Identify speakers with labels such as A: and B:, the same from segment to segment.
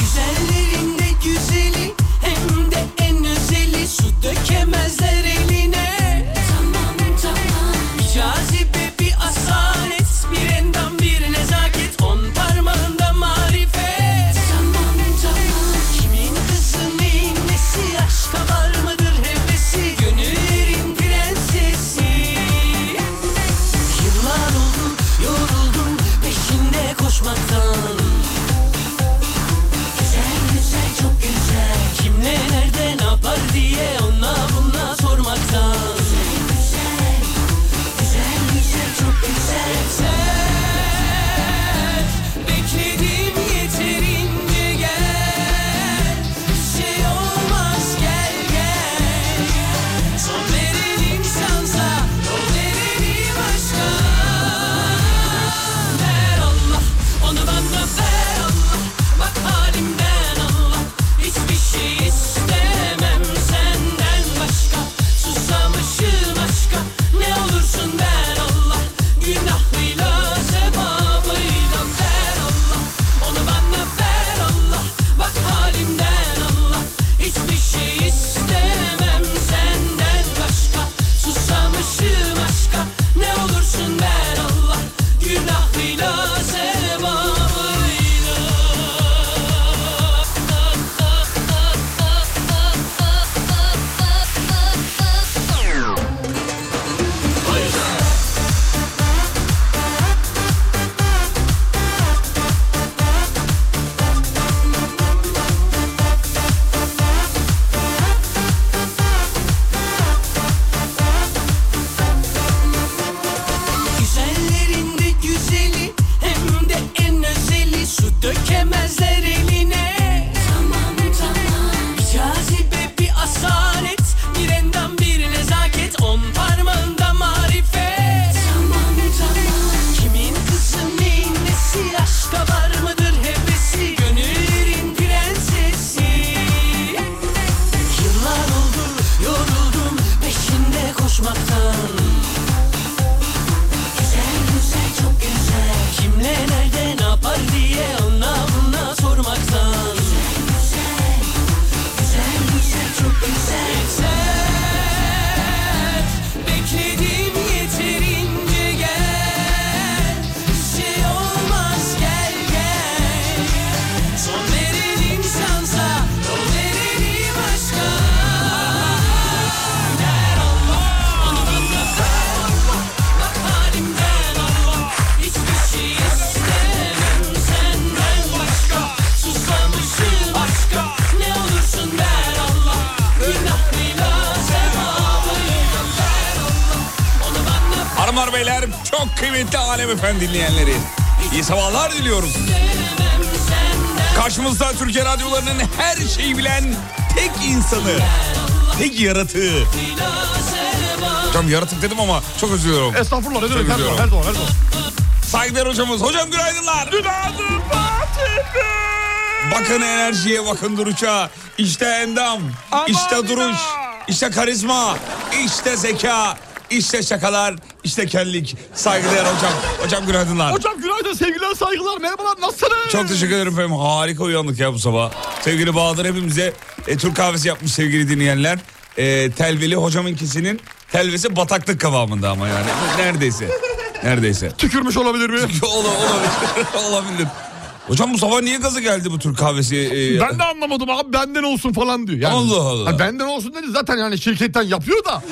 A: Güzellerinde güzeli hem de en özeli su dökemezler eline. Tamam tamam. Bir cazibe bir asalet bir endam bir nezaket on parmağında marifet. Tamam tamam. Kimin kızı neyin nesi aşka var mıdır hevesi gönüllerin prensesi. Yıllar oldu yoruldum peşinde koşmaktan Güzel güzel çok güzel Kimle nerede ne yapar diye ona buna sormaktan Güzel güzel Güzel güzel çok güzel Sen bekledim yeterince gel Bir şey olmaz gel gel Son veren insansa yol vereni başka Ver Allah onu bana ver Allah Bak halimden Allah Hiçbir şey istemem senden başka Susamışım aşka Ne olursun ver Allah Günahıyla sevabıyla ver Allah Onu bana ver Allah Bak halimden Allah Hiçbir şey istemem senden başka Susamışım aşka Ne olursun ver Allah Günahıyla sevabıyla Güzellerinde güzeli hem de en özeli su dökemezler eline. Tamam tamam. Bir cazibe bir asalet bir endam bir nezaket on parmağında marifet. Tamam tamam. Kimin kızı neyin nesi aşka var mıdır hevesi gönüllerin prensesi. Yıllar oldu yoruldum peşinde koşmaktan Güzel güzel çok güzel Kimle nerede ne yapar diye ona buna sormaktan Güzel güzel Güzel güzel çok güzel Sen bekledim yeterince gel Bir şey olmaz gel gel Son veren insansa yol vereni başka Der Allah onu bana ver Allah Bak halimden Allah Hiçbir şey istemem senden başka Susamışım başka Ne olursun ver Allah Günahıyla sevabıyla ver Allah Onu bana
B: Hanımlar beyler çok kıymetli Alem Efendi dinleyenleri. İyi sabahlar diliyorum.
A: veremem senden
B: Karşımızda Türkiye radyolarının her şeyi bilen tek insanı. Tek yaratığı. Hocam yaratık dedim ama çok üzülüyorum.
C: Estağfurullah ne
B: Çok
C: demek her
B: üzülüyorum.
C: zaman her zaman her zaman.
B: Saygıdeğer hocamız. Hocam günaydınlar. Günaydın Bakın enerjiye, bakın duruşa. İşte endam, işte duruş, işte karizma, işte zeka, işte şakalar, işte kellik. Saygıdeğer hocam. Hocam günaydınlar.
C: Hocam günaydın sevgiler saygılar merhabalar nasılsınız?
B: Çok teşekkür ederim efendim. Harika uyandık ya bu sabah. Sevgili Bahadır hepimize e, Türk kahvesi yapmış sevgili dinleyenler. E, telveli hocamınkisinin telvesi bataklık kıvamında ama yani. Neredeyse. Neredeyse.
C: Tükürmüş olabilir mi?
B: Ola, olabilir. olabilir. Hocam bu sabah niye gaza geldi bu Türk kahvesi? e,
D: Ben de anlamadım abi benden olsun falan diyor. Yani,
B: Allah Allah.
D: Hani benden olsun dedi zaten yani şirketten yapıyor da.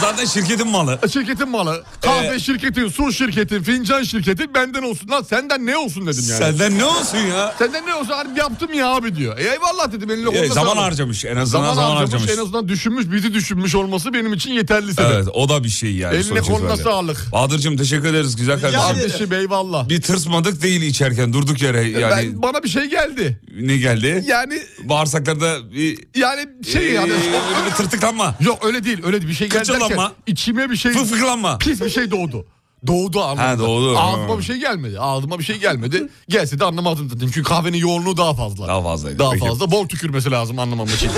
B: Zaten şirketin malı.
D: Şirketin malı. Kahve
B: Ee,
D: şirketi, su şirketi, fincan şirketi benden olsun. Lan senden ne olsun dedim yani.
B: Senden ne olsun ya?
D: Senden ne olsun abi yaptım ya abi diyor. E eyvallah dedim. Eline
B: Ya,
D: koluna
B: zaman
D: sağlık.
B: harcamış en azından
D: Zaman,
B: zaman, harcamış.
D: harcamış en azından düşünmüş bizi düşünmüş olması benim için yeterli sebep.
B: Evet o da bir şey yani.
D: Eline
B: sonuç
D: koluna
B: itibariyle.
D: sağlık.
B: Bahadır'cığım teşekkür ederiz güzel kardeşim.
D: Kardeşim eyvallah.
B: Bir tırsmadık değil içerken durduk yere yani
D: Ben, bana bir şey geldi.
B: ne geldi?
D: Yani
B: Bağırsaklarda bir,
D: yani şey yani.
B: Ee, böyle bir tırtıklanma.
D: Yok öyle değil öyle bir şey geldi
B: Kıçılanma.
D: derken içime bir şey
B: Fıfıklanma.
D: pis bir şey doğdu. Doğdu anlamında.
B: Ha, doğdu.
D: Ağzıma
B: Ha.
D: bir şey gelmedi. Ağzıma bir şey gelmedi. Gelse de anlamazdım dedim. Çünkü kahvenin yoğunluğu daha fazla.
B: Daha fazlaydı.
D: Daha
B: Peki.
D: fazla. Bol tükürmesi lazım anlamam için.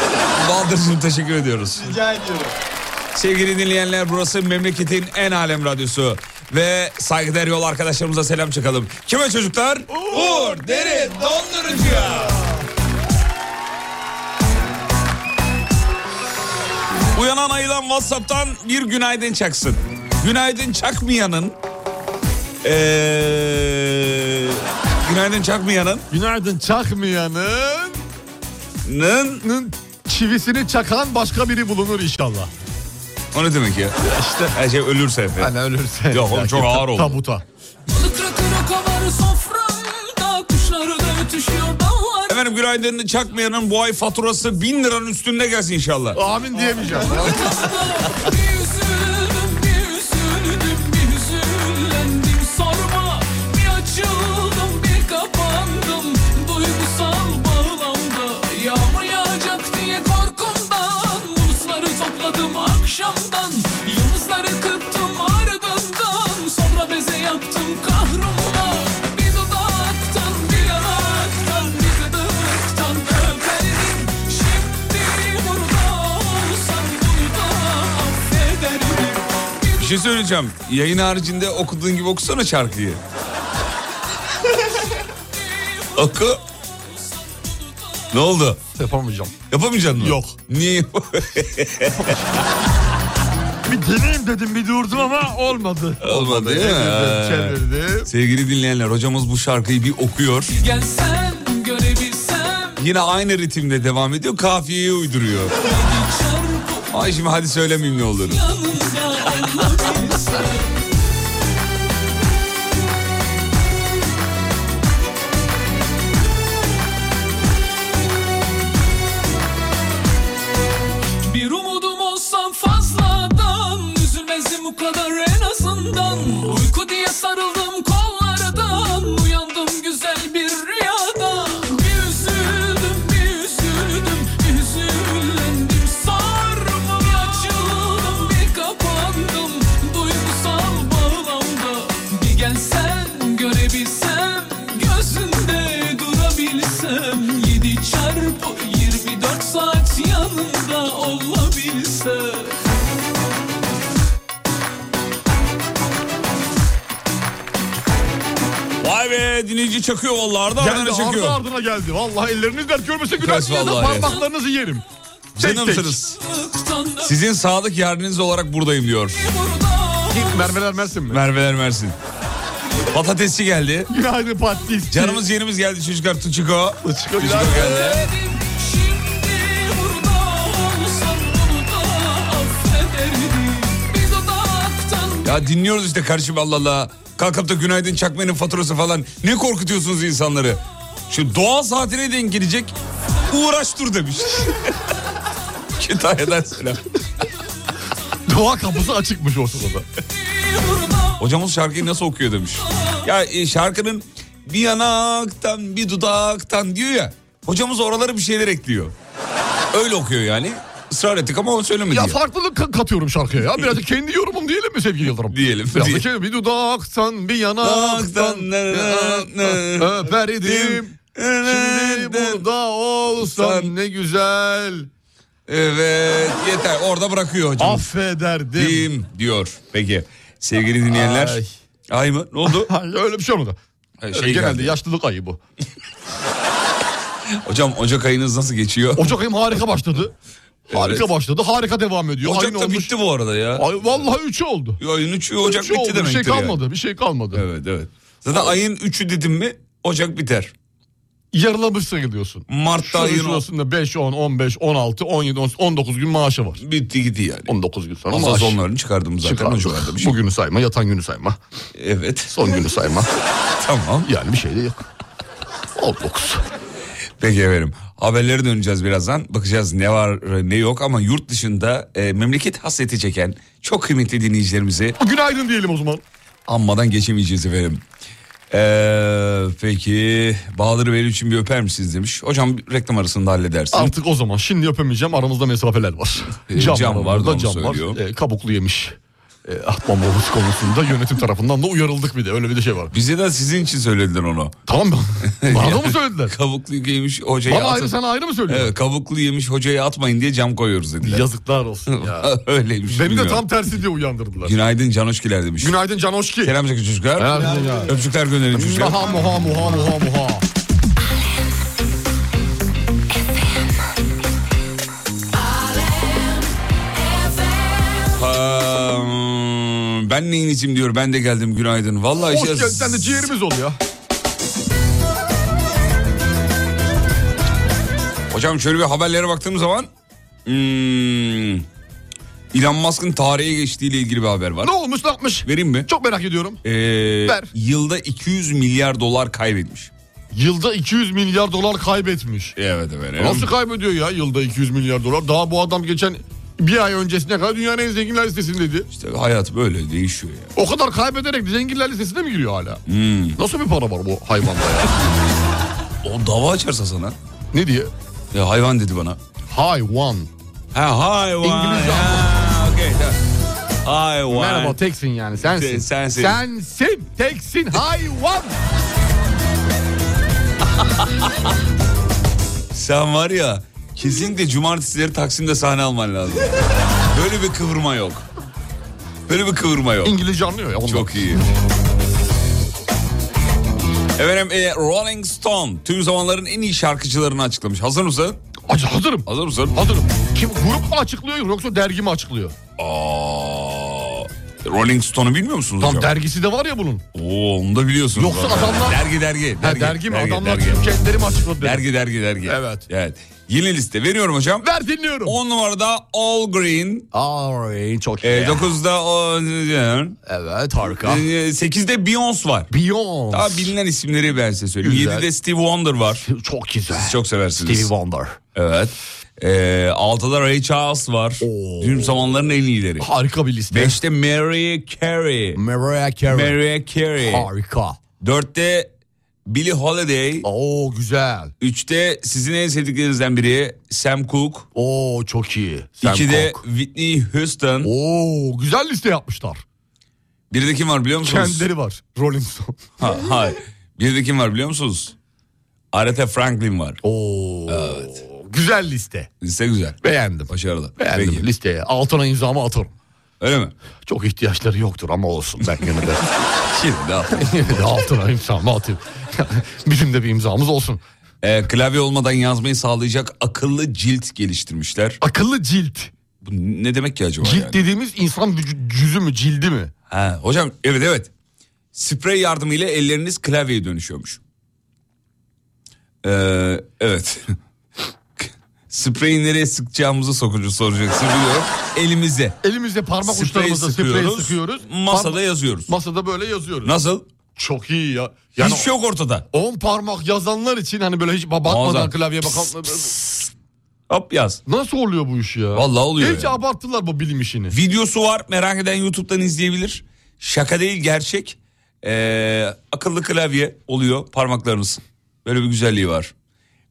B: Bahadır'cığım teşekkür ediyoruz.
E: Rica ediyorum.
B: Sevgili dinleyenler burası memleketin en alem radyosu. Ve saygıdeğer yol arkadaşlarımıza selam çakalım. Kime çocuklar? Uğur Derin Dondurucu'ya. Uyanan ayılan Whatsapp'tan bir günaydın çaksın. Günaydın çakmayanın... Ee, günaydın çakmayanın...
D: Günaydın çakmayanın
B: Nın,
D: çivisini çakan başka biri bulunur inşallah.
B: o ne demek ya? İşte her şey ölürse efendim.
D: Hani ölürse.
B: Yok oğlum çok ağır oldu.
D: Tabuta.
C: Balık rakı kabarı soframda Kuşlar da ötüşüyor dallar
B: Efendim günaydın çakmayanın bu ay faturası bin liranın üstünde gelsin inşallah.
D: Amin diyemeyeceğim.
C: Bir üzüldüm, bir üzüldüm, bir üzüldüm sorma. Bir açıldım, bir kapandım, duygusal bağlamda. Yağmur yağacak diye korkumdan, bulutları topladım akşamdan, yıldızları kırptım ardından, sonra beze yaptım kahrımla. Bir dudaktan, bir yanaktan, bir gıdıktan öperdim. Şimdi burada olsam burada affederdim.
B: Bir şey söyleyeceğim. Yayın haricinde okuduğun gibi okusana şarkıyı. Oku. Ne oldu?
D: Yapamayacağım.
B: Yapamayacaksın mı?
D: Yok.
B: Niye? yap-
D: Bir deneyim dedim bir durdum ama olmadı.
B: Olmadı değil mi? Ha.
D: Çevirdim, Çevirdim.
B: Sevgili dinleyenler hocamız bu şarkıyı bir okuyor.
C: Gelsen görebilsem
B: Yine aynı ritimle devam ediyor. Kafiyeyi uyduruyor.
C: çarpıp
B: Ay şimdi hadi söylemeyeyim ne olur.
C: yanında olabilsem. Bir umudum olsam fazladan Üzülmezdim bu kadar en azından Uyku diye sarıldım kollardan Uyandım güzel bir rüyada Bir üzüldüm bir üzüldüm Üzüldüm sarma Bir açıldım bir kapandım Duygusal bağlamda Bir gelsen görebilsem Gözünde durabilsem Yedi çarpı 24 saat yanında olabilsem
B: Vay be dinleyici çakıyor vallahi. Arda
D: Geldi
B: ardına
D: ardı
B: çakıyor.
D: ardına geldi. Vallahi elleriniz dert görmese günah
B: Kaç
D: ya da
B: vallahi.
D: parmaklarınızı yerim. Tek tek.
B: Canımsınız. Sizin sadık yardımcınız olarak buradayım diyor.
D: Mermeler Mersin mi?
B: Merveler Mersin. Patatesçi geldi.
D: Günaydın patates.
B: Canımız yerimiz geldi çocuklar Tuçiko.
D: Tuçiko
B: Tuçiko
D: geldi.
B: geldi.
C: Şimdi burada olsam bunu da affederdim Bir dudaktan
B: Ya dinliyoruz işte kardeşim Allah Allah. Kalkıp da günaydın çakmanın faturası falan. Ne korkutuyorsunuz insanları? Şu doğa saatine denk gelecek. Uğraş dur demiş. Kütahya'dan selam.
D: Doğa kapısı açıkmış ortada.
B: Hocamız şarkıyı nasıl okuyor demiş. Ya e, şarkının bir yanaktan bir dudaktan diyor ya. Hocamız oralara bir şeyler ekliyor. Öyle okuyor yani. Israr ettik ama o söylemedi.
D: Ya
B: ya.
D: farklılık ka- katıyorum şarkıya ya. Birazcık kendi yorumum diyelim mi sevgili Yıldırım?
B: Diyelim.
D: Biraz da
B: Diyelim.
D: kendi- bir dudaktan bir yanaktan
B: Dudaktan, ne- ne-
D: öperdim. Şimdi burada olsan ne güzel
B: Evet yeter orada bırakıyor hocam.
D: affederdim.
B: Dim diyor. Peki sevgili dinleyenler. Ay,
D: Ay.
B: mı? Ne oldu?
D: Ha, Öyle bir şey olmadı.
B: Şey
D: Öyle Genelde
B: geldi.
D: yaşlılık ayı bu.
B: Hocam Ocak ayınız nasıl geçiyor?
D: Ocak ayım harika başladı. Harika
B: Evet.
D: başladı. Harika devam ediyor.
B: Ocak
D: Aynı
B: da
D: olmuş.
B: bitti bu arada ya.
D: Ay, vallahi üçü oldu.
B: Ayın 3'ü Ocak
D: Üçü
B: bitti
D: oldu. Bir
B: demektir
D: şey
B: yani.
D: kalmadı. Bir şey kalmadı.
B: Evet evet. Zaten ayın 3'ü dedim mi Ocak biter.
D: yarılamış sayılıyorsun.
B: Mart'ta ayın o-
D: ayın 5, 10, 15, 16, 17, 18, 19 gün maaşı var.
B: Bitti gitti yani.
D: 19 gün sonra
B: Ondan
D: maaş.
B: sonlarını çıkardım zaten.
D: Çıkardık.
B: Hocalarda bir şey.
D: Bugünü sayma, yatan günü sayma,
B: Evet.
D: son günü sayma.
B: Tamam.
D: Yani bir şey de yok. 19.
B: Peki efendim. Haberlere döneceğiz birazdan. Bakacağız ne var ne yok ama yurt dışında e, memleket hasreti çeken çok kıymetli dinleyicilerimizi
D: Günaydın diyelim o zaman.
B: anmadan geçemeyeceğiz efendim. Ee, peki Bahadır Veli için bir öper misiniz demiş. Hocam reklam arasında halledersin.
D: Artık o zaman şimdi öpemeyeceğim aramızda mesafeler var.
B: E, cam
D: var,
B: var,
D: orada
B: onu
D: cam
B: söylüyor.
D: var. E, kabuklu yemiş. E, Atmam Oğuz konusunda yönetim tarafından da uyarıldık bir de öyle bir de şey var.
B: Bize de sizin için söylediler onu.
D: Tamam mı? Bana da mı söylediler?
B: Kabuklu yemiş hocayı
D: Bana ayrı
B: atın.
D: sana ayrı mı söylüyor?
B: Evet, kabuklu yemiş hocayı atmayın diye cam koyuyoruz dediler.
D: Yazıklar olsun ya.
B: Öyleymiş.
D: Beni de
B: bilmiyorum.
D: tam tersi diye uyandırdılar.
B: Günaydın Canoşkiler demiş.
D: Günaydın Can Hoşki.
B: Selam sevgili çocuklar.
D: Günaydın ya.
B: Öpücükler gönderin çocuklar.
D: Muha muha muha muha muha.
B: Ha, ben neyin için diyor ben de geldim günaydın. Vallahi
D: Hoş
B: işte-
D: geldin sen de ciğerimiz ol ya.
B: Hocam şöyle bir haberlere baktığım zaman hmm, Elon Musk'ın tarihe geçtiğiyle ilgili bir haber var.
D: Ne olmuş ne yapmış?
B: Vereyim mi?
D: Çok merak ediyorum.
B: Ee,
D: Ver.
B: yılda 200 milyar dolar kaybetmiş.
D: Yılda 200 milyar dolar kaybetmiş.
B: Evet evet.
D: Nasıl kaybediyor ya yılda 200 milyar dolar? Daha bu adam geçen bir ay öncesine kadar dünyanın en zenginler listesindeydi.
B: İşte hayat böyle değişiyor ya. Hmm.
D: O kadar kaybederek zenginler listesine mi giriyor hala? Nasıl bir para var bu hayvanda ya?
B: O dava açarsa sana.
D: ne diye?
B: Ya hayvan dedi bana.
D: Hayvan.
B: Ha hayvan.
D: İngilizce.
B: Ha, okey, tamam. Hayvan.
D: Merhaba teksin yani
B: Sen-
D: sensin.
B: sensin.
D: Sensin teksin hayvan.
B: Sen var ya kesinlikle cumartesileri Taksim'de sahne alman lazım. Böyle bir kıvırma yok. Böyle bir kıvırma yok.
D: İngilizce anlıyor ya ondan.
B: Çok iyi. Efendim e, Rolling Stone tüm zamanların en iyi şarkıcılarını açıklamış. Hazır mısın?
D: Acı hazırım.
B: Hazır mısın?
D: Hazırım. Kim grup mu açıklıyor yoksa dergi mi açıklıyor?
B: Aa, E, Rolling Stone'u bilmiyor musunuz
D: Tam
B: hocam?
D: dergisi de var ya bunun.
B: Oo, onu da biliyorsunuz.
D: Yoksa
B: zaten.
D: adamlar-
B: Dergi dergi.
D: Ha, dergi, mi?
B: dergi,
D: Adamlar
B: dergi.
D: çünkü kendileri mi açıkladı? dedi.
B: dergi dergi dergi.
D: Evet.
B: Evet. Yeni liste veriyorum hocam.
D: Ver dinliyorum.
B: 10 numarada All Green.
D: Ay
B: Ee,
D: çok iyi.
B: 9'da o...
D: Evet harika.
B: 8'de Beyoncé var.
D: Beyoncé.
B: Daha bilinen isimleri ben size söyleyeyim.
D: Güzel.
B: 7'de Steve Wonder var.
D: Çok güzel.
B: Siz çok seversiniz.
D: Stevie Wonder.
B: Evet. Ee, 6'da Ray Charles var.
D: Oo.
B: Tüm zamanların en iyileri.
D: Harika bir liste.
B: 5'te Mary Carey.
D: Mariah Carey.
B: Mariah Carey.
D: Harika.
B: 4'te Billie Holiday.
D: Oo güzel.
B: 3'te sizin en sevdiklerinizden biri Sam Cooke.
D: Oo çok iyi. Sam
B: 2'de
D: Cooke.
B: Whitney Houston.
D: Oo güzel liste yapmışlar.
B: Bir de kim var biliyor musunuz?
D: Kendileri var. Rolling Stone.
B: Ha, hayır. Bir de kim var biliyor musunuz? Aretha Franklin var.
D: Oo. Güzel liste.
B: Liste güzel.
D: Beğendim.
B: Başarılı.
D: Beğendim
B: Peki.
D: listeye. Altına imzamı atarım.
B: Öyle mi?
D: Çok ihtiyaçları yoktur ama olsun ben yine de.
B: Şimdi ne yapalım?
D: yine de altına imzamı atayım. Bizim de bir imzamız olsun.
B: Ee, klavye olmadan yazmayı sağlayacak akıllı cilt geliştirmişler.
D: Akıllı cilt.
B: Bu ne demek ki acaba
D: Cilt
B: yani?
D: dediğimiz insan vücu- yüzü mü cildi mi?
B: Ha, hocam evet evet. Sprey yardımıyla elleriniz klavyeye dönüşüyormuş. Ee, evet. Spreyi nereye sıkacağımızı sokucu soracaksın biliyorum. Elimize.
D: Elimizle parmak
B: Sprey
D: uçlarımızla sprey sıkıyoruz.
B: Masada
D: Parma-
B: yazıyoruz.
D: Masada böyle yazıyoruz.
B: Nasıl?
D: Çok iyi ya. Yani
B: Hiç yok ortada.
D: 10 parmak yazanlar için hani böyle hiç ba- bakmadan
B: Muazzam.
D: klavyeye bakan...
B: Hop yaz.
D: Nasıl oluyor bu iş ya?
B: Vallahi oluyor
D: Hiç
B: ya.
D: abarttılar bu bilim işini.
B: Videosu var merak eden YouTube'dan izleyebilir. Şaka değil gerçek. Ee, akıllı klavye oluyor parmaklarınız. Böyle bir güzelliği var.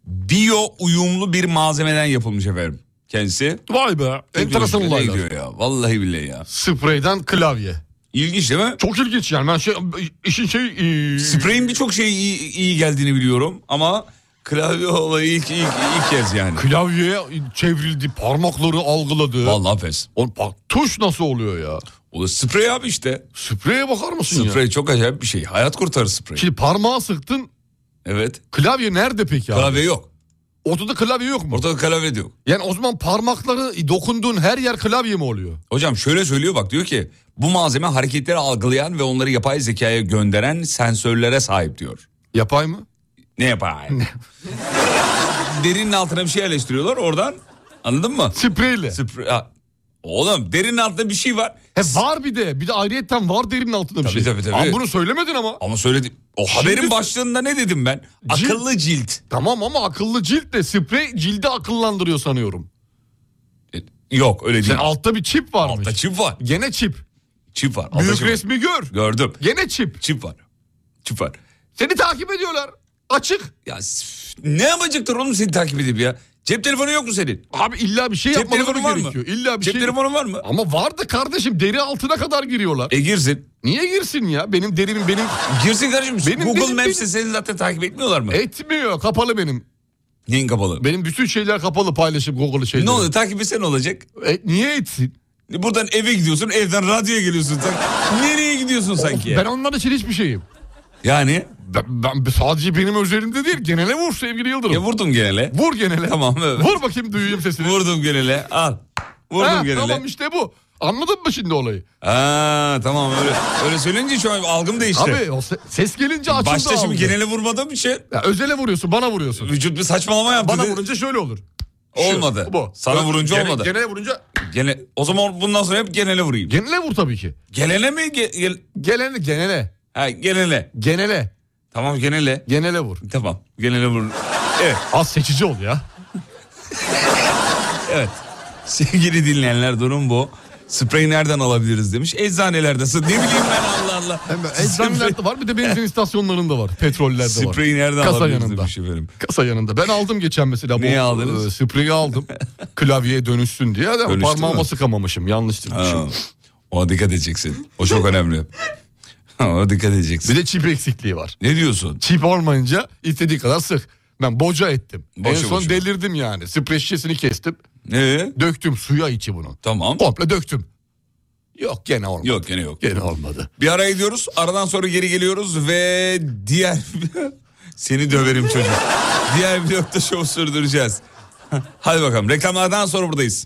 B: Biyo uyumlu bir malzemeden yapılmış efendim kendisi.
D: Vay be. Enteresan
B: Teknolojiyle
D: olaylar.
B: gidiyor ya. Vallahi billahi ya.
D: Spreyden klavye.
B: İlginç değil mi?
D: Çok ilginç yani. Ben şey, işin şey... e,
B: Spreyin birçok şey iyi, iyi geldiğini biliyorum ama klavye olayı ilk, ilk, ilk kez yani.
D: klavyeye çevrildi. Parmakları algıladı.
B: Vallahi pes.
D: Oğlum bak, tuş nasıl oluyor ya?
B: O da sprey abi işte.
D: Spreye bakar mısın ya?
B: Sprey çok acayip bir şey. Hayat kurtarır sprey.
D: Şimdi parmağı sıktın
B: Evet.
D: Klavye nerede peki abi?
B: Klavye yok.
D: Ortada klavye yok mu?
B: Ortada klavye de yok.
D: Yani o zaman parmakları dokunduğun her yer klavye mi oluyor?
B: Hocam şöyle söylüyor bak diyor ki bu malzeme hareketleri algılayan ve onları yapay zekaya gönderen sensörlere sahip diyor.
D: Yapay mı?
B: Ne yapar? derinin altına bir şey yerleştiriyorlar oradan. Anladın mı?
D: Spreyle.
B: Sprey- Ha, Oğlum derinin altında bir şey var.
D: He var bir de. Bir de ayrıyetten var derinin altında bir
B: Tabii,
D: şey.
B: tabii, tabii.
D: Ama bunu söylemedin ama.
B: Ama söyledim. O haberin başlığında ne dedim ben?
D: Cilt.
B: Akıllı cilt.
D: Tamam ama akıllı cilt de sprey cildi akıllandırıyor sanıyorum.
B: E, Yok öyle değil.
D: Yani altta bir çip varmış.
B: Altta çip var.
D: Gene çip.
B: Çip var. Altta
D: Büyük
B: çip var.
D: resmi gör.
B: Gördüm.
D: Gene çip.
B: Çip var. Çip var.
D: Seni takip ediyorlar. Açık.
B: Ya s- ne yapacaklar oğlum seni takip edip ya? Cep telefonu yok mu senin?
D: Abi illa bir şey
B: Cep
D: yapmaları
B: telefonu var mı?
D: gerekiyor. İlla bir
B: Cep
D: şey.
B: telefonun var mı?
D: Ama vardı kardeşim deri altına kadar giriyorlar.
B: E girsin.
D: Niye girsin ya? Benim derimin benim
B: Girsin kardeşim.
D: Benim-
B: Google
D: benim-
B: Maps'te
D: benim-
B: seni zaten takip etmiyorlar mı?
D: etmiyor. Kapalı benim.
B: Neyin kapalı?
D: Benim bütün şeyler kapalı paylaşım Google şeyleri.
B: Ne oluyor? Takip etsen ne olacak?
D: E, niye etsin?
B: Buradan eve gidiyorsun, evden radyoya geliyorsun. Sen nereye gidiyorsun sanki? ya?
D: Ben onlar için hiçbir şeyim.
B: Yani
D: Ben, ben sadece benim özelimde değil genele vur sevgili Yıldırım.
B: ya vurdum genele.
D: vur genele.
B: Tamam evet.
D: Vur bakayım duyayım sesini.
B: Vurdum genele. Al. Vurdum
D: Ha,
B: genele.
D: Tamam işte bu. Anladın mı şimdi olayı?
B: Ha, tamam öyle öyle söyleyince şu an algım değişti.
D: Abi o se- ses gelince açıldı
B: Başta şimdi
D: algı.
B: genele vurmadığım için
D: Ya, özele vuruyorsun bana vuruyorsun.
B: vücut bir saçmalama yaptı.
D: Bana
B: dedi.
D: vurunca şöyle olur. Şu,
B: Olmadı.
D: bu.
B: Sana
D: Ö-
B: vurunca
D: gene-
B: olmadı.
D: Genele vurunca
B: Gene, o zaman bundan sonra hep genele vurayım.
D: genele vur tabii ki.
B: Gelene mi? Ge- gel-
D: Genele genele.
B: ha, genele.
D: Genele.
B: Tamam genele.
D: Genele vur.
B: Tamam genele vur. Evet.
D: Az seçici ol ya.
B: Evet. Sevgili dinleyenler durum bu. Spreyi nereden alabiliriz demiş. Eczanelerden. Ne bileyim ben Allah Allah.
D: Eczanelerde var bir de benzin istasyonlarında var. Petrollerde var.
B: Spreyi nereden
D: Kasa
B: alabiliriz
D: yanında.
B: demiş efendim.
D: Kasa yanında. Ben aldım geçen mesela. bu,
B: Neyi aldınız?
D: e, spreyi aldım. Klavyeye dönüşsün diye. Ama
B: Dönüştü
D: parmağıma
B: mü?
D: sıkamamışım. Yanlış
B: Ha,
D: dönmüşüm.
B: ona dikkat edeceksin. O çok önemli. Ona dikkat edeceksin.
D: Bir de çip eksikliği var.
B: Ne diyorsun?
D: Çip olmayınca istediği kadar sık. Ben boca ettim.
B: Boşa
D: en son
B: boşa.
D: delirdim yani. Sprey şişesini kestim.
B: Ne?
D: Döktüm suya içi bunu.
B: Tamam.
D: Komple döktüm. Yok gene olmadı.
B: Yok gene yok.
D: Gene olmadı.
B: Bir ara gidiyoruz. Aradan sonra geri geliyoruz ve diğer... Seni döverim çocuk. diğer blokta şov sürdüreceğiz. Hadi bakalım. Reklamlardan sonra buradayız.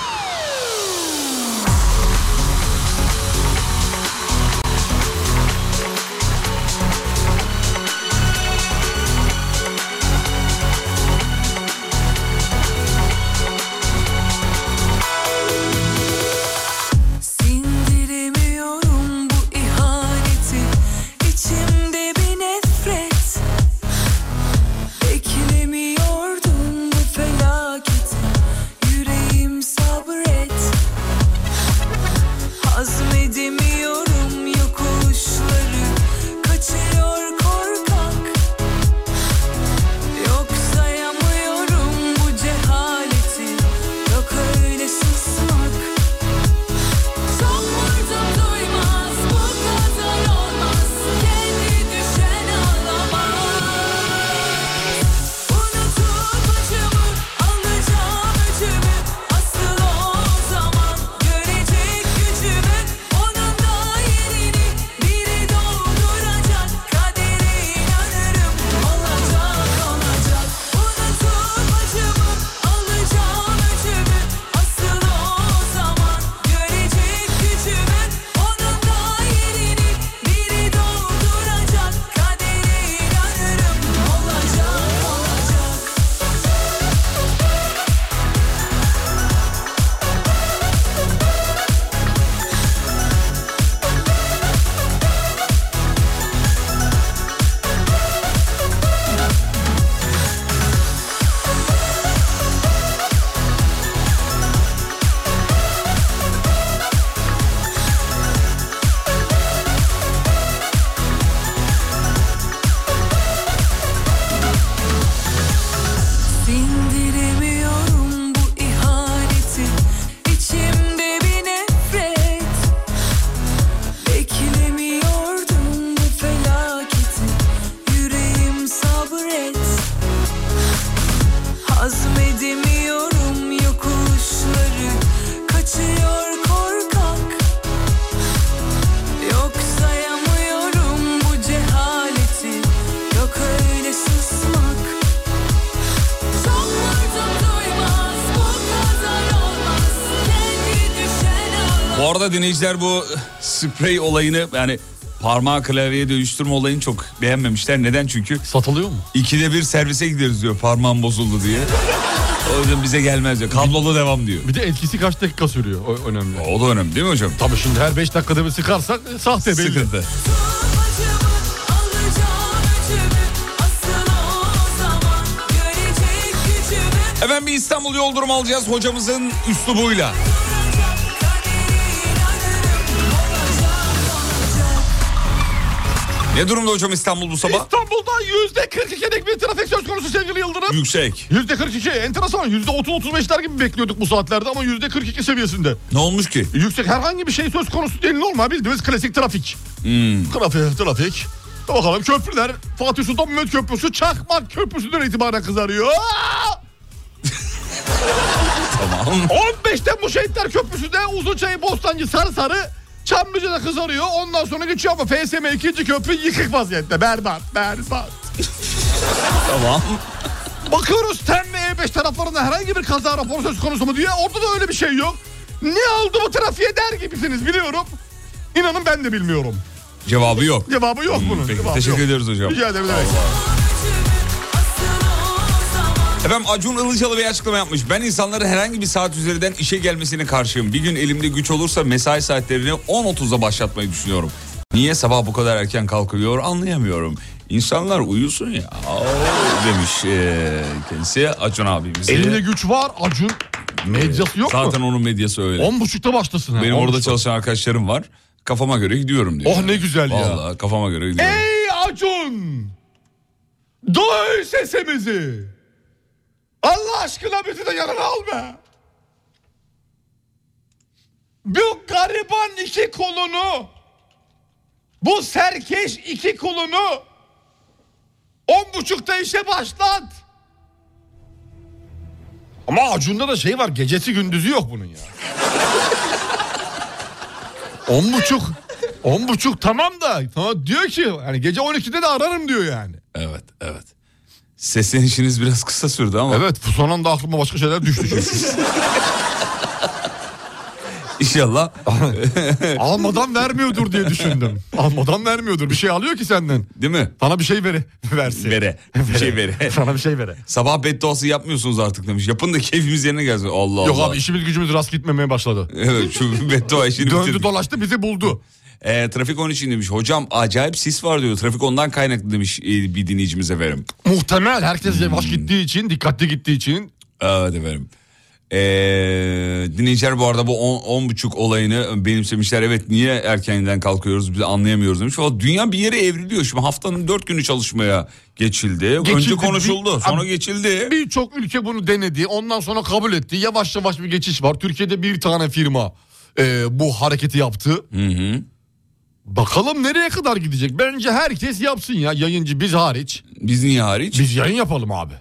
E: Sindiremiyorum bu ihaneti içimde bir nefret Beklemiyordum bu felaketi Yüreğim sal
B: Bu arada dinleyiciler bu sprey olayını yani parmağı klavyeye dövüştürme olayını çok beğenmemişler. Neden çünkü?
D: Satılıyor mu?
B: İkide bir servise gideriz diyor parmağım bozuldu diye. O yüzden bize gelmez diyor. Kablolu devam diyor.
D: Bir de etkisi kaç dakika sürüyor o önemli.
B: O da önemli değil mi hocam?
D: Tabii şimdi her 5 dakikada bir sıkarsak e, sahte belli.
B: Sıkıntı.
E: Acımı alacağım gücümü asıl o zaman görecek gücümü
B: Efendim bir İstanbul yol durumu alacağız hocamızın üslubuyla. Ne durumda hocam İstanbul bu sabah?
D: İstanbul'da yüzde 42'lik bir trafik söz konusu sevgili Yıldırım.
B: Yüksek.
D: Yüzde 42 enteresan yüzde 30-35'ler gibi bekliyorduk bu saatlerde ama yüzde 42 seviyesinde.
B: Ne olmuş ki?
D: Yüksek herhangi bir şey söz konusu değil normal bildiğimiz klasik trafik.
B: Hmm.
D: Trafik, trafik. Bakalım köprüler Fatih Sultan Mehmet Köprüsü Çakmak Köprüsü'nden itibaren kızarıyor. Aa!
B: Tamam.
D: 15 Temmuz Şehitler Köprüsü'de Uzunçayı Bostancı sarı sarı Çamlıca'da kızarıyor. Ondan sonra geçiyor ama FSM 2. köprü yıkık vaziyette. Berbat, berbat.
B: Tamam.
D: Bakıyoruz TEN ve E5 taraflarında herhangi bir kaza raporu söz konusu mu diye. Orada da öyle bir şey yok. Ne oldu bu trafiğe der gibisiniz biliyorum. İnanın ben de bilmiyorum.
B: Cevabı yok.
D: Cevabı yok bunun.
B: Hmm, Peki,
D: Cevabı
B: teşekkür
D: yok.
B: ediyoruz hocam.
D: Rica ederim.
B: Efendim Acun Ilıcalı bir açıklama yapmış. Ben insanların herhangi bir saat üzerinden işe gelmesine karşıyım. Bir gün elimde güç olursa mesai saatlerini 10.30'da başlatmayı düşünüyorum. Niye sabah bu kadar erken kalkılıyor anlayamıyorum. İnsanlar uyusun ya Oo, demiş eee, kendisi Acun abimiz.
D: Elinde güç var Acun. Medyası yok
B: Zaten
D: mu?
B: onun medyası öyle.
D: 10.30'da başlasın. ha,
B: Benim
D: 10.30'da.
B: orada çalışan arkadaşlarım var. Kafama göre gidiyorum diyor.
D: Oh, ne güzel ya.
B: Vallahi kafama göre gidiyorum.
D: Ey Acun! Duy sesimizi! Allah aşkına bizi de yanına alma! Bu gariban iki kolunu, bu serkeş iki kolunu on buçukta işe başlat. Ama Acun'da da şey var gecesi gündüzü yok bunun ya. On buçuk. On buçuk tamam da. Tamam diyor ki yani gece 12'de de ararım diyor yani.
B: Evet evet. Seslenişiniz biraz kısa sürdü ama
D: Evet bu son anda aklıma başka şeyler düştü çünkü.
B: inşallah
D: Almadan vermiyordur diye düşündüm. Almadan vermiyordur. Bir şey alıyor ki senden.
B: değil mi?
D: Sana bir şey veri versin.
B: Vere. Bir şey vere.
D: Sana bir şey vere.
B: Sabah bedduası yapmıyorsunuz artık demiş. Yapın da keyfimiz yerine gelsin. Allah
D: Yok
B: Allah.
D: abi işimiz gücümüz rast gitmemeye başladı.
B: Evet şu beddua işini
D: Döndü
B: bitirdik.
D: dolaştı bizi buldu.
B: Ee, trafik onun için demiş. Hocam acayip sis var diyor. Trafik ondan kaynaklı demiş e, bir dinleyicimiz efendim.
D: Muhtemel herkes yavaş gittiği için, dikkatli gittiği için.
B: Evet efendim. Ee, dinleyiciler bu arada bu 10 buçuk olayını benimsemişler. Evet niye erkenden kalkıyoruz biz anlayamıyoruz demiş. O dünya bir yere evriliyor. Şimdi haftanın 4 günü çalışmaya geçildi. E, Önce
D: Geçildi.
B: konuşuldu
D: Bir-
B: sonra
D: Abi-
B: geçildi.
D: Birçok ülke bunu denedi. Ondan sonra kabul etti. Yavaş yavaş bir geçiş var. Türkiye'de bir tane firma e, bu hareketi yaptı.
B: Hı hı.
D: Bakalım nereye kadar gidecek? Bence herkes yapsın ya yayıncı biz hariç.
B: Biz niye hariç?
D: Biz yayın yapalım abi.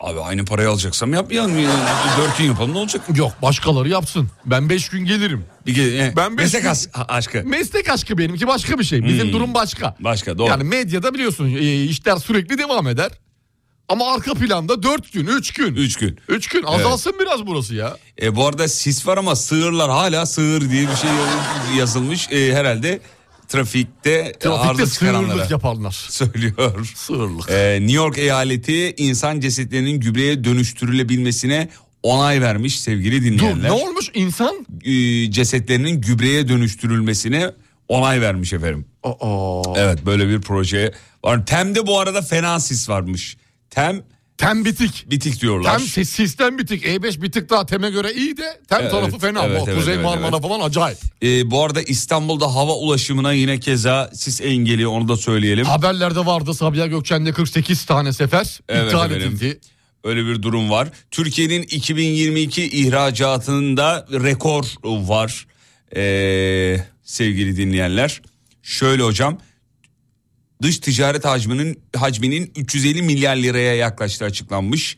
B: Abi aynı parayı alacaksam yapmayalım. Yani. Dört gün yapalım ne olacak?
D: Yok başkaları yapsın. Ben 5 gün gelirim.
B: Bir ge- e,
D: Ben beş-
B: meslek as- a- aşkı.
D: Meslek aşkı benimki başka bir şey. Bizim durum başka.
B: Başka doğru.
D: Yani medyada biliyorsun e, işler sürekli devam eder. Ama arka planda 4 gün, 3 gün.
B: Üç gün.
D: 3 gün azalsın biraz burası ya.
B: E, bu arada sis var ama sığırlar hala sığır diye bir şey yazılmış. E, herhalde trafikte,
D: Trafikte
B: arda E, çıkaranlara
D: sığırlık yapanlar.
B: söylüyor.
D: Sığırlık.
B: E, New York eyaleti insan cesetlerinin gübreye dönüştürülebilmesine onay vermiş sevgili
D: Dur
B: dinleyenler.
D: ne olmuş insan?
B: E, cesetlerinin gübreye dönüştürülmesine onay vermiş efendim.
D: Aa.
B: Evet böyle bir proje var. Tem'de bu arada fena sis varmış. Tem
D: Tem bitik.
B: bitik diyorlar.
D: Tem sis- sistem bitik. E5 bir tık daha teme göre iyi de tem
B: Evet,
D: tarafı fena.
B: evet,
D: Bu
B: evet,
D: Kuzey
B: evet,
D: Marmara
B: evet.
D: falan acayip.
B: Ee, bu arada İstanbul'da hava ulaşımına yine keza sis engeli onu da söyleyelim.
D: Haberlerde vardı Sabiha Gökçen'de 48 tane sefer
B: Evet
D: iptal
B: efendim.
D: edildi.
B: Öyle bir durum var. Türkiye'nin 2022 ihracatında rekor var Ee, sevgili dinleyenler. Şöyle hocam dış ticaret hacminin hacminin 350 milyar liraya yaklaştığı açıklanmış.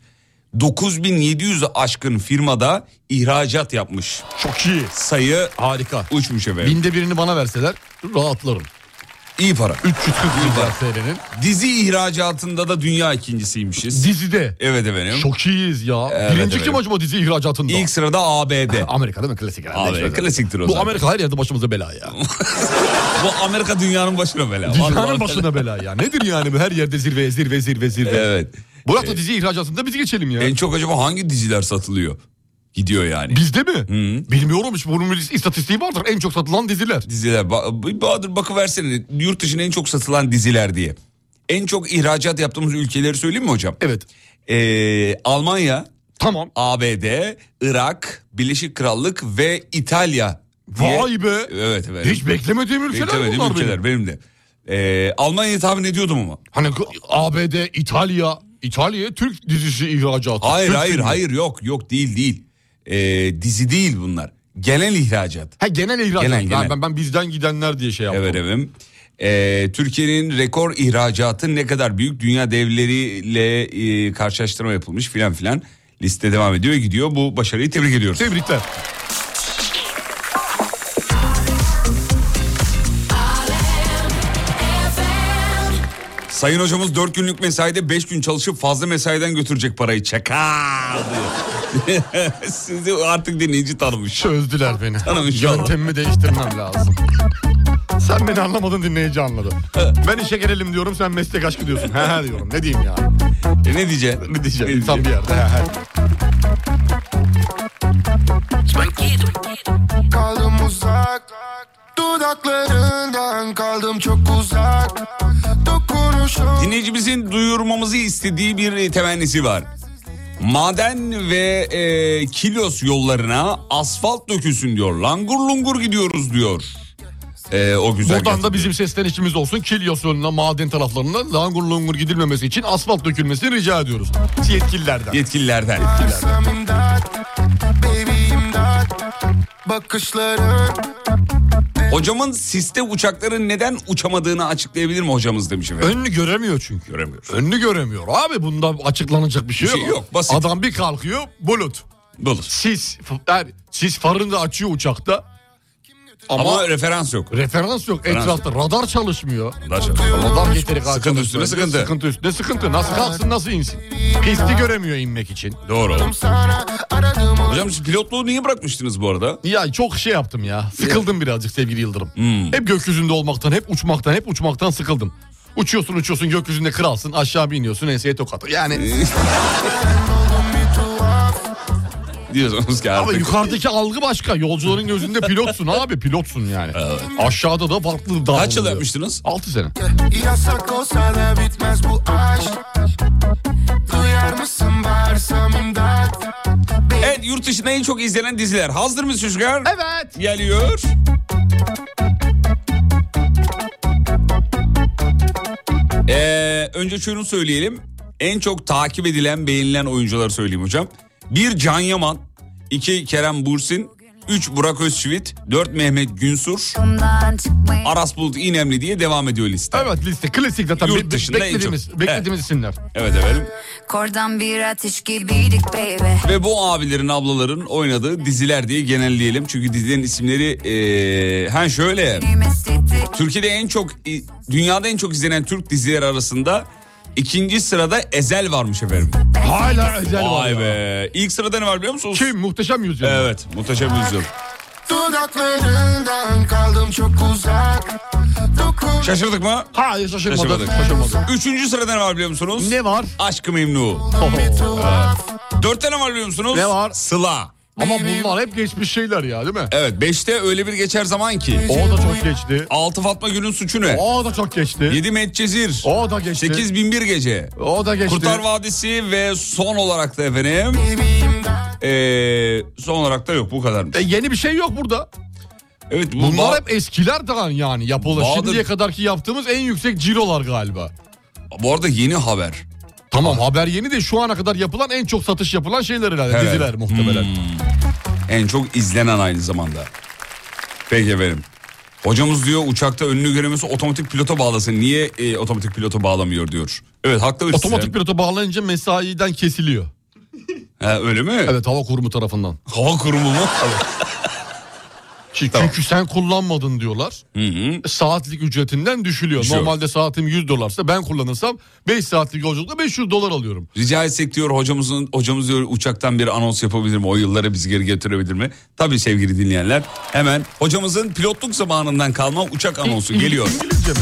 B: 9700 aşkın firmada ihracat yapmış.
D: Çok iyi.
B: Sayı
D: Harika.
B: uçmuş efendim.
D: Binde birini bana verseler rahatlarım.
B: İyi para.
D: 340 milyar
B: Milyar.
D: TL'nin.
B: Dizi ihracatında da dünya ikincisiymişiz.
D: Dizide.
B: evet efendim.
D: Çok iyiyiz ya.
B: Evet,
D: Birinci
B: evet.
D: kim acaba dizi ihracatında?
B: İlk sırada ABD.
D: Amerika değil mi? Klasik herhalde.
B: Abi,
D: Hiç öyle.
B: klasiktir o
D: Bu
B: zaten.
D: Amerika her yerde başımıza bela ya.
B: Bu Amerika dünyanın başına bela. Vallahi.
D: Dünyanın başına bela ya. Nedir yani bu her yerde zirve zirve zirve zirve.
B: Evet. E-
D: Burak da dizi ihracatında biz geçelim ya.
B: En çok acaba hangi diziler satılıyor? Gidiyor yani.
D: Bizde mi? Bilmiyorum hiç bunun bir istatistiği vardır. En çok satılan diziler.
B: Diziler. Ba- bir Bahadır bakıversene yurt dışında en çok satılan diziler diye. En çok ihracat yaptığımız ülkeleri söyleyeyim mi hocam?
D: Evet.
B: Ee, Almanya,
D: Tamam.
B: ABD, Irak, Birleşik Krallık ve İtalya. diye-
D: Vay be.
B: Evet evet.
D: Hiç beklemediğim ülkeler
B: Beklemediğim
D: bunlar
B: ülkeler
D: benim.
B: benim, de. Ee, Almanya'yı tahmin ediyordum ama.
D: Hani ABD, İtalya. İtalya Türk dizisi ihracatı.
B: Hayır
D: Türk
B: hayır
D: filmi.
B: hayır yok yok değil değil. Ee, dizi değil bunlar. Genel ihracat.
D: Ha genel ihracat.
B: Genel,
D: Yani
B: genel.
D: Ben, ben bizden gidenler diye şey yaptım.
B: Evet efendim. Ee, Türkiye'nin rekor ihracatı ne kadar büyük dünya devleriyle e, karşılaştırma yapılmış filan filan liste devam ediyor ve gidiyor. Bu başarıyı tebrik ediyoruz.
D: Tebrikler.
B: Sayın hocamız 4 günlük mesaide 5 gün çalışıp fazla mesaiden götürecek parayı. Çakal diyor. Sizi artık dinleyici tanımış.
D: Çözdüler beni.
B: Tanımış
D: Yöntemimi değiştirmem lazım. Sen beni anlamadın dinleyici anladı. Ben işe gelelim diyorum sen meslek aşkı diyorsun. He he diyorum ne diyeyim ya.
B: E, ne diyeceğim?
D: Ne diyeceğim tam bir yerde he he.
F: kaldım uzak Dudaklarından kaldım çok uzak Dokunuşun
B: Dinleyicimizin duyurmamızı istediği bir e, temennisi var. Maden ve e, kilos yollarına asfalt dökülsün diyor. Langur lungur gidiyoruz diyor. E, o güzel.
D: Buradan da bizim seslenişimiz olsun. Kilyos yoluna, maden taraflarına langur lungur gidilmemesi için asfalt dökülmesini rica ediyoruz. Yetkililerden.
B: yetkililerden.
F: Arsam imdat Baby imdat Bakışların
B: Hocamın siste uçakların neden uçamadığını açıklayabilir mi hocamız demiş efendim.
D: Önünü göremiyor çünkü.
B: Göremiyoruz.
D: Önünü göremiyor. Abi bunda açıklanacak bir şey,
B: Bir şey yok, basit.
D: Adam bir kalkıyor bulut.
B: Bulur.
D: Sis. f- Yani sis farını da açıyor uçakta. Ama,
B: Ama, referans yok.
D: referans yok
B: Referans
D: etrafta. Radar çalışmıyor.
B: Arkadaşlar,
D: Radar getiri kalkıyor.
B: Sıkıntı üstüne sıkıntı.
D: Sıkıntı üstüne sıkıntı. Nasıl kalksın nasıl insin? Pisti göremiyor inmek için.
B: Doğru.
F: sana aradım
B: Hocam siz pilotluğu niye bırakmıştınız bu arada?
D: Ya çok şey yaptım ya. Sıkıldım birazcık sevgili Yıldırım.
B: Hmm.
D: Hep gökyüzünde olmaktan, hep uçmaktan, hep uçmaktan sıkıldım. Uçuyorsun uçuyorsun gökyüzünde kralsın aşağı biniyorsun enseye tokat. Yani
B: Diyorsunuz ki
D: ama
B: artık.
D: yukarıdaki algı başka. Yolcuların gözünde pilotsun abi pilotsun yani. Aşağıda da farklı davranılıyor.
B: Kaç yıl yapmıştınız?
D: 6 sene.
F: Yasak olsa da bitmez bu aşk Duyar mısın bağırsam imdat
B: Evet yurt dışında en çok izlenen diziler. Hazır mı Süzgar?
D: Evet.
B: Geliyor. Ee, önce şunu söyleyelim. En çok takip edilen, beğenilen oyuncuları söyleyeyim hocam. Bir Can Yaman, iki Kerem Bursin, üç Burak Özçivit, dört Mehmet Günsur, Aras Bulut İynemli diye devam ediyor liste.
D: Evet liste klasik zaten.
B: Yurt
D: Be- be-
B: dışında en çok.
D: beklediğimiz, beklediğimiz isimler.
B: Evet efendim.
G: Kordan bir ateş gibiydik baby.
B: Ve bu abilerin ablaların oynadığı diziler diye genelleyelim. Çünkü dizilerin isimleri ee, ha şöyle.
G: Mesleği
B: Türkiye'de en çok dünyada en çok izlenen Türk dizileri arasında ikinci sırada Ezel varmış efendim.
D: Hala özel var.
B: Vay
D: ya.
B: be. İlk sırada ne var biliyor musunuz?
D: Kim? Muhteşem yüzyıl.
B: Evet, muhteşem yüzyıl.
F: Dudaklarından kaldım çok uzak Dokun
B: Şaşırdık mı?
D: Hayır şaşırmadım.
B: Şaşırmadık.
D: Şaşırmadım.
B: Üçüncü sırada ne var biliyor musunuz?
D: Ne var?
B: Aşk-ı Memnu. Dörtte ne var biliyor musunuz?
D: Ne var?
B: Sıla.
D: Ama bunlar hep geçmiş şeyler ya değil mi?
B: Evet, beşte öyle bir geçer zaman ki.
D: O da çok geçti.
B: Altı Fatma Gül'ün suçu ne?
D: O da çok geçti.
B: Yedi Medcezir.
D: O da geçti.
B: Sekiz Binbir Gece.
D: O da geçti.
B: Kurtar Vadisi ve son olarak da efendim... Ee, son olarak da yok bu kadarmış.
D: E, yeni bir şey yok burada.
B: Evet bu
D: Bunlar
B: ba-
D: hep eskilerden yani yapılır.
B: Bahadır-
D: Şimdiye kadarki yaptığımız en yüksek cirolar galiba.
B: bu arada yeni haber.
D: Tamam haber yeni de şu ana kadar yapılan en çok satış yapılan şeyler herhalde.
B: Evet.
D: Diziler muhtemelen.
B: Hmm. En çok izlenen aynı zamanda. Peki efendim. Hocamız diyor uçakta önünü göremesi otomatik pilota bağlasın. Niye e, otomatik pilota bağlamıyor diyor. Evet haklı bir
D: Otomatik
B: sistem.
D: pilota bağlanınca mesaiden kesiliyor.
B: Ha, öyle mi?
D: Evet hava kurumu tarafından.
B: Hava kurumu mu?
D: Çünkü
B: Tamam.
D: sen kullanmadın diyorlar.
B: Hı hı.
D: Saatlik ücretinden düşülüyor.
B: Düşüyor.
D: Normalde saatim 100 dolarsa ben kullanırsam 5 saatlik yolculukta 500 dolar alıyorum.
B: Rica etsek diyor hocamızın hocamız diyor uçaktan bir anons yapabilir mi? O yıllara bizi geri getirebilir mi? Tabii sevgili dinleyenler hemen hocamızın pilotluk zamanından kalma uçak anonsu geliyor.
D: İngilizce mi?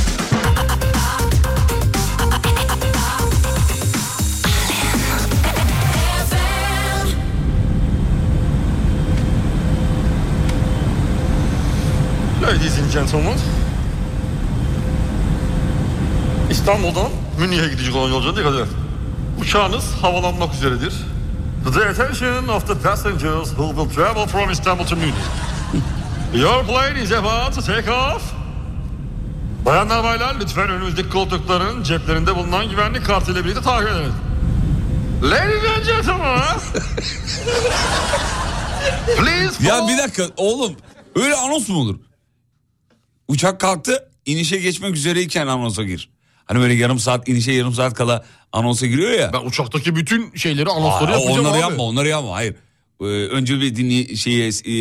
D: Ladies and gentlemen. İstanbul'dan Münih'e gidecek olan yolculuğa dikkat edin. Uçağınız havalanmak üzeredir. The attention of the passengers who will travel from Istanbul to Munich. Your plane is about to take off. Bayanlar baylar lütfen önümüzdeki koltukların ceplerinde bulunan güvenlik kartıyla birlikte takip ediniz. Ladies and gentlemen. Please
B: Ya bir dakika oğlum öyle anons mu olur? Uçak kalktı inişe geçmek üzereyken anonsa gir. Hani böyle yarım saat inişe yarım saat kala anonsa giriyor ya.
D: Ben uçaktaki bütün şeyleri anonsları
B: Aa,
D: yapacağım
B: onları
D: abi.
B: yapma onları yapma hayır. Ee, önce bir dinli şeye e,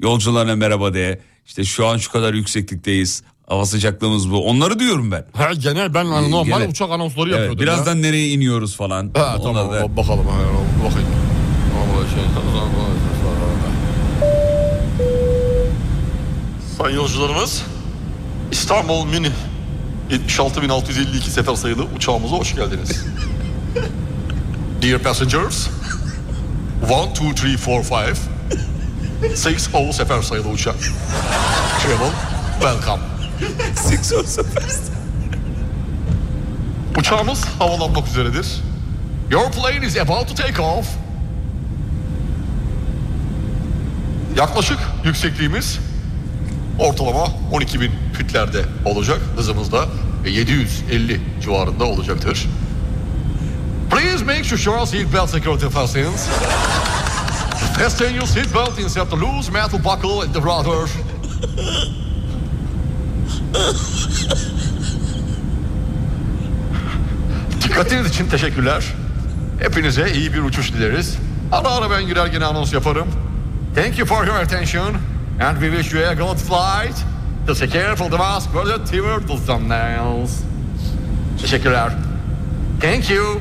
B: yolcularına merhaba de. İşte şu an şu kadar yükseklikteyiz. Hava sıcaklığımız bu. Onları diyorum ben. Ee,
D: Ha, genel ben hani normal
B: Genel.
D: uçak anonsları
B: Evet,
D: yapıyordum.
B: birazdan nereye iniyoruz falan.
D: ya. Ha, tamam
B: Onları da-
D: bakalım. Ha, bakayım. şey- Vallahi şey- Sayın yolcularımız İstanbul Mini 76652 sefer sayılı uçağımıza hoş geldiniz. Dear passengers 1, 2, 3, 4, 5 60 oh, sefer sayılı uçak. Travel welcome.
B: Six or seven.
D: Uçağımız havalanmak üzeredir. Your plane is about to take off. Yaklaşık yüksekliğimiz ortalama 12.000 fütlerde olacak. Hızımız da e, 750 civarında olacaktır. Please make sure seat belt security fastens. Fasten your seat belt insert the loose metal buckle and the rudder. Dikkatiniz için teşekkürler. Hepinize iyi bir uçuş dileriz. Ara ara ben girer gene anons yaparım. Thank you for your attention. And we wish you a good flight. Just be careful the mask for the toward the thumbnails. Teşekkürler. Thank you.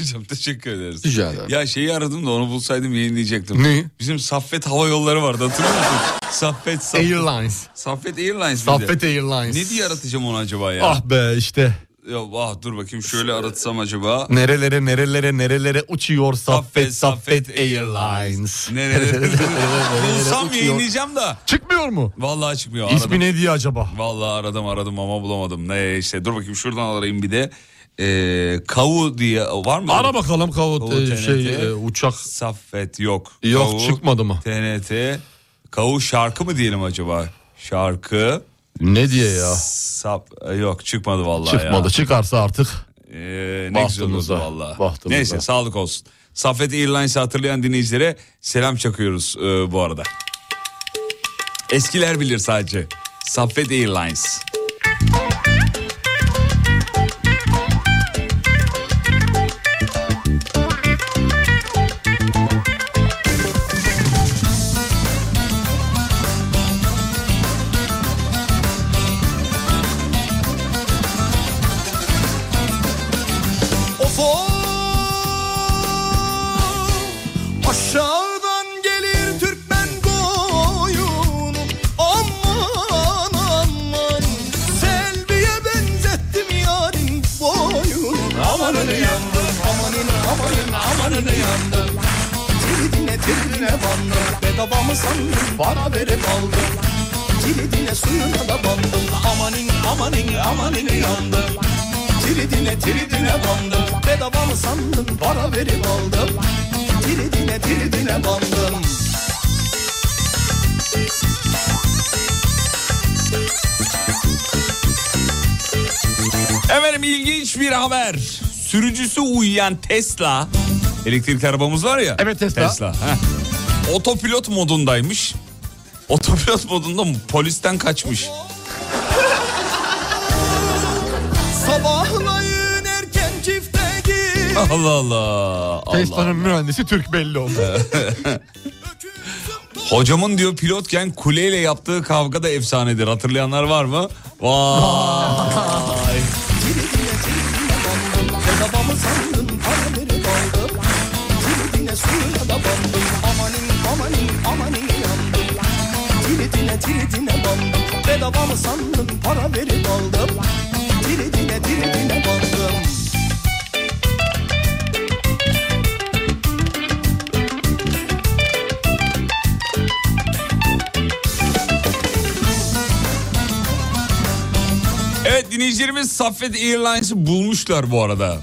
B: Hocam teşekkür ederiz.
D: Rica ederim.
B: Ya şeyi aradım da onu bulsaydım yayınlayacaktım.
D: Neyi?
B: Bizim Saffet Hava Yolları vardı hatırlıyor musun? Saffet, Saffet.
D: Airlines.
B: Saffet Airlines miydi?
D: Saffet Airlines.
B: Ne diye aratacağım onu acaba ya?
D: Ah be işte.
B: Ya ah dur bakayım şöyle aratsam acaba.
D: Nerelere nerelere nerelere uçuyor Saffet
B: Saffet,
D: Saffet
B: Saffet
D: Airlines.
B: Nerelere? Ah, Bulsam
D: uçuyor.
B: yayınlayacağım da.
D: Çıkmıyor mu?
B: Vallahi çıkmıyor. Aradım.
D: İsmi ne diye acaba?
B: Vallahi aradım aradım ama bulamadım. Ne işte dur bakayım şuradan arayayım bir de. Ee, kavu diye var mı?
D: Ara bakalım kavut
B: Kavut
D: e, şey
B: TNT.
D: e, uçak.
B: Saffet yok.
D: Yok
B: Kavu,
D: çıkmadı mı?
B: TNT. Kavu şarkı mı diyelim acaba? Şarkı.
D: Ne diye ya?
B: Sap e, yok çıkmadı vallahi
D: Çıkmadı.
B: ya.
D: Çıkarsa artık.
B: Ee, ne güzel olurdu
D: Bahtımıza,
B: vallahi.
D: bahtımıza.
B: Neyse sağlık olsun. Safet Airlines'ı hatırlayan dinleyicilere selam çakıyoruz e, bu arada. Eskiler bilir sadece. Safet Airlines.
H: Of of Aşağıdan gelir Türkmen koyunu Aman aman Selviye benzettim yarim boyunu Amanını yandım amanını amanın amanını yandım Kilidine tirline bandım Bedava mı sandın bana verip aldım Kilidine suyuna da bandım Amanın amanın amanını yandım Tridine tridine bandım Bedava mı sandın para verip aldım Tridine tridine bandım
B: Efendim ilginç bir haber. Sürücüsü uyuyan Tesla. Elektrikli arabamız var ya.
D: Evet, Tesla.
B: heh. Otopilot modundaymış. Otopilot modunda mı? polisten kaçmış.
H: Sabahlayın erken çifte gir
B: Allah Allah. Allah.
D: Tesla'nın mühendisi Türk belli oldu.
B: Hocamın diyor pilotken kuleyle yaptığı kavga da efsanedir. Hatırlayanlar var mı? Vay.
H: Tridine tridine bandım Bedava mı sandın para verip aldım Tridine tridine bandım
B: Evet dinleyicilerimiz Saffet Airlines'ı bulmuşlar bu arada.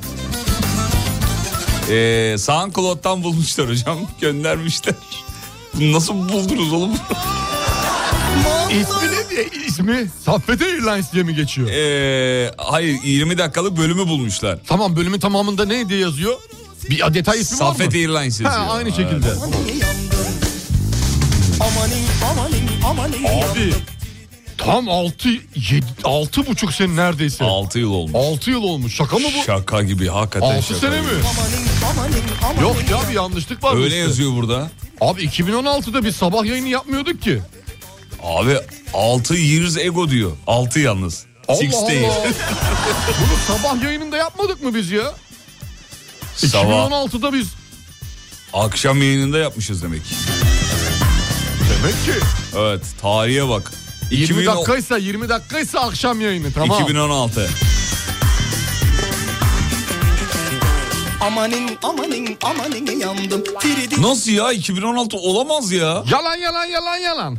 B: Ee, SoundCloud'dan bulmuşlar hocam. Göndermişler. Bunu Nasıl buldunuz oğlum?
D: ismi ne diye? İsmi Saffet Airlines diye mi geçiyor?
B: Ee, hayır 20 dakikalık bölümü bulmuşlar.
D: Tamam bölümün tamamında ne diye yazıyor? Bir detay ismi var mı?
B: Saffet Airlines yazıyor.
D: Ha, aynı şekilde.
H: Amanin amanin amanin
D: Abi tam 6 7 6 buçuk sene neredeyse.
B: 6 yıl olmuş.
D: 6 yıl olmuş. Şaka mı bu?
B: Şaka gibi hakikaten
D: 6
B: şaka
D: sene
B: gibi.
D: mi?
H: amanin amanin amanin
D: Yok ya bir yanlışlık var. bu
B: Öyle
D: işte.
B: yazıyor burada.
D: Abi 2016'da biz sabah yayını yapmıyorduk ki.
B: Abi 6 years ego diyor. 6 yalnız. Six
D: Allah
B: değil.
D: Allah. Bunu sabah yayınında yapmadık mı biz ya?
B: Sabah
D: 2016'da biz
B: akşam yayınında yapmışız demek.
D: demek ki
B: Evet tarihe bak.
D: 20
B: 2010
D: dakikaysa 20 dakikaysa akşam yayını tamam.
B: 2016.
H: Amanin amanin amanin yandım Tridine
B: Nasıl ya 2016 olamaz ya.
D: Yalan yalan yalan yalan.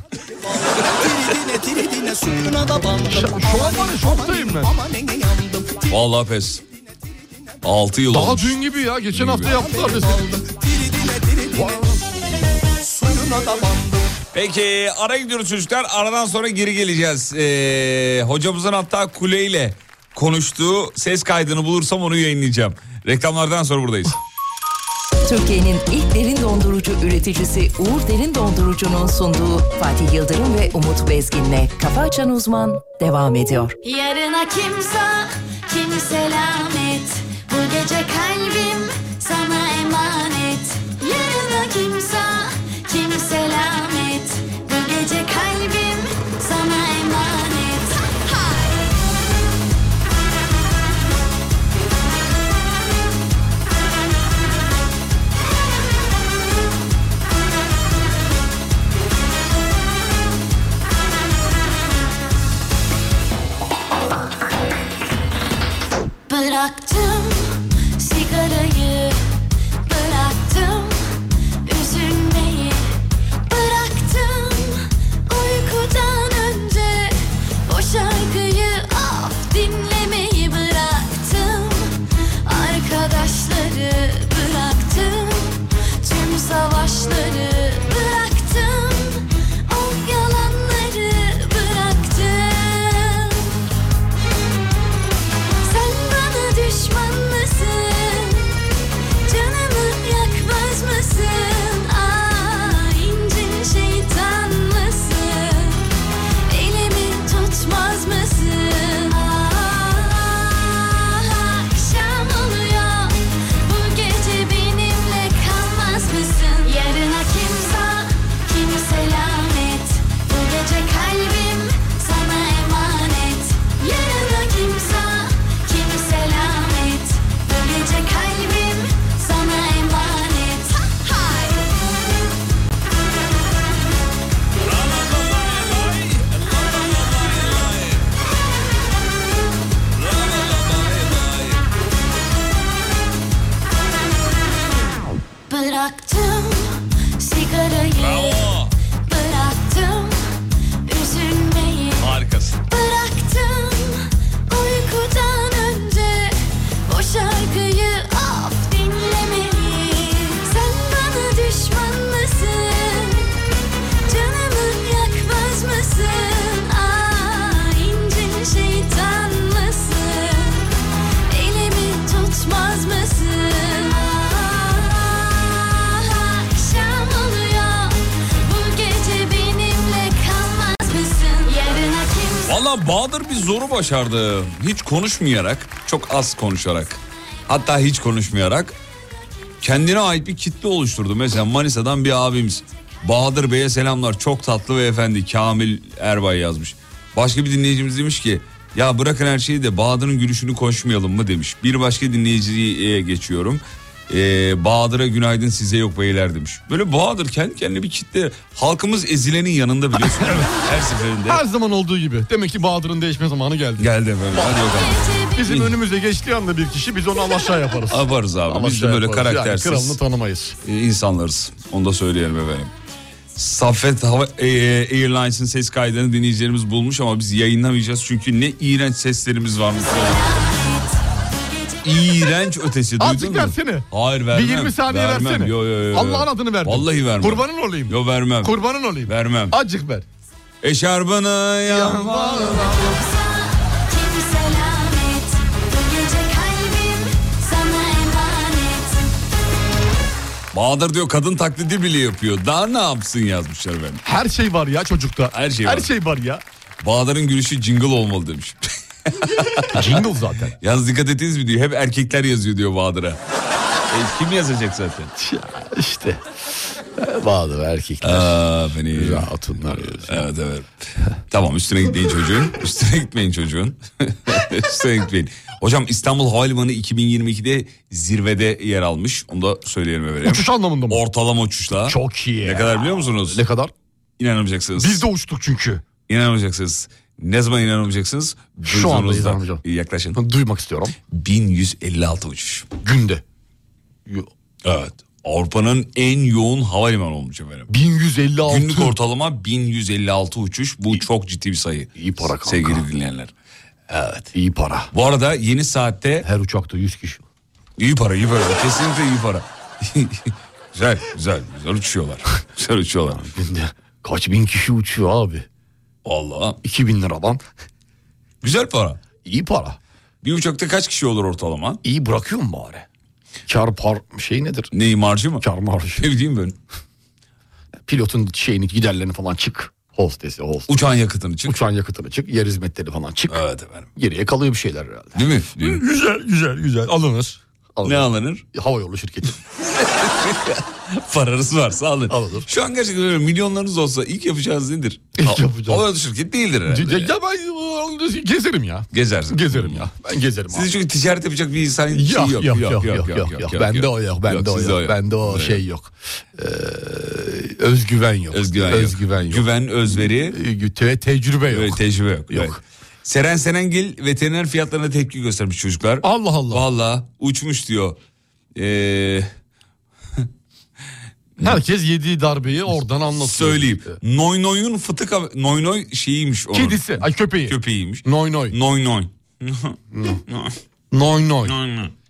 H: tridine tridine suyuna da bandım
D: Şu- şu an var ya, şoktayım ben.
H: Amanin yandım
B: Vallahi pes. 6 yıl
D: Daha
B: olmuş.
D: dün gibi ya geçen hafta
B: gibi.
D: yaptılar biz.
H: Tridine tridine suyuna da bandım
B: Peki ara gidiyoruz çocuklar. Aradan sonra geri geleceğiz. Ee, hocamızın hatta kuleyle konuştuğu ses kaydını bulursam onu yayınlayacağım. Reklamlardan sonra buradayız.
I: Türkiye'nin ilk derin dondurucu üreticisi Uğur Derin Dondurucu'nun sunduğu Fatih Yıldırım ve Umut Bezgin'le Kafa Açan Uzman devam ediyor.
J: Yarına kimse kim selamet Bu gece kalbim sana emanet Yarına kimse kim selamet Bu gece kalbim sana emanet Bıraktım sigarayı Bıraktım üzülmeyi Bıraktım uykudan önce O şarkıyı of dinlemeyi Bıraktım arkadaşları Bıraktım tüm savaşları Bıraktım o yalanları Bıraktım sen bana düşman mısın? Canımı yakmaz mısın? Aa, incin şeytan mısın? Elimi tutmaz mısın? Aa, akşam oluyor Bu gece benimle kalmaz mısın? Yarına kimse, kim selamet Bu gece kalbim sana emanet Yarına kimse, kim selamet Bu gece kalbim sana emanet Bıraktım sigarayı
B: Bravo.
J: Bıraktım üzülmeyi
B: Harikasın.
J: Bıraktım uykudan önce O şarkıyı of dinlemeyi Sen bana düşman mısın? Canımı yakmaz mısın? Aa, incin şeytan mısın? Elimi tutmaz mısın? Aa, akşam oluyor Bu gece benimle kalmaz mısın? Yarına kimse
B: Valla Bahadır bir zoru başardı. Hiç konuşmayarak, çok az konuşarak. Hatta hiç konuşmayarak kendine ait bir kitle oluşturdu. Mesela Manisa'dan bir abimiz. Bahadır Bey'e selamlar. Çok tatlı ve efendi. Kamil Erbay yazmış. Başka bir dinleyicimiz demiş ki ya bırakın her şeyi de Bahadır'ın gülüşünü koşmayalım mı demiş. Bir başka dinleyiciye geçiyorum. Ee, Bahadır'a günaydın size yok beyler demiş. Böyle Bahadır kendi kendine bir kitle. Halkımız ezilenin yanında biliyorsun. her seferinde.
D: Her zaman olduğu gibi. Demek ki Bahadır'ın değişme zamanı geldi.
B: Geldi efendim. Hadi bakalım.
D: Bizim önümüze geçtiği anda bir kişi biz onu alaşağı yaparız.
B: Abarız abi. Biz de
D: Alaşağı
B: böyle
D: yaparız.
B: karaktersiz.
D: Yani kralını tanımayız.
B: e, insanlarız. Onu da söyleyelim efendim. Saffet Hava e, e, Airlines'ın ses kaydını dinleyicilerimiz bulmuş ama biz yayınlamayacağız çünkü ne iğrenç seslerimiz varmış. iğrenç ötesi duydun
D: Azıcık
B: mu?
D: versene.
B: Hayır vermem.
D: Bir 20 saniye
B: vermem.
D: versene.
B: Yo, yo, yo, yo.
D: Allah'ın adını verdim.
B: Vallahi vermem.
D: Kurbanın olayım.
B: Yo vermem.
D: Kurbanın olayım.
B: vermem. E,
D: Azıcık ver.
B: Eşarbını yan
J: Kim selamet Bu gece kalbim sana emanet
B: Bahadır diyor kadın taklidi bile yapıyor. Daha ne yapsın yazmışlar ben.
D: Her şey var ya çocukta.
B: Her şey
D: Her
B: var.
D: şey var ya.
B: Bahadır'ın gülüşü jingle olmalı demiş.
D: Jingle zaten.
B: Yalnız dikkat ettiniz mi diyor. Hep erkekler yazıyor diyor Bahadır'a. E, kim yazacak zaten?
D: işte. Bahadır erkekler.
B: Aa, beni.
D: Hatunlar
B: Evet evet. tamam üstüne gitmeyin çocuğun. Üstüne gitmeyin çocuğun. üstüne gitmeyin. Hocam İstanbul Havalimanı 2022'de zirvede yer almış. Onu da söyleyelim efendim.
D: Uçuş anlamında mı?
B: Ortalama uçuşla.
D: Çok iyi.
B: Ne kadar biliyor musunuz?
D: Ne kadar?
B: İnanamayacaksınız.
D: Biz de uçtuk çünkü.
B: İnanamayacaksınız. Ne zaman inanamayacaksınız?
D: Şu anda
B: Duyduğunuzda.
D: inanamayacağım.
B: Yaklaşın.
D: Duymak istiyorum.
B: 1156 uçuş.
D: Günde.
B: Evet. Avrupa'nın en yoğun havalimanı olmuş efendim.
D: 1156.
B: Günlük ortalama 1156 uçuş. Bu çok ciddi bir sayı.
D: İyi para kanka.
B: Sevgili dinleyenler.
D: İyi para.
B: Bu arada yeni saatte
D: Her uçakta 100 kişi.
B: iyi para iyi para. Kesinlikle iyi para. güzel güzel güzel uçuyorlar. Güzel uçuyorlar.
D: Günde kaç bin kişi uçuyor abi.
B: Vallahi
D: 2000 liradan.
B: güzel para.
D: İyi para.
B: Bir uçakta kaç kişi olur ortalama?
D: İyi bırakıyor mu bari? Kar par şey nedir?
B: Neyi marjı mı?
D: Kar marjı.
B: Ne bileyim ben.
D: Pilotun şeyini giderlerini falan çık. Hostesi host.
B: Uçağın yakıtını çık.
D: Uçağın yakıtını çık. Yer hizmetleri falan çık.
B: Evet efendim.
D: Geriye kalıyor bir şeyler herhalde.
B: Değil mi? Değil mi?
D: Güzel güzel güzel alınır.
B: Ne alınır?
D: Hava yolu şirketi.
B: Paranız varsa alın.
D: Alınır.
B: Şu an gerçekten öyle milyonlarınız olsa ilk yapacağınız nedir?
D: İlk
B: Ha-
D: yapacağım.
B: Havayolu şirketi değildir herhalde.
D: ya, ya ben gezerim ya.
B: Gezersin.
D: Gezerim ya. Ben gezerim
B: Sizin çünkü ticaret yapacak bir insan
D: abi.
B: şey
D: Yok,
B: yok.
D: yok, yok, yok, yok, yok, Bende o yok, bende o
B: sizde
D: yok, bende o şey yok. Ee, özgüven yok.
B: Özgüven, yok. Güven, özveri
D: Ee, te- tecrübe yok.
B: ve tecrübe yok.
D: Yok.
B: Evet. Seren Serengil veteriner fiyatlarına tepki göstermiş çocuklar.
D: Allah Allah.
B: Valla uçmuş diyor. Ee,
D: Herkes yediği darbeyi oradan anlatıyor.
B: söyleyeyim. Noy Noy'un fıtık Noy Noy şeyiymiş onun.
D: Kedisi, ay köpeği.
B: Köpeğiymiş.
D: Noy noy.
B: Noy Noy.
D: Noy noy.
B: Noy Noy.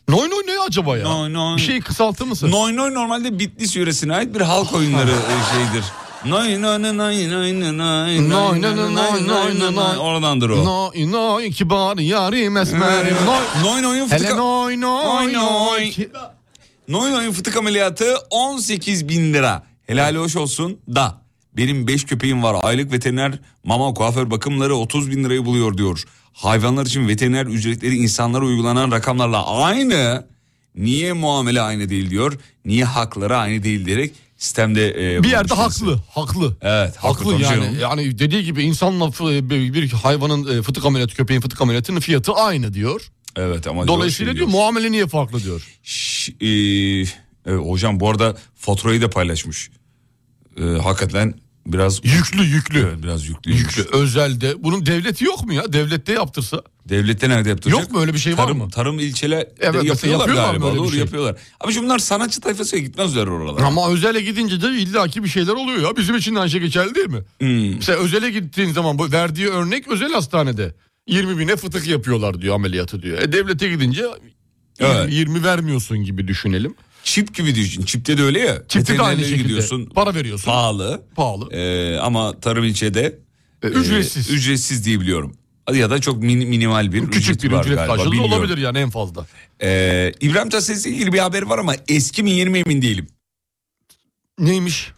D: Noy noy ne acaba ya?
B: Noy noy.
D: Bir şeyi kısaltır mısın?
B: Noy Noy normalde Bitlis yöresine ait bir halk oyunları e, şeydir. Noy noy noy noy noy noy noy noy noy noy noy noy noy. Oradandır o.
D: Noy noy kibar yarim
B: Ee,
D: esmerim. Noy.
B: Noy Noy'un
D: Hele
B: fıtık
D: noy noy
B: Noy noy.
D: noy. Ki-
B: Noy Noy'un fıtık ameliyatı 18 bin lira. Helali hoş olsun da benim 5 köpeğim var. Aylık veteriner mama kuaför bakımları 30 bin lirayı buluyor diyor. Hayvanlar için veteriner ücretleri insanlara uygulanan rakamlarla aynı. Niye muamele aynı değil diyor. Niye hakları aynı değil diyerek sistemde... e,
D: Bir yerde
B: bulmuş birisi.
D: haklı, haklı.
B: Evet, haklı
D: haklı
B: tabii
D: yani.
B: canım.
D: Yani dediği gibi insanla fı- bir bir hayvanın e, fıtık ameliyatı, köpeğin fıtık ameliyatının fiyatı aynı diyor.
B: Evet ama...
D: Dolayısıyla
B: şey
D: diyor muamele niye farklı diyor.
B: Şş, e, evet, hocam bu arada faturayı da paylaşmış. E, hakikaten biraz...
D: Yüklü, yüklü.
B: Evet, biraz yüklüymüş.
D: Yüklü, özelde. Bunun devleti yok mu ya? Devlette yaptırsa.
B: Devlette nerede yaptıracak?
D: Yok mu öyle bir şey var
B: tarım,
D: mı?
B: Tarım ilçeler
D: mesela
B: yapıyorlar
D: yapıyorlar mı
B: galiba.
D: öyle bir
B: Doğru
D: şey?
B: yapıyorlar. Abi şimdi bunlar sanatçı tayfasıyla gitmezler oralara.
D: Ama özele gidince de illaki bir şeyler oluyor ya. Bizim için de aynı şey geçerli değil mi?
B: Hmm.
D: Mesela özele gittiğin zaman bu verdiği örnek özel hastanede. 20 bine fıtık yapıyorlar diyor ameliyatı diyor. E devlete gidince
B: Evet.
D: 20, 20 vermiyorsun gibi düşünelim.
B: Çip gibi düşün. Çipte de öyle ya.
D: Çifte de aynı
B: Veterinerliğe
D: şekilde.
B: gidiyorsun.
D: Para veriyorsun.
B: Pahalı.
D: Pahalı.
B: Ee, ama tarım ilçede
D: E, ücretsiz.
B: e, ücretsiz diye biliyorum. Ya da çok min- minimal bir
D: Küçük bir
B: var
D: ücret
B: galiba,
D: karşılığı
B: bilmiyorum.
D: olabilir yani en fazla.
B: Ee, İbrahim Tatlıses'le ilgili bir haber var ama eski mi yeni mi emin değilim.
D: Neymiş?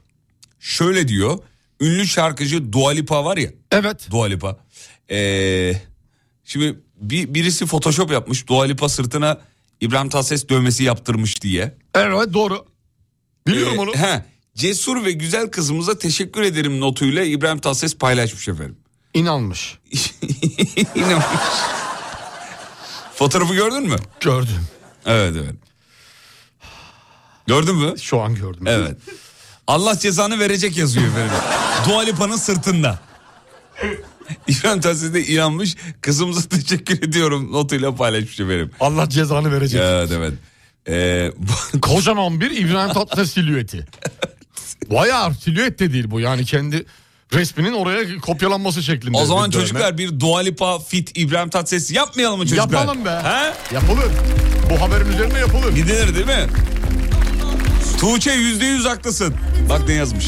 B: Şöyle diyor. Ünlü şarkıcı Dua Lipa var ya.
D: Evet.
B: Dua Lipa. Ee, şimdi bir, birisi Photoshop yapmış. Dua Lipa sırtına İbrahim Tatlıses dövmesi yaptırmış diye.
D: Evet doğru. Biliyorum
B: Ee,
D: onu.
B: He, cesur ve güzel kızımıza teşekkür ederim notuyla İbrahim Tatlıses paylaşmış efendim.
D: İnanmış.
B: İnanılmaz. Fotoğrafı gördün mü?
D: Gördüm.
B: Evet evet. Gördün mü?
D: Şu an gördüm.
B: Evet. Allah cezanı verecek yazıyor efendim. Dua Lipa'nın sırtında. İbrahim Tatlıses de inanmış. Kızımıza teşekkür ediyorum notuyla paylaşmış efendim.
D: Allah cezanı verecek.
B: Evet evet. Ee, bu-
D: Kocaman bir İbrahim Tatlıses silüeti. Bayağı silüet de değil bu. Yani kendi resminin oraya kopyalanması şeklinde.
B: o zaman
D: bir dövme.
B: çocuklar bir Dua Lipa fit İbrahim Tatlıses yapmayalım mı çocuklar?
D: Yapalım be.
B: He?
D: Yapılır. Bu haberin üzerine yapılır.
B: Gidilir değil mi? Tuğçe yüzde yüz haklısın. Bak ne yazmış.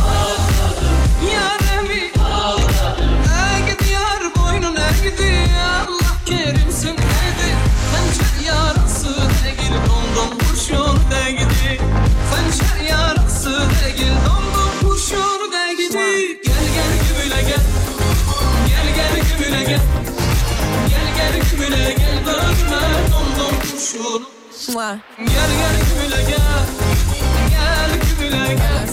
A: Ah, "Ah, Fencer yarası değil, dondum kuşur da gidi. Gel gel gümüle gel, gel gel gümüle gel. Gel gel gümüle gel, bırakma dondum kuşur. Gel gel gümüle gel, gel gümüle gel.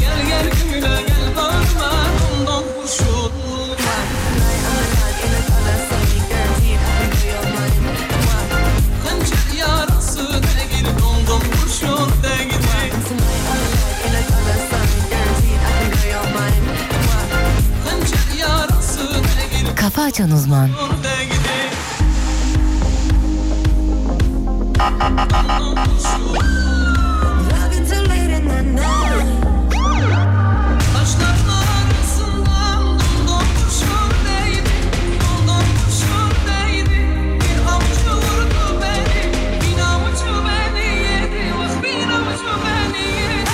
A: Gel gel gümüle gel, bırakma dondum kuşur. Fencer yarası değil, dondum kuşur da gidi. Fencer yarası değil,
I: Kafa Açan Uzman.
A: orada gidi. Taşların arasından dondum kurşun değdi, dondum kurşun değdi. Bir avucu vurdu beni, bir avucu beni yedi, vah bir avucu beni yedi.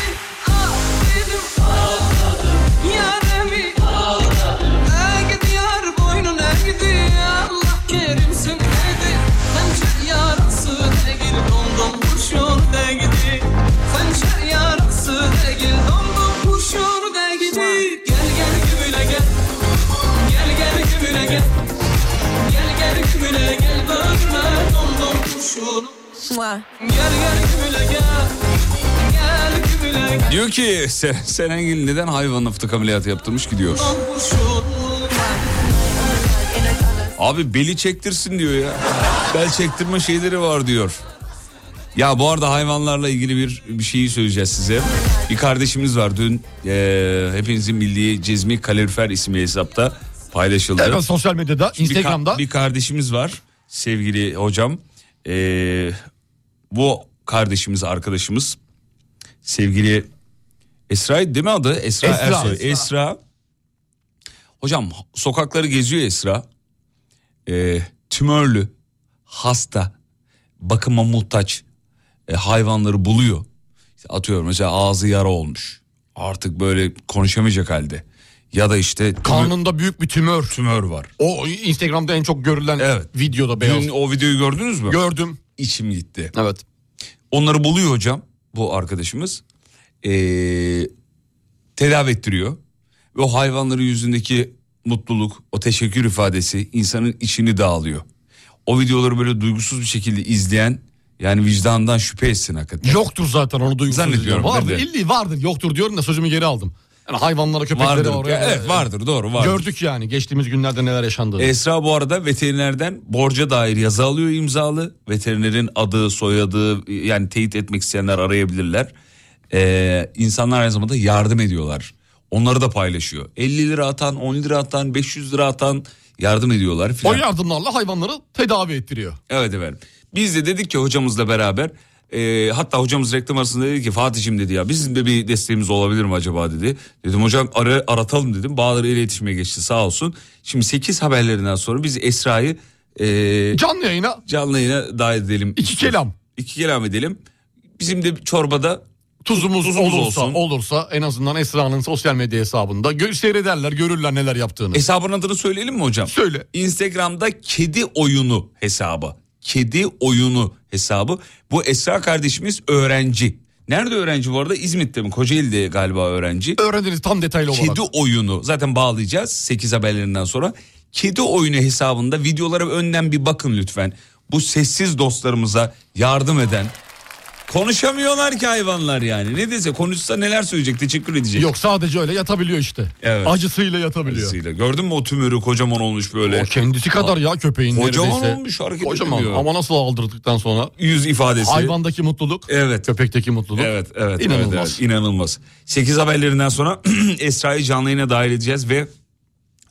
A: Ah dedim, ağladım, yaremi ağladım. Ne gidiyor boynun ne gidiyor, Allah kerimsin dedi. Pençer yarası değil, dondum kurşun değdi. Pençer yarası değil, dondum kurşun değdi. Gel gel gümüle gel Gel gel gümüle gel Gel gel gümüle gel Bakma dondum kurşun Gel gel gümüle gel Gel gümüle gel
B: Diyor ki Sen- Serengil neden hayvanla fıtık ameliyatı yaptırmış ki diyor.
A: Dondum kurşun
B: Abi beli çektirsin diyor ya. Bel çektirme şeyleri var diyor. Ya bu arada hayvanlarla ilgili bir bir şeyi söyleyeceğiz size. Bir kardeşimiz var dün eee, hepinizin bildiği Cezmi Kalorifer isimli hesapta paylaşıldı.
D: Evet, sosyal medyada,
B: Bir ka-
D: Instagram'da.
B: Bir, kardeşimiz var sevgili hocam. Ee, bu kardeşimiz arkadaşımız sevgili Esra değil mi adı? Esra,
D: Esra.
B: Ersoy.
D: Esra.
B: Esra. Hocam sokakları geziyor Esra. Ee, tümörlü, hasta, bakıma muhtaç e, hayvanları buluyor. İşte atıyorum mesela ağzı yara olmuş. Artık böyle konuşamayacak halde. Ya da işte tümör-
D: Karnında büyük bir tümör.
B: tümör var.
D: O Instagram'da en çok görülen
B: Evet.
D: videoda beyaz.
B: Dün o videoyu gördünüz mü?
D: Gördüm.
B: İçim gitti.
D: Evet.
B: Onları buluyor hocam bu arkadaşımız. Ee, tedavi ettiriyor. Ve o hayvanların yüzündeki mutluluk, o teşekkür ifadesi insanın içini dağılıyor. O videoları böyle duygusuz bir şekilde izleyen yani vicdandan şüphe etsin hakikaten.
D: Yoktur zaten onu duygusuz.
B: Zannediyorum
D: izleyen. Vardır
B: ben de.
D: illi vardır yoktur diyorum da sözümü geri aldım. Yani hayvanlara köpeklere
B: vardır.
D: oraya.
B: Ya evet vardır doğru vardır. E,
D: Gördük yani geçtiğimiz günlerde neler yaşandığını.
B: Esra bu arada veterinerden borca dair yazı alıyor imzalı. Veterinerin adı, soyadı yani teyit etmek isteyenler arayabilirler. Ee, insanlar aynı zamanda yardım ediyorlar. Onları da paylaşıyor. 50 lira atan, 10 lira atan, 500 lira atan yardım ediyorlar
D: o
B: filan.
D: yardımlarla hayvanları tedavi ettiriyor.
B: Evet efendim. Biz de dedik ki hocamızla beraber e, hatta hocamız reklam arasında dedi ki Fatih'im dedi ya bizim de bir desteğimiz olabilir mi acaba dedi. Dedim hocam ara, aratalım dedim. Bahadır ile iletişime geçti sağ olsun. Şimdi 8 haberlerinden sonra biz Esra'yı e,
D: Canlı yayına
B: canlı yayına dahil edelim.
D: İki kelam.
B: İki kelam edelim. Bizim de çorbada
D: tuzumuz,
B: Tuzumuz
D: olursa
B: olsun.
D: olursa en azından Esra'nın sosyal medya hesabında gö- seyrederler görürler neler yaptığını.
B: hesabın adını söyleyelim mi hocam?
D: Söyle.
B: Instagram'da kedi oyunu hesabı. kedi oyunu hesabı. Bu Esra kardeşimiz öğrenci. Nerede öğrenci bu arada? İzmit'te mi? Kocaeli'de galiba öğrenci.
D: Öğrendiniz tam detaylı olarak.
B: Kedi oyunu zaten bağlayacağız 8 haberlerinden sonra. Kedi oyunu hesabında videolara önden bir bakın lütfen. Bu sessiz dostlarımıza yardım eden. Konuşamıyorlar ki hayvanlar yani. Ne dese konuşsa neler söyleyecek teşekkür edecek.
D: Yok sadece öyle yatabiliyor işte.
B: Evet.
D: Acısıyla yatabiliyor.
B: Dolayısıyla. Gördün mü o tümörü kocaman olmuş böyle.
D: O kendisi kadar ya köpeğin
B: Kocaman
D: neredeyse.
B: olmuş, hareket
D: Kocaman
B: edemiyor.
D: ama nasıl aldırdıktan sonra.
B: Yüz ifadesi.
D: Hayvandaki mutluluk.
B: Evet.
D: Köpekteki mutluluk.
B: Evet, evet.
D: İnanılmaz.
B: Evet, evet, inanılmaz. 8 haberlerinden sonra Esra'yı canlı yayına dahil edeceğiz ve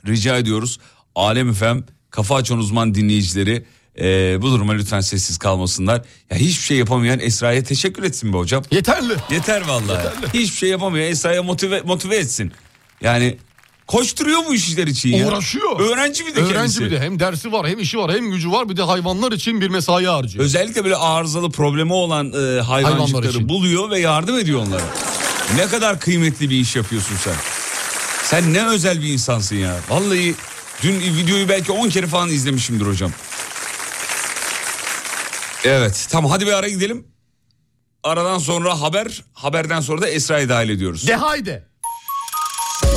B: rica ediyoruz Alem Efem kafa açan uzman dinleyicileri e, bu duruma lütfen sessiz kalmasınlar. Ya hiçbir şey yapamayan Esra'ya teşekkür etsin be hocam.
D: Yeterli.
B: Yeter vallahi. Hiçbir şey yapamıyor. Esra'ya motive, motive etsin. Yani koşturuyor bu işler için Şey ya.
D: Uğraşıyor.
B: Öğrenci bir de
D: Öğrenci
B: kendisi.
D: bir de hem dersi var hem işi var hem gücü var bir de hayvanlar için bir mesai harcıyor.
B: Özellikle böyle arızalı problemi olan e, hayvancıkları
D: için.
B: buluyor ve yardım ediyor onlara. Ne kadar kıymetli bir iş yapıyorsun sen. Sen ne özel bir insansın ya. Vallahi dün videoyu belki 10 kere falan izlemişimdir hocam. Evet tamam hadi bir ara gidelim. Aradan sonra haber, haberden sonra da Esra'yı dahil ediyoruz.
D: De haydi.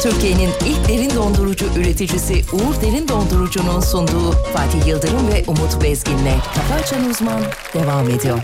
I: Türkiye'nin ilk derin dondurucu üreticisi Uğur Derin Dondurucu'nun sunduğu Fatih Yıldırım ve Umut Bezgin'le Kafa Açan Uzman devam ediyor.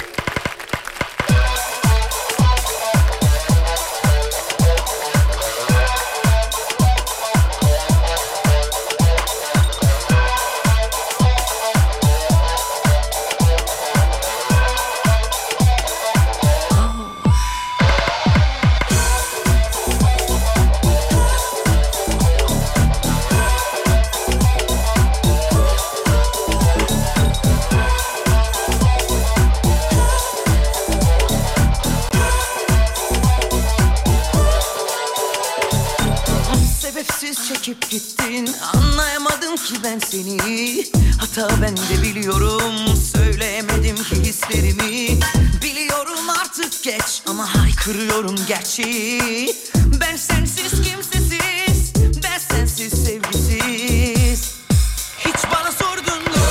K: Sebepsiz çekip gittin Anlayamadım ki ben seni Hata ben de biliyorum Söyleyemedim ki hislerimi Biliyorum artık geç Ama haykırıyorum gerçeği Ben sensiz kimsesiz Ben sensiz sevgisiz Hiç bana sordun mu?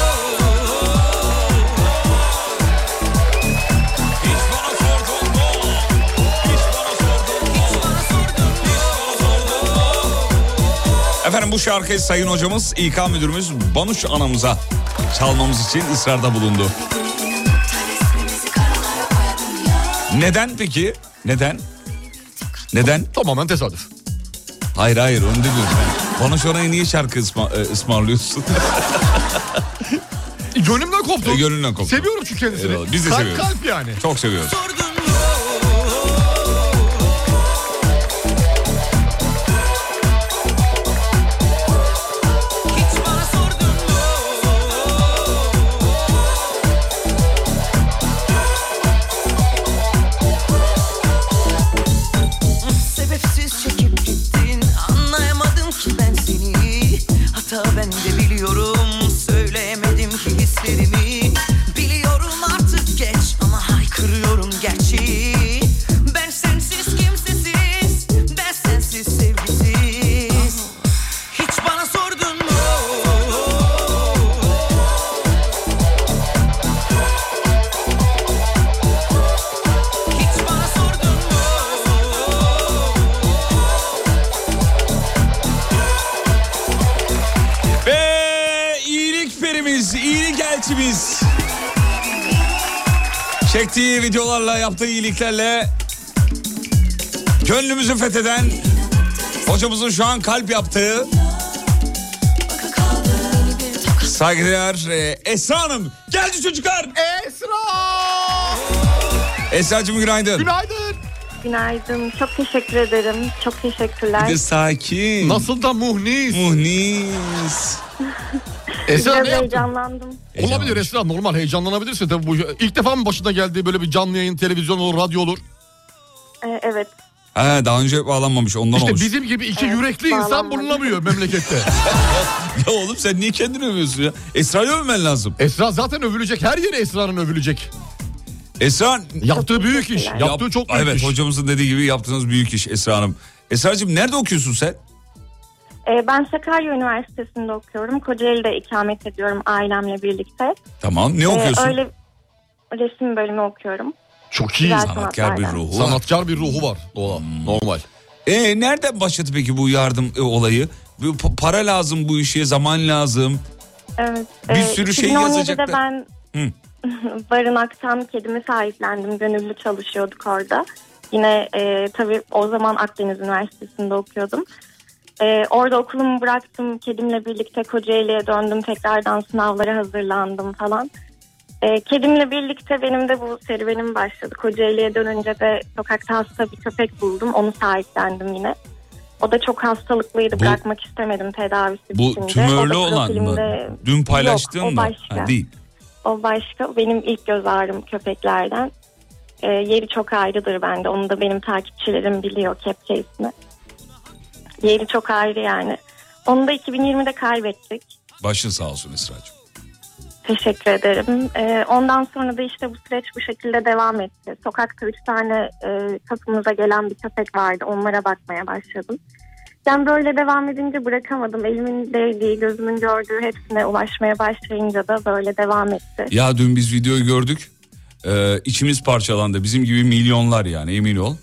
B: Efendim bu şarkıyı sayın hocamız, İK müdürümüz Banuş anamıza çalmamız için ısrarda bulundu. Neden peki? Neden? Neden?
D: Tamamen tesadüf.
B: Hayır hayır onu demiyorum ben. Banuş anaya niye şarkı ısma, e, ısmarlıyorsun?
D: Gönlümden koptu.
B: E, gönlünden koptu.
D: Seviyorum çünkü kendisini.
B: Eyvallah, biz de
D: kalp,
B: seviyoruz.
D: Kalp yani.
B: Çok seviyoruz.
K: Sordun mu? Hiç bana sordun mu? Sebepsiz çekip gittin Anlayamadım ki ben seni Hata ben de biliyorum Söyleyemedim ki hislerimi Biliyorum artık geç Ama haykırıyorum gerçeği Ben sensiz kimsesiz Ben sensiz sevgisiz Hiç bana sordun mu? Hiç bana sordun mu?
B: Ve iyilik perimiz, iyilik elçimiz. Çektiği videolarla, yaptığı iyiliklerle gönlümüzü fetheden hocamızın şu an kalp yaptığı saygıdeğer e, Esra Hanım. Geldi çocuklar.
D: Esra!
B: Esra'cığım günaydın.
D: Günaydın.
L: Günaydın. Çok teşekkür ederim. Çok teşekkürler.
B: Bir de sakin.
D: Nasıl da muhnis.
B: Muhnis.
D: Esra
L: Biraz
D: ne yaptın?
L: heyecanlandım.
D: Olabilir Esra normal heyecanlanabilirsin. Tabii bu ilk defa mı başına geldiği böyle bir canlı yayın televizyon olur radyo olur.
L: Ee, evet.
B: Ha, daha önce bağlanmamış ondan
D: İşte
B: olmuş.
D: bizim gibi iki yürekli insan
L: bağlanmadı.
D: bulunamıyor memlekette.
B: Ya oğlum sen niye kendini övüyorsun ya? Esra'yı övmen lazım.
D: Esra zaten övülecek her yeri Esra'nın övülecek.
B: Esra
D: Yaptığı büyük iş.
L: teşekkürler.
D: Yaptığı
B: Yap-
D: çok büyük
B: Evet
D: iş.
B: hocamızın dediği gibi yaptığınız büyük iş Esra Hanım. Esra'cığım nerede okuyorsun sen?
L: Ee, ben Sakarya Üniversitesi'nde okuyorum. Kocaeli'de ikamet ediyorum ailemle birlikte.
B: Tamam ne
L: Ee,
B: okuyorsun?
L: öyle resim bölümü okuyorum.
D: Çok
L: iyi. Güzel
B: Sanatkar bir
L: sanatlardan.
B: ruhu var. Hmm.
D: Sanatkar bir ruhu var. Doğal, normal.
B: E nereden başladı peki bu yardım e, olayı? Bu pa- para lazım bu işe, zaman lazım.
L: Evet.
B: Bir
L: Ee,
B: sürü şey
L: 2017'de
B: yazacaklar.
L: ben
B: Hı.
L: barınaktan kedimi sahiplendim. Gönüllü çalışıyorduk orada. Yine e, tabii o zaman Akdeniz Üniversitesi'nde okuyordum. E, orada okulumu bıraktım. Kedimle birlikte Kocaeli'ye döndüm. Tekrardan sınavlara hazırlandım falan. E, kedimle birlikte benim de bu serüvenim başladı. Kocaeli'ye dönünce de sokakta hasta bir köpek buldum. Onu sahiplendim yine. O da çok hastalıklıydı.
B: Bu-
L: Bırakmak istemedim tedavisi
B: Bu
L: bitince. O
B: tümörlü
L: da
B: olan mı?
L: profilimde-
B: Dün paylaştığın
L: Yok, o
B: mı?
L: başka.
B: Ha, değil.
L: O başka. O Benim ilk göz ağrım köpeklerden. Ee, yeri çok ayrıdır bende. Onu da benim takipçilerim biliyor kepçe ismi. Yeri çok ayrı yani. Onu da 2020'de kaybettik.
B: Başın sağ olsun Esra'cığım.
L: Teşekkür ederim. Ee, ondan sonra da işte bu süreç bu şekilde devam etti. Sokakta üç tane e, kapımıza gelen bir köpek vardı. Onlara bakmaya başladım. Ben böyle devam edince bırakamadım. Elimin değdiği, gözümün gördüğü hepsine ulaşmaya başlayınca da böyle devam etti.
B: Ya dün biz videoyu gördük. Ee, içimiz parçalandı. Bizim gibi milyonlar yani emin ol.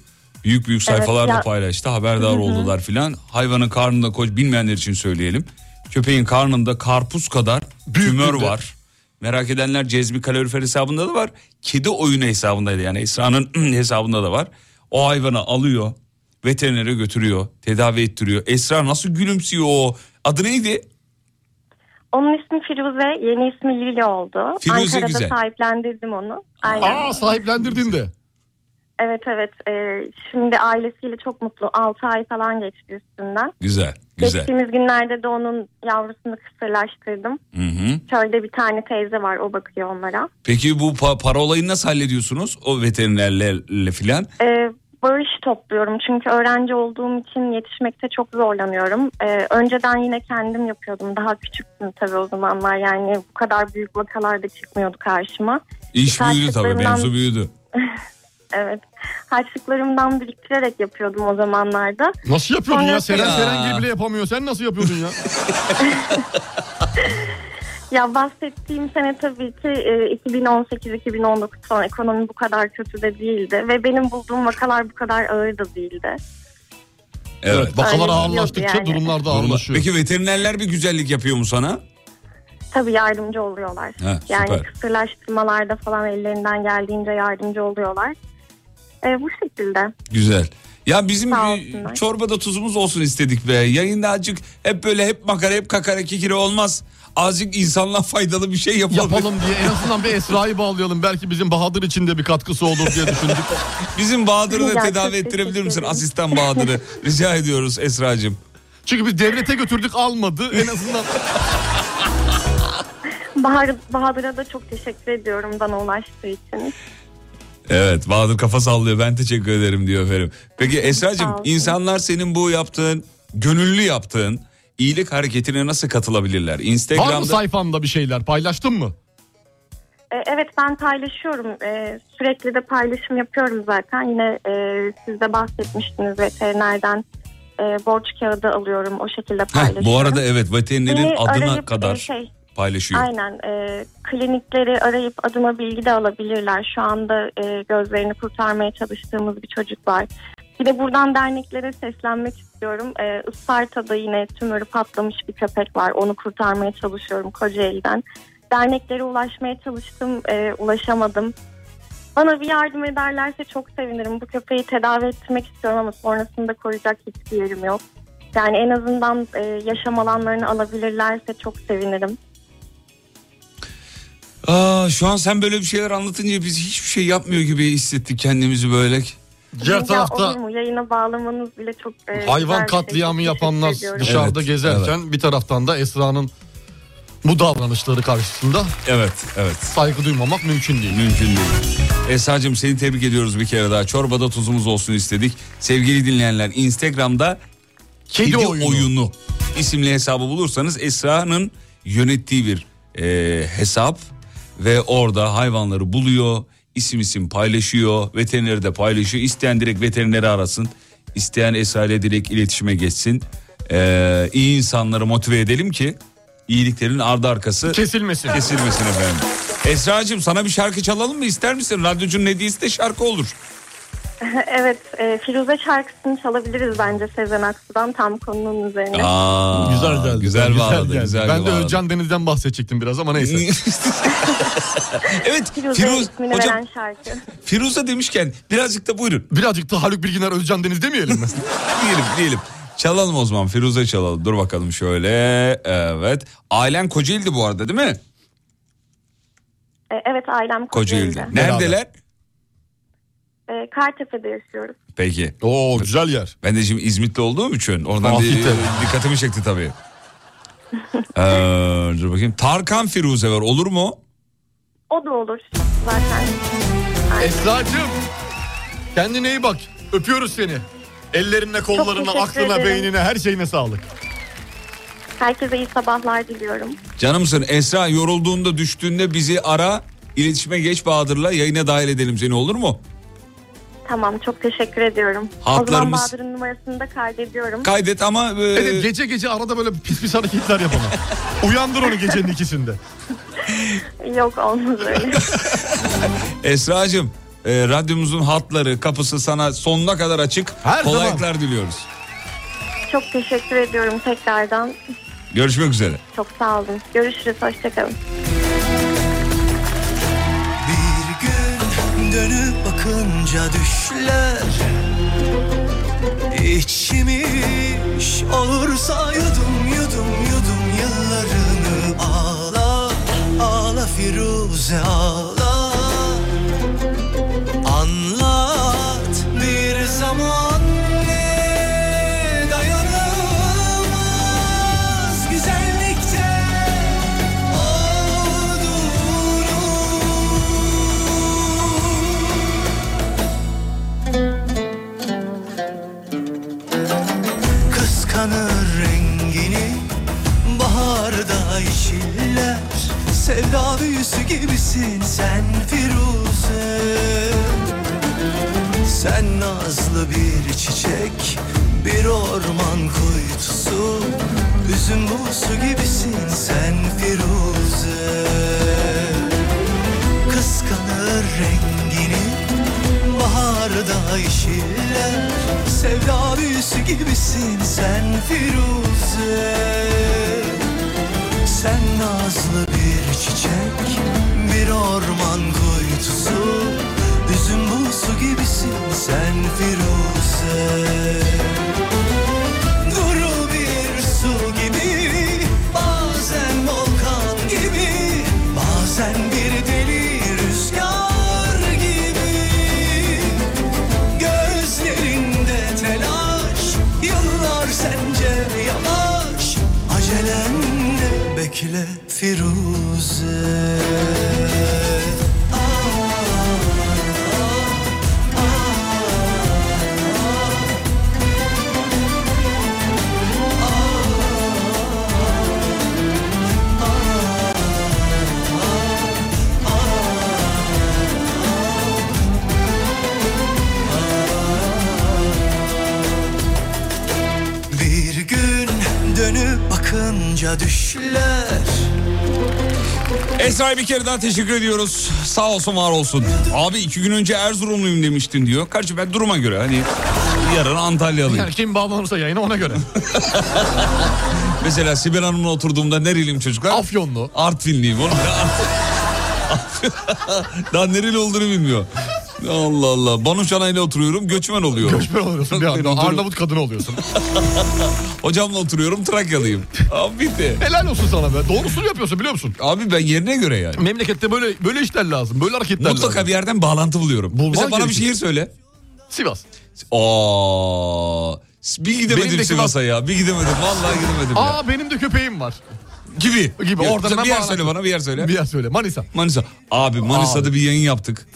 B: Büyük büyük
L: Evet,
B: sayfalarda
L: ya-
B: paylaştı. Haberdar
L: Hı hı.
B: oldular filan. Hayvanın karnında koç bilmeyenler için söyleyelim. Köpeğin karnında karpuz kadar tümör var. Merak edenler Cezmi Kalorifer hesabında da var. Kedi oyunu hesabındaydı yani Esra'nın hesabında da var. O hayvanı alıyor. Veterinere götürüyor. Tedavi ettiriyor. Esra nasıl gülümsüyor o. Adı neydi?
L: Onun ismi Firuze, yeni ismi Lili oldu.
B: Firuze
L: Ankara'da
B: güzel.
L: sahiplendirdim onu.
D: Aa sahiplendirdin de.
L: Evet evet. Ee, şimdi ailesiyle çok mutlu. 6 ay falan geçti üstünden.
B: Güzel, güzel.
L: Geçtiğimiz günlerde de onun yavrusunu kısırlaştırdım.
B: Hı hı.
L: Çölde bir tane teyze var o bakıyor onlara.
B: Peki bu pa- para olayını nasıl hallediyorsunuz? O veterinerlerle filan.
L: Ee, bağış topluyorum çünkü öğrenci olduğum için yetişmekte çok zorlanıyorum. Ee, önceden yine kendim yapıyordum. Daha küçüktüm tabii o zamanlar yani bu kadar büyük vakalarda çıkmıyordu karşıma.
B: İş büyüdü tabii,
L: Karşılıklarından-
B: mevzu büyüdü.
L: Evet. Harçlıklarımdan biriktirerek yapıyordum o zamanlarda.
D: Nasıl yapıyordun
L: Sonra-
D: ya? Seren Serengil bile yapamıyor. Sen nasıl yapıyordun ya?
L: Ya bahsettiğim sene tabii ki e, 2018-2019 son ekonomi bu kadar kötü de değildi. Ve benim bulduğum vakalar bu kadar ağır da değildi.
D: Evet,
L: Aynen,
D: bakalar
L: biliyordu
D: ağırlaştıkça
L: yani.
D: durumlar da
B: Durumlar-
D: ağırlaşıyor.
B: Peki veterinerler bir güzellik yapıyor mu sana?
L: Tabii yardımcı oluyorlar.
B: Ha,
L: yani
B: süper.
L: kısırlaştırmalarda falan ellerinden geldiğince yardımcı oluyorlar. E, bu şekilde.
B: Güzel. Ya bizim
L: Sağ
B: bir
L: olsunlar.
B: çorbada tuzumuz olsun istedik be. Yayında azıcık hep böyle hep makara hep kakara kikiri olmaz. Azıcık insanlığa faydalı bir şey yapalım.
D: Yapalım diye en azından bir Esra'yı bağlayalım. Belki bizim Bahadır için de bir katkısı olur diye düşündük.
B: Bizim Bahadır'ı da
D: Güzel,
B: tedavi
D: çok
B: ettirebilir
D: teşekkür
B: misin?
D: ederim.
B: Asistan Bahadır'ı rica ediyoruz Esra'cığım.
D: Çünkü biz devlete götürdük almadı. En azından
L: Bahar, Bahadır'a da çok teşekkür ediyorum bana ulaştığı için.
B: Evet Bahadır kafa sallıyor ben teşekkür ederim diyor efendim. Peki Esra'cığım
L: Sağ olsun.
B: insanlar senin bu yaptığın gönüllü yaptığın iyilik hareketine nasıl katılabilirler?
D: var mı
B: Instagram'da
D: sayfanda bir şeyler? Paylaştın mı?
L: E, evet ben paylaşıyorum. E, sürekli de paylaşım yapıyorum zaten. Yine e, siz de bahsetmiştiniz veterinerden e, borç kağıdı alıyorum. O şekilde paylaşıyorum.
B: Heh, bu arada evet veterinerin
L: Beni
B: adına
L: arayıp,
B: kadar
L: e, şey,
B: paylaşıyor.
L: Aynen. e, klinikleri arayıp adıma bilgi de alabilirler. Şu anda e, gözlerini kurtarmaya çalıştığımız bir çocuk var. Bir de buradan derneklere seslenmek istiyorum. E, Isparta'da yine tümörü patlamış bir köpek var. Onu kurtarmaya çalışıyorum Kocaeli'den. Derneklere ulaşmaya çalıştım, e, ulaşamadım. Bana bir yardım ederlerse çok sevinirim. Bu köpeği tedavi ettirmek istiyorum ama sonrasında koruyacak hiçbir yerim yok. Yani en azından e, yaşam alanlarını alabilirlerse çok sevinirim.
B: Aa, şu an sen böyle bir şeyler anlatınca biz hiçbir şey yapmıyor gibi hissettik kendimizi böyle.
L: Ya olur mu? Yayına bağlamanız bile çok... e, güzel
D: Hayvan
L: bir şey.
D: katliamı
L: Çok
D: yapanlar
L: teşekkür ediyorum.
D: dışarıda
B: Evet,
D: gezerken bir taraftan da Esra'nın bu davranışları karşısında
B: Evet, evet.
D: saygı duymamak mümkün değil.
B: Mümkün değil. Esra'cığım seni tebrik ediyoruz bir kere daha. Çorbada tuzumuz olsun istedik. Sevgili dinleyenler Instagram'da Kedi, oyunu. isimli hesabı bulursanız Esra'nın yönettiği bir e, hesap ve orada hayvanları buluyor, isim isim paylaşıyor, veterineri de paylaşıyor. İsteyen direkt veterineri arasın, isteyen Esra ile direkt iletişime geçsin. e, iyi insanları motive edelim ki iyiliklerin ardı arkası
D: kesilmesin.
B: Kesilmesin efendim. Esra'cığım sana bir şarkı çalalım mı ister misin? Radyocunun hediyesi de şarkı olur.
L: evet, e, Firuze şarkısını çalabiliriz bence Sezen Aksu'dan tam konunun üzerine.
B: Aa, güzel geldi. Güzel, bağladı.
D: geldi.
B: Güzel
D: ben de
B: bağladı.
D: Özcan Deniz'den bahsedecektim biraz ama neyse.
B: evet
L: Firuze
B: Firuz-
L: ismini
B: hocam-
L: veren şarkı.
B: Firuze demişken birazcık da buyurun.
D: Birazcık da Haluk Bilginer Özcan Deniz demeyelim mi?
B: diyelim diyelim. Çalalım o zaman Firuze çalalım. Dur bakalım şöyle. Evet. Ailen Kocaeli'di bu arada değil mi?
L: E, evet, ailem
B: Kocaeli'de.
L: Kocaeli'de.
B: Neredeler?
L: E, Kartepe'de yaşıyoruz.
B: Peki.
D: Oo güzel yer.
B: Ben de şimdi İzmitli olduğum için oradan bir,
D: Afiyet olsun.
B: dikkatimi çekti tabii. Ee, dur bakayım. Tarkan Firuze var olur mu?
L: O da olur zaten.
D: Esra'cığım kendine iyi bak. Öpüyoruz seni. Ellerine, kollarına,
L: teşekkür
D: aklına,
L: ederim.
D: beynine her şeyine sağlık.
L: Herkese iyi sabahlar diliyorum.
B: Canımsın Esra yorulduğunda düştüğünde bizi ara. İletişime geç Bahadır'la yayına dahil edelim seni olur mu?
L: Tamam, çok teşekkür ediyorum. O zaman
B: Hatlarımız-
L: Bahadır'ın numarasını da kaydediyorum.
B: Kaydet ama... e,
D: Evet, gece gece arada böyle pis pis hareketler yapama. Uyandır onu gecenin ikisinde.
L: Yok olmaz öyle.
B: Esra'cığım e, radyomuzun hatları kapısı sana sonuna kadar açık.
D: Her zaman.
B: Kolaylıklar diliyoruz.
L: çok teşekkür ediyorum tekrardan.
B: Görüşmek üzere.
L: Çok sağ olun. Görüşürüz, hoşçakalın.
H: Bir gün dönüp bakınca düşler İçmiş olursa yudum yudum yudum yıllarını Ağla ağla Firuze ağla Anlat bir zaman ne dayanılmaz güzellikte
A: oh,
H: olduğunu Kıskanır rengini Baharda yeşiller Sevda büyüsü gibisin sen Firuze Sen nazlı bir çiçek Bir orman kuytusu Üzüm buğusu gibisin sen Firuze Kıskanır rengini Baharda yeşiller Sevda büyüsü gibisin sen Firuze Sen nazlı bir çiçek Bir orman kuytusu Üzüm buğusu gibisin sen Firuze Duru bir su gibi Bazen volkan gibi Bazen bir deli rüzgar gibi Gözlerinde telaş Yıllar sence yavaş Acelenle bekle Firuze Bir gün dönüp bakınca düşler
B: Esra'ya bir kere daha teşekkür ediyoruz. Sağ olsun var olsun. Abi iki gün önce Erzurumluyum demiştin diyor. Karşı ben duruma göre hani yarın Antalyalıyım.
D: Yani kim bağlanırsa yayına ona göre.
B: Mesela Sibel Hanım'la oturduğumda nereliyim çocuklar?
D: Afyonlu.
B: Artvinliyim oğlum. Ne Art- daha nereli olduğunu bilmiyor. Allah Allah. Banu Şanay'la oturuyorum göçmen oluyorum.
D: Göçmen oluyorsun bir anda. Arnavut kadını oluyorsun.
B: Hocamla oturuyorum Trakyalıyım. Abi bitti.
D: Helal olsun sana be. Doğrusunu yapıyorsun biliyor musun?
B: Abi ben yerine göre yani.
D: Memlekette böyle böyle işler lazım. Böyle hareketler
B: Mutlaka
D: lazım.
B: bir yerden bağlantı buluyorum.
D: Bulman
B: Mesela bana bir
D: gerekir.
B: şehir söyle.
D: Sivas.
B: Aa, bir
D: Benim
B: gidemedim
D: de
B: Sivas'a ya. Bir gidemedim. Vallahi gidemedim ya.
D: Aa benim de köpeğim var.
B: Gibi.
D: Gibi.
B: Ya,
D: Oradan hemen
B: bir yer
D: bağlantı.
B: söyle bana bir yer söyle.
D: Bir yer söyle. Manisa.
B: Manisa. Abi Manisa'da
D: Abi.
B: bir yayın yaptık.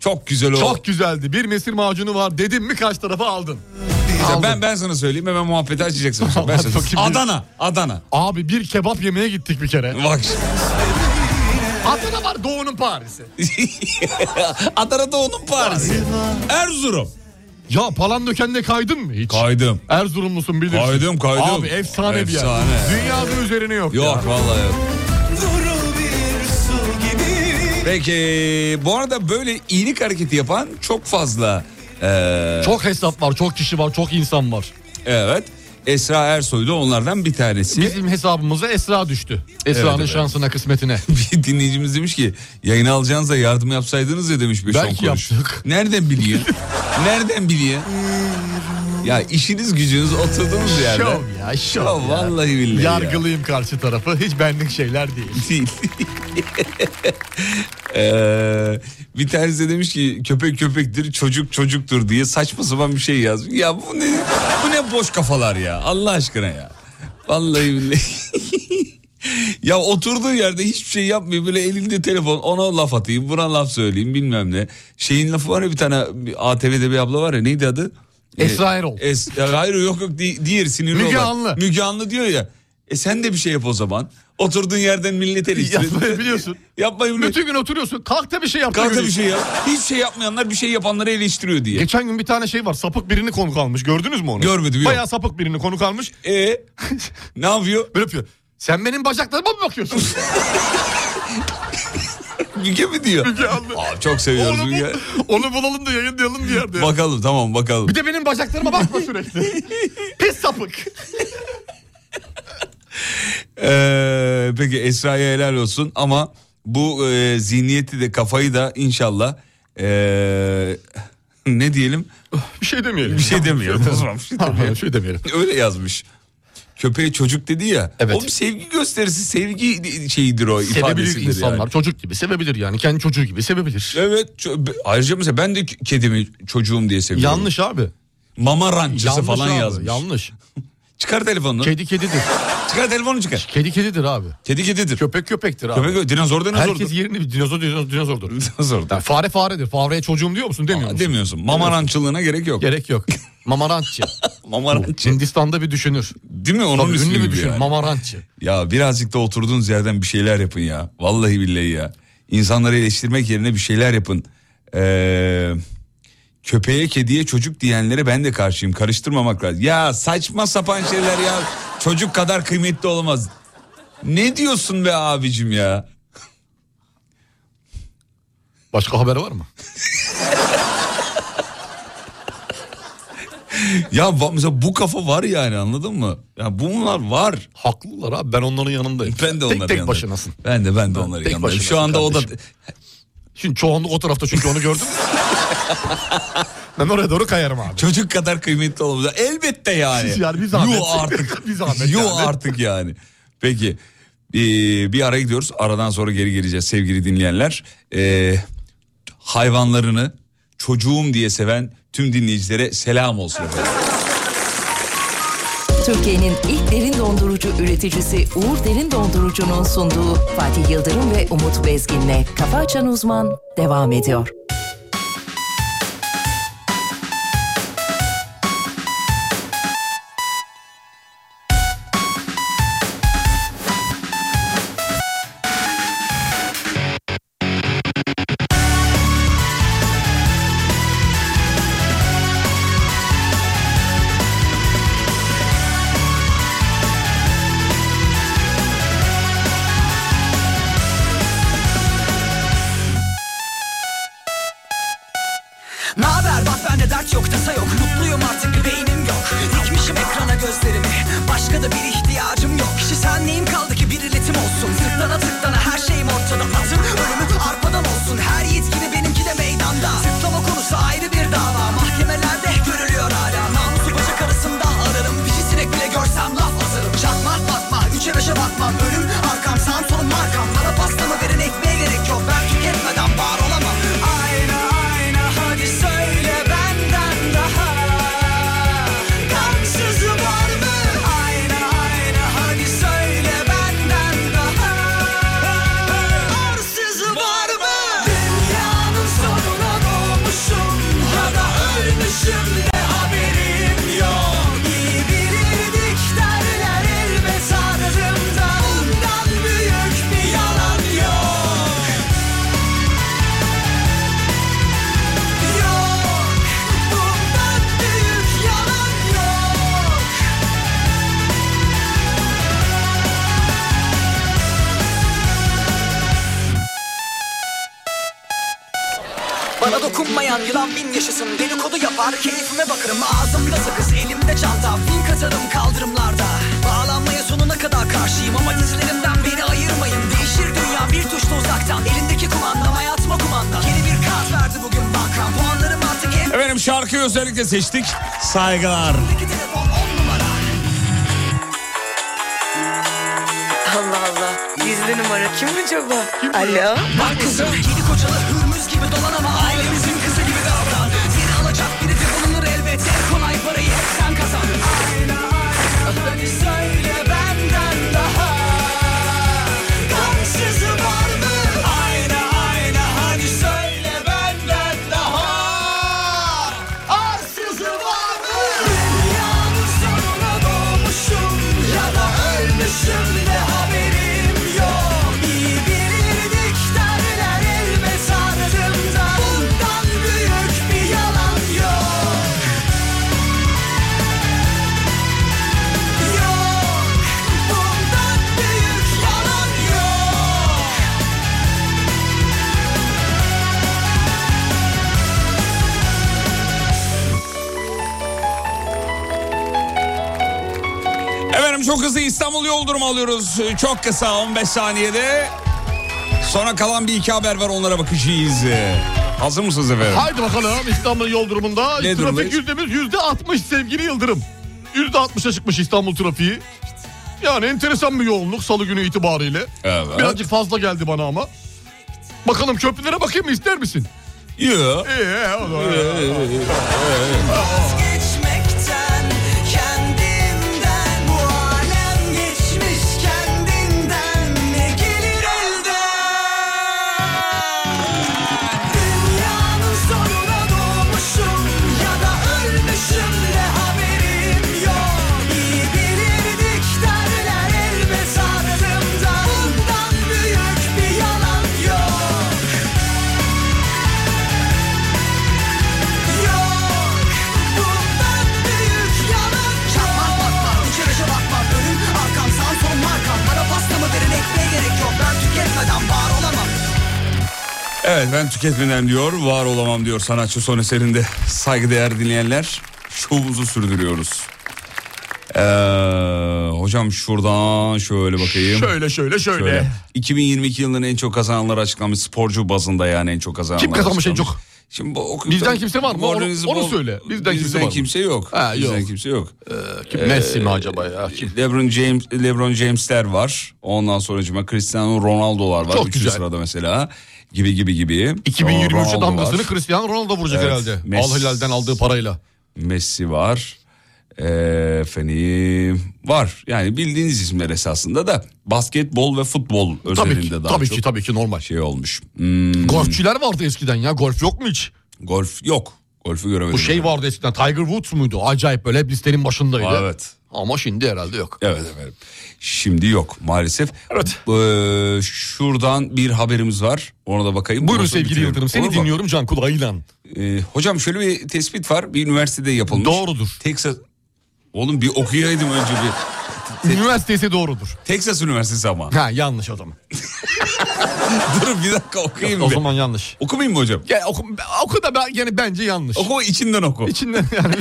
B: Çok güzel o.
D: Çok güzeldi. Bir mesir macunu var. Dedim mi kaç tarafa aldın.
B: güzel.
D: Aldın.
B: Ben ben sana söyleyeyim hemen muhabbeti açacaksın. sonra. Ben
D: Hadi
B: sana-
D: bakayım.
B: Adana, Adana.
D: Abi bir kebap yemeye gittik bir kere.
B: Bak. şimdi.
D: Adana var Doğu'nun Paris'i.
B: Adana'da onun Paris'i. Erzurum.
D: Ya Palandöken'de kaydın mı hiç?
B: Kaydım.
D: Erzurumlusun bilirsin.
B: Kaydım, kaydım.
D: Abi efsane, bir yer.
B: Efsane.
D: Dünyada üzerine yok.
B: Yok
D: ya.
B: vallahi yok.
H: Duru bir su gibi
B: Peki bu arada böyle iyilik hareketi yapan çok fazla. eee,
D: Çok hesap var, çok kişi var, çok insan var.
B: Evet. Esra Ersoy da onlardan bir tanesi.
D: Bizim hesabımıza Esra düştü. Esra'nın
B: Evet, evet.
D: şansına, kısmetine.
B: Bir dinleyicimiz demiş ki yayını alacağınıza yardım yapsaydınız ya demiş bir
D: Belki
B: kuruş. Nereden biliyor? Nereden biliyor? ya işiniz gücünüz oturduğunuz yerde.
D: Şov ya, şov
B: Ya
D: ya.
B: vallahi billahi ya.
D: Yargılıyım karşı tarafı. Hiç benlik şeyler değil.
B: Değil. Ee, bir tanesi de demiş ki köpek köpektir çocuk çocuktur diye saçma sapan bir şey yazmış. Ya bu ne, bu ne boş kafalar ya Allah aşkına ya. Vallahi billahi. ya oturduğu yerde hiçbir şey yapmıyor böyle elinde telefon ona laf atayım buna laf söyleyeyim bilmem ne. Şeyin lafı var ya bir tane bir ATV'de bir abla var ya neydi adı? Ee,
D: Esra Erol.
B: Es, ya hayır yok yok di- diğer sinirli
D: Müge
B: olan.
D: Anlı.
B: Müge Anlı diyor ya. E sen de bir şey yap o zaman. Oturduğun yerden millete eleştirin.
D: Yapmayı biliyorsun.
B: Yapmayı bile-
D: Bütün gün oturuyorsun. Kalk da bir şey yap. da
B: Kalk da
D: yürü.
B: bir şey yap. Hiç şey yapmayanlar bir şey yapanları eleştiriyor diye.
D: Geçen gün bir tane şey var. Sapık birini konuk almış. Gördünüz mü onu?
B: Görmedim, yok.
D: Bayağı sapık birini konuk almış.
B: E ne yapıyor?
D: Böyle yapıyor. Sen benim bacaklarıma mı bakıyorsun?
B: Müge mi diyor?
D: Müge Anlı.
B: Aa, çok seviyoruz
D: onu,
B: Müge.
D: bul- onu bulalım da yayınlayalım bir yerde.
B: Bakalım tamam bakalım.
D: Bir de benim bacaklarıma bakma sürekli. Pis sapık.
B: Ee, peki Esra'ya helal olsun ama bu e, zihniyeti de kafayı da inşallah e, ne diyelim
D: Bir şey demeyelim.
B: bir şey demiyorum o zaman. Bir şey
D: Tamam,
B: demiyorum.
D: bir şey demeyelim.
B: Öyle yazmış. Köpeğe çocuk dedi ya.
D: Evet.
B: O bir sevgi gösterisi, sevgi şeyidir o
D: Sevebilir
B: ifadesidir
D: insanlar.
B: yani.
D: Çocuk gibi sevebilir yani. Kendi çocuğu gibi sevebilir.
B: Evet. ço- Ayrıca mesela ben de kedimi çocuğum diye seviyorum.
D: Yanlış abi.
B: Mama rancısı
D: Yanlış
B: falan
D: abi.
B: yazmış.
D: Yanlış.
B: Çıkar telefonunu.
D: Kedi kedidir.
B: Çıkar telefonu çıkar.
D: Kedi kedidir abi.
B: Kedi kedidir.
D: Köpek köpektir abi.
B: Köpek dinozor dinozordur.
D: Herkes yerini bir dinozor dinozor dinozordur.
B: Dinozordur.
D: Yani fare faredir. Fareye çocuğum diyor musun demiyor
B: Aa,
D: musun?
B: Demiyorsun. Mama rançılığına gerek yok.
D: Gerek yok. Mamarantçı.
B: Mama rançı.
D: Hindistan'da bir düşünür.
B: Değil mi? Onun
D: Tabii,
B: ismi
D: ünlü bir
B: gibi
D: düşünür.
B: yani.
D: Mamarantçı.
B: Ya birazcık da oturduğunuz yerden bir şeyler yapın ya. Vallahi billahi ya. İnsanları eleştirmek yerine bir şeyler yapın. Ee, köpeğe, kediye, çocuk diyenlere ben de karşıyım. Karıştırmamak lazım. Ya saçma sapan şeyler ya. Çocuk kadar kıymetli olamaz. Ne diyorsun be abicim ya?
D: Başka haber var mı?
B: Ya va- mesela bu kafa var yani anladın mı? Ya bunlar var.
D: Haklılar abi ben onların yanındayım.
B: Ben de onların
D: tek tek
B: yanındayım.
D: başınasın.
B: Ben de ben de onların
D: tek
B: yanındayım. Şu
D: başınasın
B: anda o da
D: kardeşim. Şimdi çoğunluk o tarafta çünkü onu gördüm. ben oraya doğru kayarım abi.
B: Çocuk kadar kıymetli olamaz. Elbette yani.
D: Yani bir zahmet.
B: Yuh artık.
D: Bir zahmet
B: Yuh
D: yani.
B: artık yani. Peki. Ee, bir ara gidiyoruz. Aradan sonra geri geleceğiz sevgili dinleyenler. Ee, hayvanlarını çocuğum diye seven tüm dinleyicilere selam olsun. efendim.
I: Türkiye'nin ilk derin dondurucu üreticisi Uğur Derin Dondurucu'nun sunduğu Fatih Yıldırım ve Umut Bezgin'le Kafa Açan Uzman devam ediyor.
H: Naber bak bende dert yok tasa yok Mutluyum artık bir beynim yok Dikmişim ekrana gözlerimi Başka da bir ihtiyacım yok Kişi sen neyim kaldı ki bir iletim olsun Tıklana tıklana her şeyim ortada Atın ölümü arpadan olsun Her yiğit gibi benimki de meydanda Tıklama konusu ayrı bir dava Mahkemelerde görülüyor hala Namusu bacak arasında ararım Dişi sinek bile görsem laf asarım Çakma bakma üçe beşe bakmam Ölüm arkam sağım solum markam Bana pastamı verin ekmeğe gerek yok Ben tüketmeden var olamam Ayna ayna hadi söyle benden daha Kansız var mı? Ayna ayna hadi söyle benden
A: Bana dokunmayan yılan bin yaşasın Dedikodu yapar keyfime bakarım Ağzımda sakız elimde çanta Bin katarım kaldırımlarda Bağlanmaya sonuna kadar karşıyım Ama dizilerimden beni ayırmayın Değişir dünya bir tuşla uzaktan Elindeki kumanda hayatıma kumanda Yeni bir kart verdi bugün banka Puanlarım artık en
B: Efendim şarkıyı özellikle seçtik. Saygılar.
M: Allah Allah. Gizli numara kim acaba? Alo.
A: Bak kızım Yedi kocalı hürmüz gibi dolan ama ailemizin kızı gibi davran Seni alacak biri de bulunur elbet En kolay parayı hep sen kazan Aynen Hadi söyle benden daha Kansızı var mı? Aynen aynen Hadi söyle benden daha Arsızı var mı? Dünyanın sonuna doğmuşum Ya da ölmüşüm de haberim yok İyi bilirdik derler elime sardığımda Bundan büyük bir yalan yok Yok Bundan büyük yalan yok
B: Efendim çok hızlı İstanbul yol durumu alıyoruz. Çok kısa 15 saniyede. Sonra kalan bir iki haber var onlara bakacağız. Hazır mısınız efendim?
D: Haydi bakalım İstanbul yol durumunda
B: Ne
D: trafik
B: durumdayız?
D: yüzdemiz yüzde altmış sevgili Yıldırım. Yüzde altmışa çıkmış İstanbul trafiği. Yani enteresan bir yoğunluk salı günü itibariyle.
B: Evet.
D: Birazcık fazla geldi bana ama. Bakalım köprülere bakayım mı ister misin?
B: Yok.
D: İyi Ee, o zaman.
A: Vazgeçmekten kendimden bu alem geçmiş kendinden ne gelir elden Dünyanın sonuna doğmuşum ya da ölmüşüm de haberim yok İyi bilirdik derler elbe sardığımda bundan büyük bir yalan yok Yok bundan büyük yalan Çarpma bakma üç yaşa bakma Önüm arkam sağ son markam Bana pasta mı verin ekmeğe gerek yok Ben tüketmeden var olamam
B: Evet ben tüketmeden diyor, var olamam diyor sanatçı son eserinde. Saygıdeğer dinleyenler, şovumuzu sürdürüyoruz. Ee, hocam şuradan şöyle bakayım.
D: Şöyle, şöyle, şöyle.
B: 2022 yılının en çok kazananları açıklanmış sporcu bazında yani en çok kazananlar.
D: Kim kazanmış en çok?
B: Şimdi bu okuyup-
D: Bizden kimse var mı? Onu,
B: Moralinizi
D: onu
B: bol-
D: söyle. Bizden, kimse
B: Bizden
D: var mı?
B: kimse yok.
D: Ha, yok. Ee,
B: Bizden kimse yok. Ee,
D: kim? Messi mi acaba ya?
B: LeBron James LeBron James'ler var. Ondan sonra Cristiano Ronaldo'lar var.
D: Çok
B: Üçüncü
D: güzel.
B: sırada mesela gibi gibi gibi.
D: 2023'e
B: Ronaldo
D: damgasını
B: var.
D: Cristiano Ronaldo vuracak
B: Evet.
D: herhalde.
B: Messi-
D: Al Hilal'den aldığı parayla.
B: Messi var. Ee, efendim var. Yani bildiğiniz isimler esasında da basketbol ve futbol özelinde
D: Tabii ki,
B: daha
D: tabii
B: çok
D: ki, tabii ki normal.
B: şey olmuş. Hmm,
D: Golfçiler vardı eskiden ya. Golf yok mu hiç?
B: golf yok. Golfü göremedim.
D: Bu şey vardı eskiden Tiger Woods muydu? Acayip böyle hep listenin başındaydı.
B: Aa, evet.
D: Ama şimdi herhalde yok.
B: Evet efendim. Şimdi yok maalesef. Ee, şuradan bir haberimiz var. Ona da bakayım.
D: Buyurun
B: Ondan sonra
D: sevgili
B: bitirelim.
D: Yıldırım seni
B: Olur mu?
D: dinliyorum Can Kul Aylan.
B: Ee, hocam şöyle bir tespit var. Bir üniversitede yapılmış.
D: Doğrudur.
B: Texas. Oğlum bir okuyaydım önce bir.
D: Üniversitesi doğrudur.
B: Texas Üniversitesi ama.
D: Ha yanlış o zaman.
B: Durun bir dakika okuyayım
D: o
B: bir.
D: zaman yanlış.
B: Okumayayım mı hocam?
D: Ya, oku, oku da ben, yani bence yanlış.
B: Oku içinden oku.
D: İçinden yani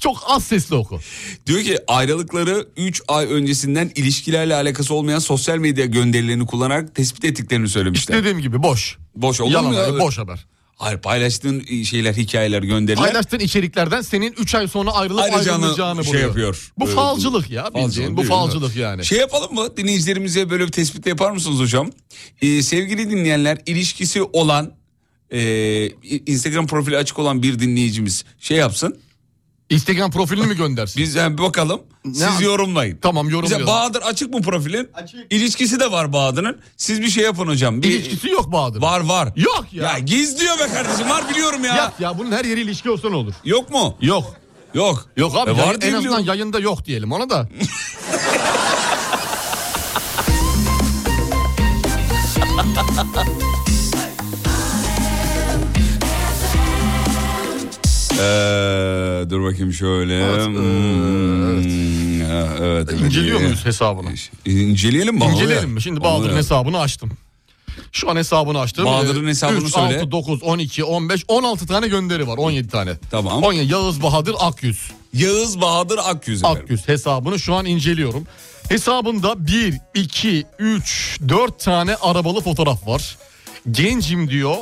D: çok az sesli oku.
B: Diyor ki ayrılıkları 3 ay öncesinden ilişkilerle alakası olmayan sosyal medya gönderilerini kullanarak tespit ettiklerini söylemişler.
D: Dediğim gibi boş.
B: Boş olur
D: Yalan
B: mu ya?
D: haber, boş haber.
B: Hayır paylaştığın şeyler, hikayeler, gönderiler.
D: Paylaştığın içeriklerden senin 3 ay sonra ayrılıp
B: Ayrılacağını
D: ayrılacağını
B: şey
D: buluyor.
B: yapıyor.
D: Bu
B: Ee,
D: falcılık ya bildiğin.
B: falcılık
D: bu
B: değil mi?
D: falcılık yani.
B: Şey yapalım mı? Dinleyicilerimize böyle bir tespit yapar mısınız hocam? Ee, sevgili dinleyenler ilişkisi olan e, Instagram profili açık olan bir dinleyicimiz şey yapsın.
D: Instagram profilini mi göndersin?
B: Biz yani bir bakalım. Siz
D: Ne-
B: yorumlayın.
D: Tamam
B: Bize
D: yorumlayalım.
B: Bahadır açık mı profilin? İlişkisi de var Bahadır'ın. Siz bir şey yapın hocam. Bir...
D: İlişkisi yok Bahadır.
B: Var var.
D: Yok ya.
B: Ya gizliyor be kardeşim var biliyorum ya.
D: Yok ya bunun her yeri ilişki olsa ne olur?
B: Yok mu?
D: Yok.
B: Yok.
D: Yok abi
B: E,
D: yayın- en
B: diye
D: azından
B: biliyorum.
D: yayında yok diyelim ona da.
B: Ee, dur bakayım şöyle. Evet. evet. evet
D: İnceliyor
B: evet.
D: muyuz hesabını?
B: İnceleyelim mi?
D: İnceleyelim mi? Şimdi Bahadır'ın
B: Onu-
D: hesabını açtım. Şu an hesabını açtım.
B: Bahadır'ın
D: Ee,
B: hesabını
D: üç,
B: söyle.
D: altı, 9, 12, 15, 16 tane gönderi var. 17 tane. Tamam. 17, Yağız Bahadır Akyüz.
B: Yağız Bahadır Akyüz.
D: Akyüz hesabını şu an inceliyorum. Hesabında 1, 2, 3, 4 tane arabalı fotoğraf var. Gencim diyor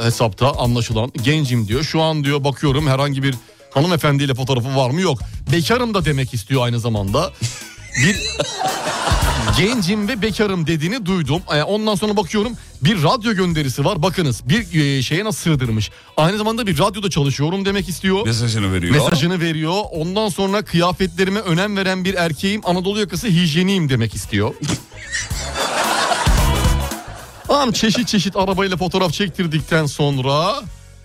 D: e, hesapta anlaşılan. Gencim diyor. Şu an diyor bakıyorum herhangi bir hanımefendiyle fotoğrafı var mı? Yok. Bekarım da demek istiyor aynı zamanda. Bir gencim ve bekarım dediğini duydum. Ee, Ondan sonra bakıyorum bir radyo gönderisi var. Bakınız bir e, şeye nasıl sığdırmış. Aynı zamanda bir radyoda çalışıyorum demek istiyor.
B: Mesajını veriyor.
D: Mesajını veriyor. Ondan sonra kıyafetlerime önem veren bir erkeğim. Anadolu yakası hijyeniyim demek istiyor. Tamam çeşit çeşit arabayla fotoğraf çektirdikten sonra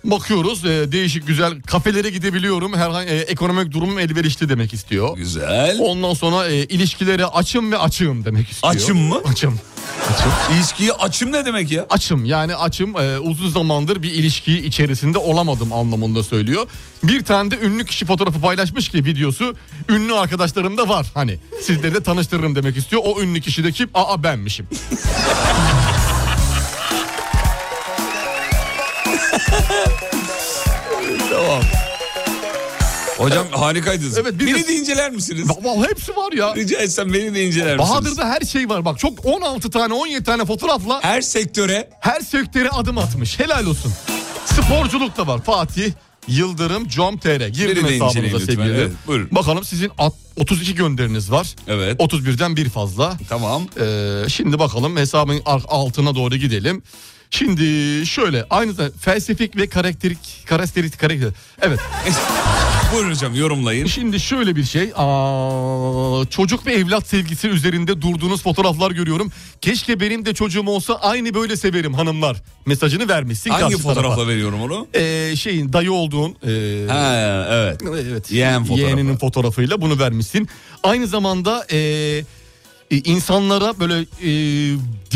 D: bakıyoruz e, değişik güzel kafelere gidebiliyorum. Herhangi e, ekonomik durumum elverişli demek istiyor.
B: Güzel.
D: Ondan sonra e, ilişkilere açım ve açığım demek istiyor.
B: Açım mı?
D: Açım. Açım.
B: İlişkiyi açım ne demek ya?
D: Açım yani açım e, uzun zamandır bir ilişki içerisinde olamadım anlamında söylüyor. Bir tane de ünlü kişi fotoğrafı paylaşmış ki videosu ünlü arkadaşlarım da var. Hani sizleri de tanıştırırım demek istiyor. O ünlü kişi de kim? Aa benmişim.
B: Tamam. Hocam harikaydınız.
D: Evet, bir
B: beni
D: de-
B: de inceler misiniz?
D: Vallahi hepsi var ya.
B: Rica etsem beni de inceler misiniz?
D: Bahadır'da her şey var bak çok 16 tane 17 tane fotoğrafla
B: her sektöre
D: her sektöre adım atmış helal olsun. Sporculuk da var Fatih Yıldırım Com.tr
B: Beni de
D: girin hesabınıza
B: inceleyin lütfen,
D: sevgili.
B: evet, buyurun.
D: Bakalım sizin at- 32 gönderiniz var.
B: Evet.
D: 31'den bir fazla. Ee,
B: Tamam.
D: şimdi bakalım hesabın ar- altına doğru gidelim. Şimdi şöyle aynı zamanda felsefik ve karakterik karakterik karakter. Evet.
B: Buyurun hocam yorumlayın.
D: Şimdi şöyle bir şey. Aa, çocuk ve evlat sevgisi üzerinde durduğunuz fotoğraflar görüyorum. Keşke benim de çocuğum olsa aynı böyle severim hanımlar. Mesajını vermişsin.
B: Hangi
D: karşı tarafa.
B: fotoğrafla veriyorum onu?
D: Ee, şeyin dayı olduğun e,
B: Ha, evet.
D: evet
B: Yeğen fotoğrafı.
D: yeğeninin fotoğrafıyla bunu vermişsin. Aynı zamanda e, e, insanlara böyle e,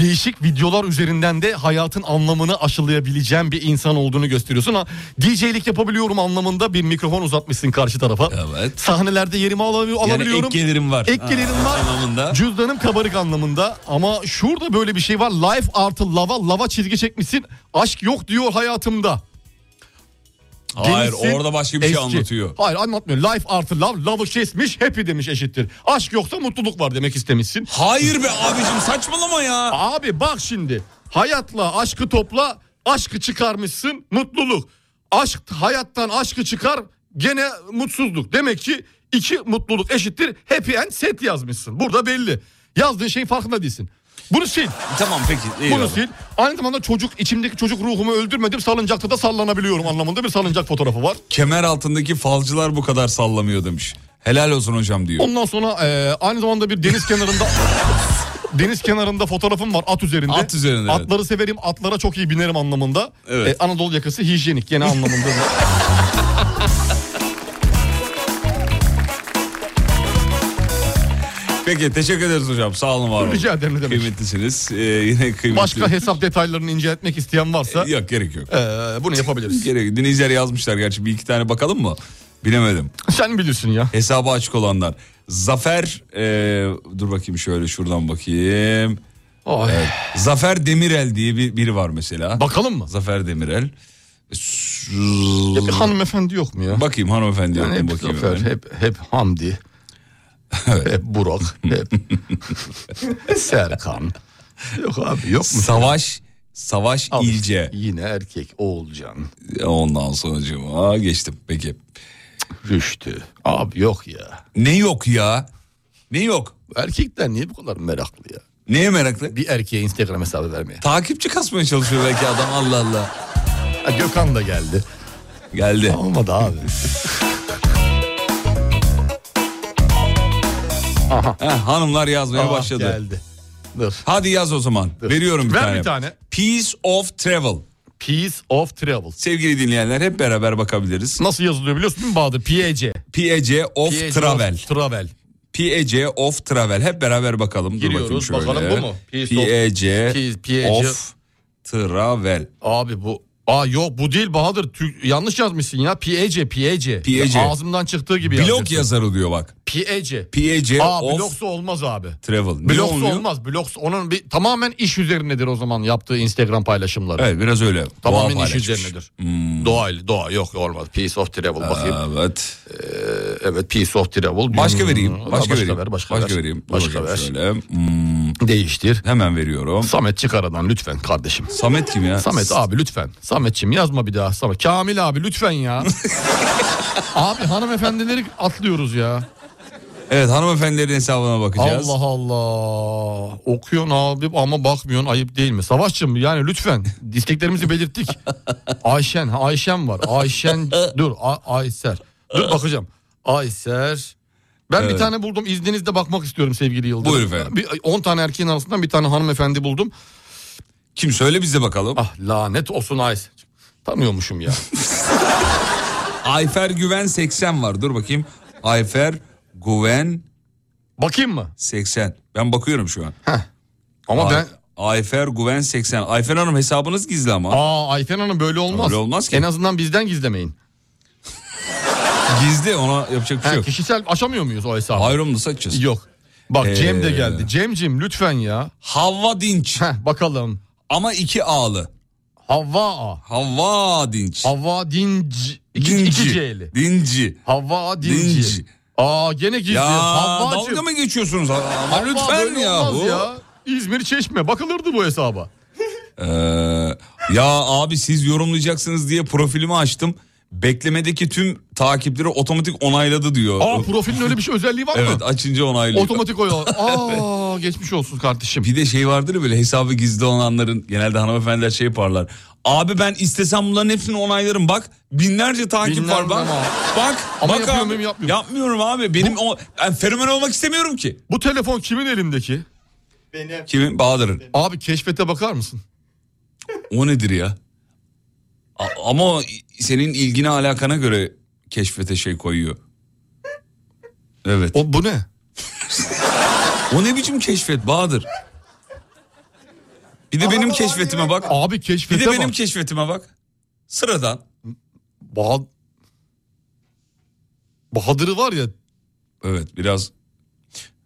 D: değişik videolar üzerinden de hayatın anlamını aşılayabileceğin bir insan olduğunu gösteriyorsun. Ha, DJ'lik yapabiliyorum anlamında bir mikrofon uzatmışsın karşı tarafa.
B: Evet.
D: Sahnelerde yerimi alabili-
B: Yani
D: alabiliyorum.
B: ek gelirim var.
D: Ek gelirim
B: Ha,
D: var.
B: anlamında.
D: Cüzdanım kabarık anlamında ama şurada böyle bir şey var. Life artı lava lava çizgi çekmişsin. Aşk yok diyor hayatımda.
B: Hayır
D: Denizsin,
B: orada başka bir şey
D: eski.
B: anlatıyor.
D: Hayır anlatmıyor. Life artı love, love'ı kesmiş, happy demiş eşittir. Aşk yoksa mutluluk var demek istemişsin.
B: Hayır be abicim saçmalama ya.
D: Abi bak şimdi. Hayatla aşkı topla, aşkı çıkarmışsın, mutluluk. Aşk hayattan aşkı çıkar, gene mutsuzluk. Demek ki iki mutluluk eşittir happy end set yazmışsın. Burada belli. Yazdığın şeyin farkında değilsin. Bunu sil.
B: Tamam peki. iyi
D: Bunu
B: oldu.
D: sil. Aynı zamanda çocuk içimdeki çocuk ruhumu öldürmedim. Salıncakta da sallanabiliyorum anlamında bir salıncak fotoğrafı var.
B: Kemer altındaki falcılar bu kadar sallamıyor demiş. Helal olsun hocam diyor.
D: Ondan sonra e, aynı zamanda bir deniz kenarında deniz kenarında fotoğrafım var at üzerinde.
B: At üzerinde, evet.
D: Atları severim, atlara çok iyi binerim anlamında.
B: Evet.
D: E, Anadolu yakası hijyenik gene anlamında.
B: Peki teşekkür ederiz hocam. Sağ olun var olun.
D: Rica ederim, ne demek.
B: Kıymetlisiniz. Ee, yine kıymetli. Ee,
D: Başka hesap detaylarını inceletmek isteyen varsa
B: Yok gerek yok.
D: e, bunu yapabiliriz.
B: Gerek Dinleyiciler yazmışlar gerçi bir iki tane bakalım mı? Bilemedim.
D: Sen bilirsin ya.
B: Hesabı açık olanlar. Zafer ee, dur bakayım şöyle şuradan bakayım.
D: Oh.
B: Evet. Zafer Demirel diye bir, biri var mesela.
D: Bakalım mı?
B: Zafer Demirel. Ee,
D: Ya bir hanımefendi yok mu ya?
B: Bakayım hanımefendi
D: Yani
B: yok mu
D: hep
B: bakayım.
D: Zafer,
B: hemen.
D: hep, hep Hamdi. Hep Burak, hep Serkan. Yok abi yok mu?
B: Savaş Savaş
D: Al işte,
B: İlce.
D: Yine erkek Oğulcan,
B: Ondan sonucuma geçtim. Peki.
D: Rüştü. Abi yok ya.
B: Ne yok ya? Ne yok?
D: Erkekler niye bu kadar meraklı ya?
B: Neye meraklı?
D: Bir erkeğe Instagram hesabı vermeye.
B: Takipçi kasmaya çalışıyor belki adam Allah Allah.
D: Ha, Gökhan da geldi.
B: Geldi.
D: Olmadı abi.
B: Heh, hanımlar yazmaya
D: Ah,
B: başladı.
D: Geldi. Dur.
B: Hadi yaz o zaman. Veriyorum bir
D: Ver
B: tane.
D: bir tane.
B: Piece of Travel.
D: Peace of Travel.
B: Sevgili dinleyenler hep beraber bakabiliriz.
D: Nasıl yazılıyor biliyorsun değil mi Bahadır? E PEC.
B: PEC of
D: PEC
B: Travel.
D: of Travel.
B: PEC of Travel. Hep beraber bakalım. Dur
D: Giriyoruz,
B: bakayım şöyle.
D: bakalım bu mu? Piece of-
B: PEC
D: Piece-
B: of Travel.
D: Abi bu Aa yok bu değil Bahadır. Türk- yanlış yazmışsın ya. Piyece, piyece.
B: Piyece.
D: Ağzımdan çıktığı gibi
B: Blog yazarı diyor bak.
D: Piyece.
B: Piyece
D: Aa
B: of
D: bloksa olmaz abi.
B: travel. Niye
D: Bloksa
B: olmuyor?
D: olmaz. Bloksa onun bir, tamamen iş üzerinedir o zaman yaptığı Instagram paylaşımları.
B: Evet biraz öyle.
D: Tamamen
B: Doğa
D: iş
B: paylaşmış.
D: üzerinedir.
B: Hmm.
D: Doğal, doğa yok olmaz. Piece of travel
B: Ee,
D: bakayım.
B: Evet.
D: Ee, evet piece of travel.
B: Başka vereyim.
D: Hmm,
B: Başka, vereyim.
D: Ver, başka, ver.
B: vereyim. Dur
D: Başka
B: bakayım
D: ver.
B: Şöyle. Hmm.
D: Değiştir.
B: Hemen veriyorum.
D: Samet çık aradan lütfen kardeşim.
B: Samet kim ya?
D: Samet abi lütfen. Sametçim yazma bir daha. Samet. Kamil abi lütfen ya. abi hanımefendileri atlıyoruz ya.
B: Evet hanımefendilerin hesabına bakacağız.
D: Allah Allah. Okuyorsun abi ama bakmıyorsun ayıp değil mi? Savaşçım yani lütfen isteklerimizi belirttik. Ayşen, ha, Ayşen var. Ayşen dur A- Ayser. Dur bakacağım. Ayser. Ben bir
B: Evet.
D: tane buldum. İzninizle bakmak istiyorum sevgili Yıldırım.
B: Buyur efendim.
D: Bir 10 tane erkeğin arasından bir tane hanımefendi buldum.
B: Kim söyle bize bakalım.
D: Ah lanet olsun Ayser. Tanıyormuşum ya.
B: Ayfer Güven 80 var. Dur bakayım. Ayfer Güven
D: Bakayım mı?
B: 80. Ben bakıyorum şu an.
D: Ama
B: Ay-
D: ben
B: Ayfer Güven 80. Ayfer Hanım hesabınız gizli ama.
D: Aa Ayten Hanım böyle olmaz.
B: Öyle olmaz ki.
D: En azından bizden gizlemeyin.
B: Gizli ona yapacak bir şey
D: Ha,
B: yok.
D: kişisel açamıyor muyuz o hesabı?
B: Ayrım da saçacağız.
D: Yok. Bak Cem de
B: Ee.
D: geldi. Cemcim lütfen ya.
B: Havva Dinç
D: Heh, bakalım.
B: ama iki A'lı.
D: Havva A.
B: Havva Dinç.
D: Havva Dinci. İki, iki C'li.
B: Dinci.
D: Havva Dinci.
B: Dinci.
D: Aa gene gizli.
B: Ya
D: Havvacım.
B: dalga mı geçiyorsunuz? Ama
D: Havva
B: lütfen
D: böyle olmaz
B: yahu. ya.
D: ya. İzmir Çeşme bakılırdı bu hesaba.
B: Ee, ya abi siz yorumlayacaksınız diye profilimi açtım. Beklemedeki tüm takipleri otomatik onayladı diyor.
D: Aa profilin öyle bir şey özelliği var
B: evet
D: mı?
B: açınca onaylıyor.
D: Otomatik oy. Aa geçmiş olsun kardeşim.
B: Bir de şey vardır ya böyle hesabı gizli olanların genelde hanımefendiler şey yaparlar. Abi ben istesem bunların hepsini onaylarım bak binlerce takip
D: Binler
B: var bak.
D: ama.
B: Bak
D: Ama
B: bak
D: yapıyor
B: abi.
D: muyum, yapmıyor muyum?
B: Yapmıyorum abi benim o ben fenomen olmak istemiyorum ki.
D: Bu telefon kimin elindeki?
B: Kimin Bahadır'ın.
D: Abi keşfete bakar mısın?
B: O nedir ya? A- ama o senin ilgine alakana göre keşfete şey koyuyor. Evet. O,
D: O bu ne?
B: ne biçim keşfet Bahadır? Bir de benim keşfetime bak.
D: Abi
B: Bir
D: keşfete
B: de benim
D: bak.
B: keşfetime bak. Sıradan.
D: Bah- Bahadır'ı var ya
B: Evet biraz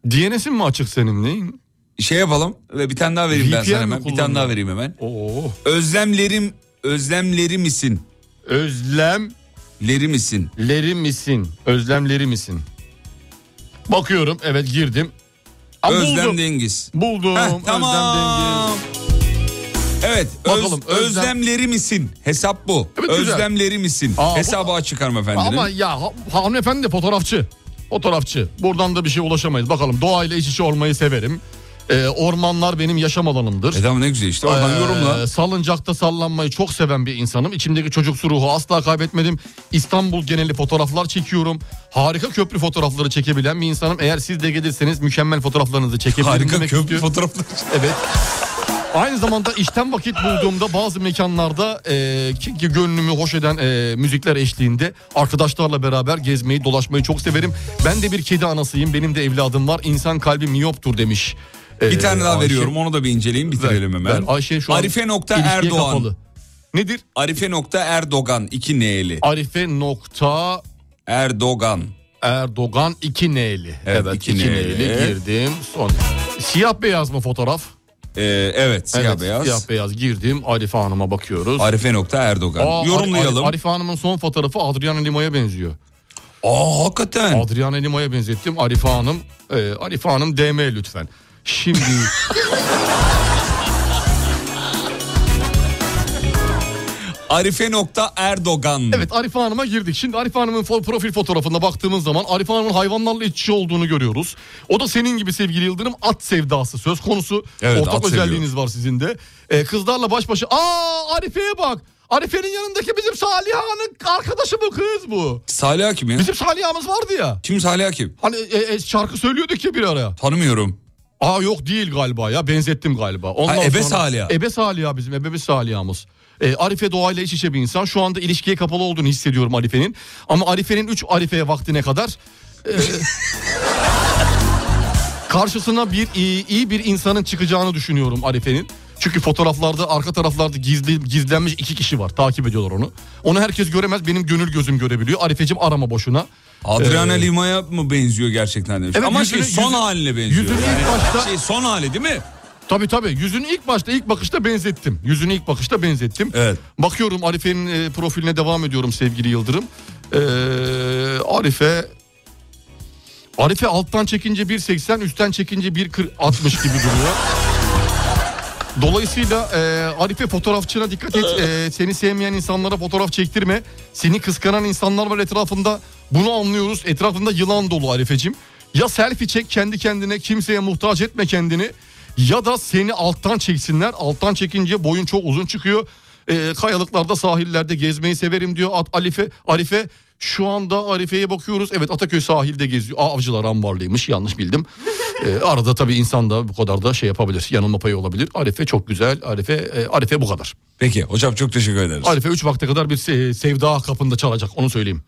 D: DNS'in mi açık senin neyin?
B: şey yapalım ve bir tane daha vereyim ben
D: VPN
B: sana
D: mi
B: hemen. Bir tane
D: kullanıyor?
B: daha vereyim hemen.
D: Oo.
B: Özlemlerim, özlemleri misin?
D: Özlemleri
B: Leri misin?
D: misin? Özlemleri misin? Bakıyorum evet girdim. Aa,
B: Özlem
D: buldum.
B: Dengiz.
D: buldum.
B: Heh,
D: Özlem
B: tamam.
D: Dengiz.
B: Evet,
D: Bakalım,
B: öz,
D: Özlem-
B: özlemleri misin? Hesap bu.
D: Evet, güzel.
B: özlemleri misin?
D: Aa, bu-
B: Hesabı açık hanımefendinin.
D: Ama ya ha- hanımefendi de fotoğrafçı. Fotoğrafçı. Buradan da bir şey ulaşamayız. Bakalım doğayla iç içe olmayı severim. Ee, ormanlar benim yaşam alanımdır.
B: E tamam ne güzel işte. Oradan
D: Ee,
B: yorumla.
D: Salıncakta sallanmayı çok seven bir insanım. İçimdeki çocuksu ruhu asla kaybetmedim. İstanbul geneli fotoğraflar çekiyorum. Harika köprü fotoğrafları çekebilen bir insanım. Eğer siz de gelirseniz mükemmel fotoğraflarınızı çekebilirim
B: Harika
D: demek
B: köprü
D: istiyorum.
B: fotoğrafları.
D: Evet. Aynı zamanda işten vakit bulduğumda bazı mekanlarda e, ki, ki gönlümü hoş eden e, müzikler eşliğinde arkadaşlarla beraber gezmeyi dolaşmayı çok severim. Ben de bir kedi anasıyım benim de evladım var İnsan kalbi miyoptur demiş.
B: Bir
D: E,
B: tane daha
D: Ayşe.
B: veriyorum. Onu da bir inceleyin bitirelim
D: Ver,
B: hemen.
D: ver. Ayşe şu an
B: Arife nokta
D: ilişkiye
B: Erdoğan.
D: kapalı. Nedir?
B: Arife nokta Erdoğan 2 N'li.
D: Arife nokta
B: Erdoğan.
D: Erdoğan 2 N'li.
B: Evet,
D: Evet,
B: iki
D: 2
B: N'li.
D: N'li. girdim. Son. Siyah beyaz mı fotoğraf?
B: Ee, evet siyah
D: evet,
B: beyaz.
D: Siyah beyaz girdim. Arife Hanım'a bakıyoruz.
B: Arife nokta Erdoğan.
D: Aa, Ar-
B: Yorumlayalım.
D: Ar- Arife Hanım'ın son fotoğrafı Adriana Lima'ya benziyor.
B: Aa hakikaten.
D: Adriana Lima'ya benzettim. Arife Hanım, e, Arife Hanım DM lütfen. Şimdi
B: Arife nokta Erdoğan.
D: evet Arife Hanım'a girdik. Şimdi Arife Hanım'ın fo- profil fotoğrafına baktığımız zaman Arife Hanım'ın hayvanlarla iç içe olduğunu görüyoruz. O da senin gibi sevgili Yıldırım at sevdası söz konusu.
B: Evet, at
D: Ortak
B: seviyor.
D: özelliğiniz var sizin de. E, kızlarla baş başa. Aa Arife'ye bak. Arife'nin yanındaki bizim Salih Hanım arkadaşı bu kız bu.
B: Salih Hakim ya.
D: Bizim Salih Hanım'ız vardı ya.
B: Kim Salih Hakim?
D: Hani e, e, şarkı söylüyorduk ya bir ara.
B: Tanımıyorum.
D: Aa yok değil galiba ya benzettim galiba. Ondan
B: Ha, Ebe
D: sonra-
B: Saliha.
D: Ebe Saliha bizim Ebe Saliha'mız. Ee, Arife doğayla iç içe bir insan. Şu anda ilişkiye kapalı olduğunu hissediyorum Arife'nin. Ama Arife'nin 3 Arife'ye vaktine kadar... e, karşısına bir iyi, iyi bir insanın çıkacağını düşünüyorum Arife'nin. Çünkü fotoğraflarda arka taraflarda gizli, gizlenmiş iki kişi var. Takip ediyorlar onu. Onu herkes göremez. Benim gönül gözüm görebiliyor. Arifeciğim arama boşuna.
B: Adriana
D: Ee,
B: Lima'ya mı benziyor gerçekten demiş.
D: Evet,
B: Ama
D: yüzünü-
B: şey son
D: yüzü-
B: haline benziyor.
D: yüzünü ilk
B: Yani
D: başta-
B: Şey son hali değil mi?
D: Tabii tabii. Yüzünü ilk başta ilk bakışta benzettim. Yüzünü ilk bakışta benzettim. Bakıyorum Arife'nin e, profiline devam ediyorum sevgili Yıldırım. Ee, Arife Arife alttan çekince 1.80 üstten çekince 1.60 gibi duruyor. Dolayısıyla e, Arife fotoğrafçına dikkat et. E, seni sevmeyen insanlara fotoğraf çektirme. Seni kıskanan insanlar var etrafında. Bunu anlıyoruz. Etrafında yılan dolu Arifeciğim. Ya selfie çek kendi kendine kimseye muhtaç etme kendini. Ya da seni alttan çeksinler. Alttan çekince boyun çok uzun çıkıyor. E, kayalıklarda sahillerde gezmeyi severim diyor At Alife. Arife şu anda Arife'ye bakıyoruz. Evet Ataköy sahilde geziyor. Aa, Avcılar ambarlıymış yanlış bildim. Ee, arada tabii insan da bu kadar da şey yapabilir. Yanılma payı olabilir. Arife çok güzel. Arife e, Arife bu kadar.
B: Peki hocam çok teşekkür ederiz.
D: Arife 3 vakte kadar bir se- sevda kapında çalacak onu söyleyeyim.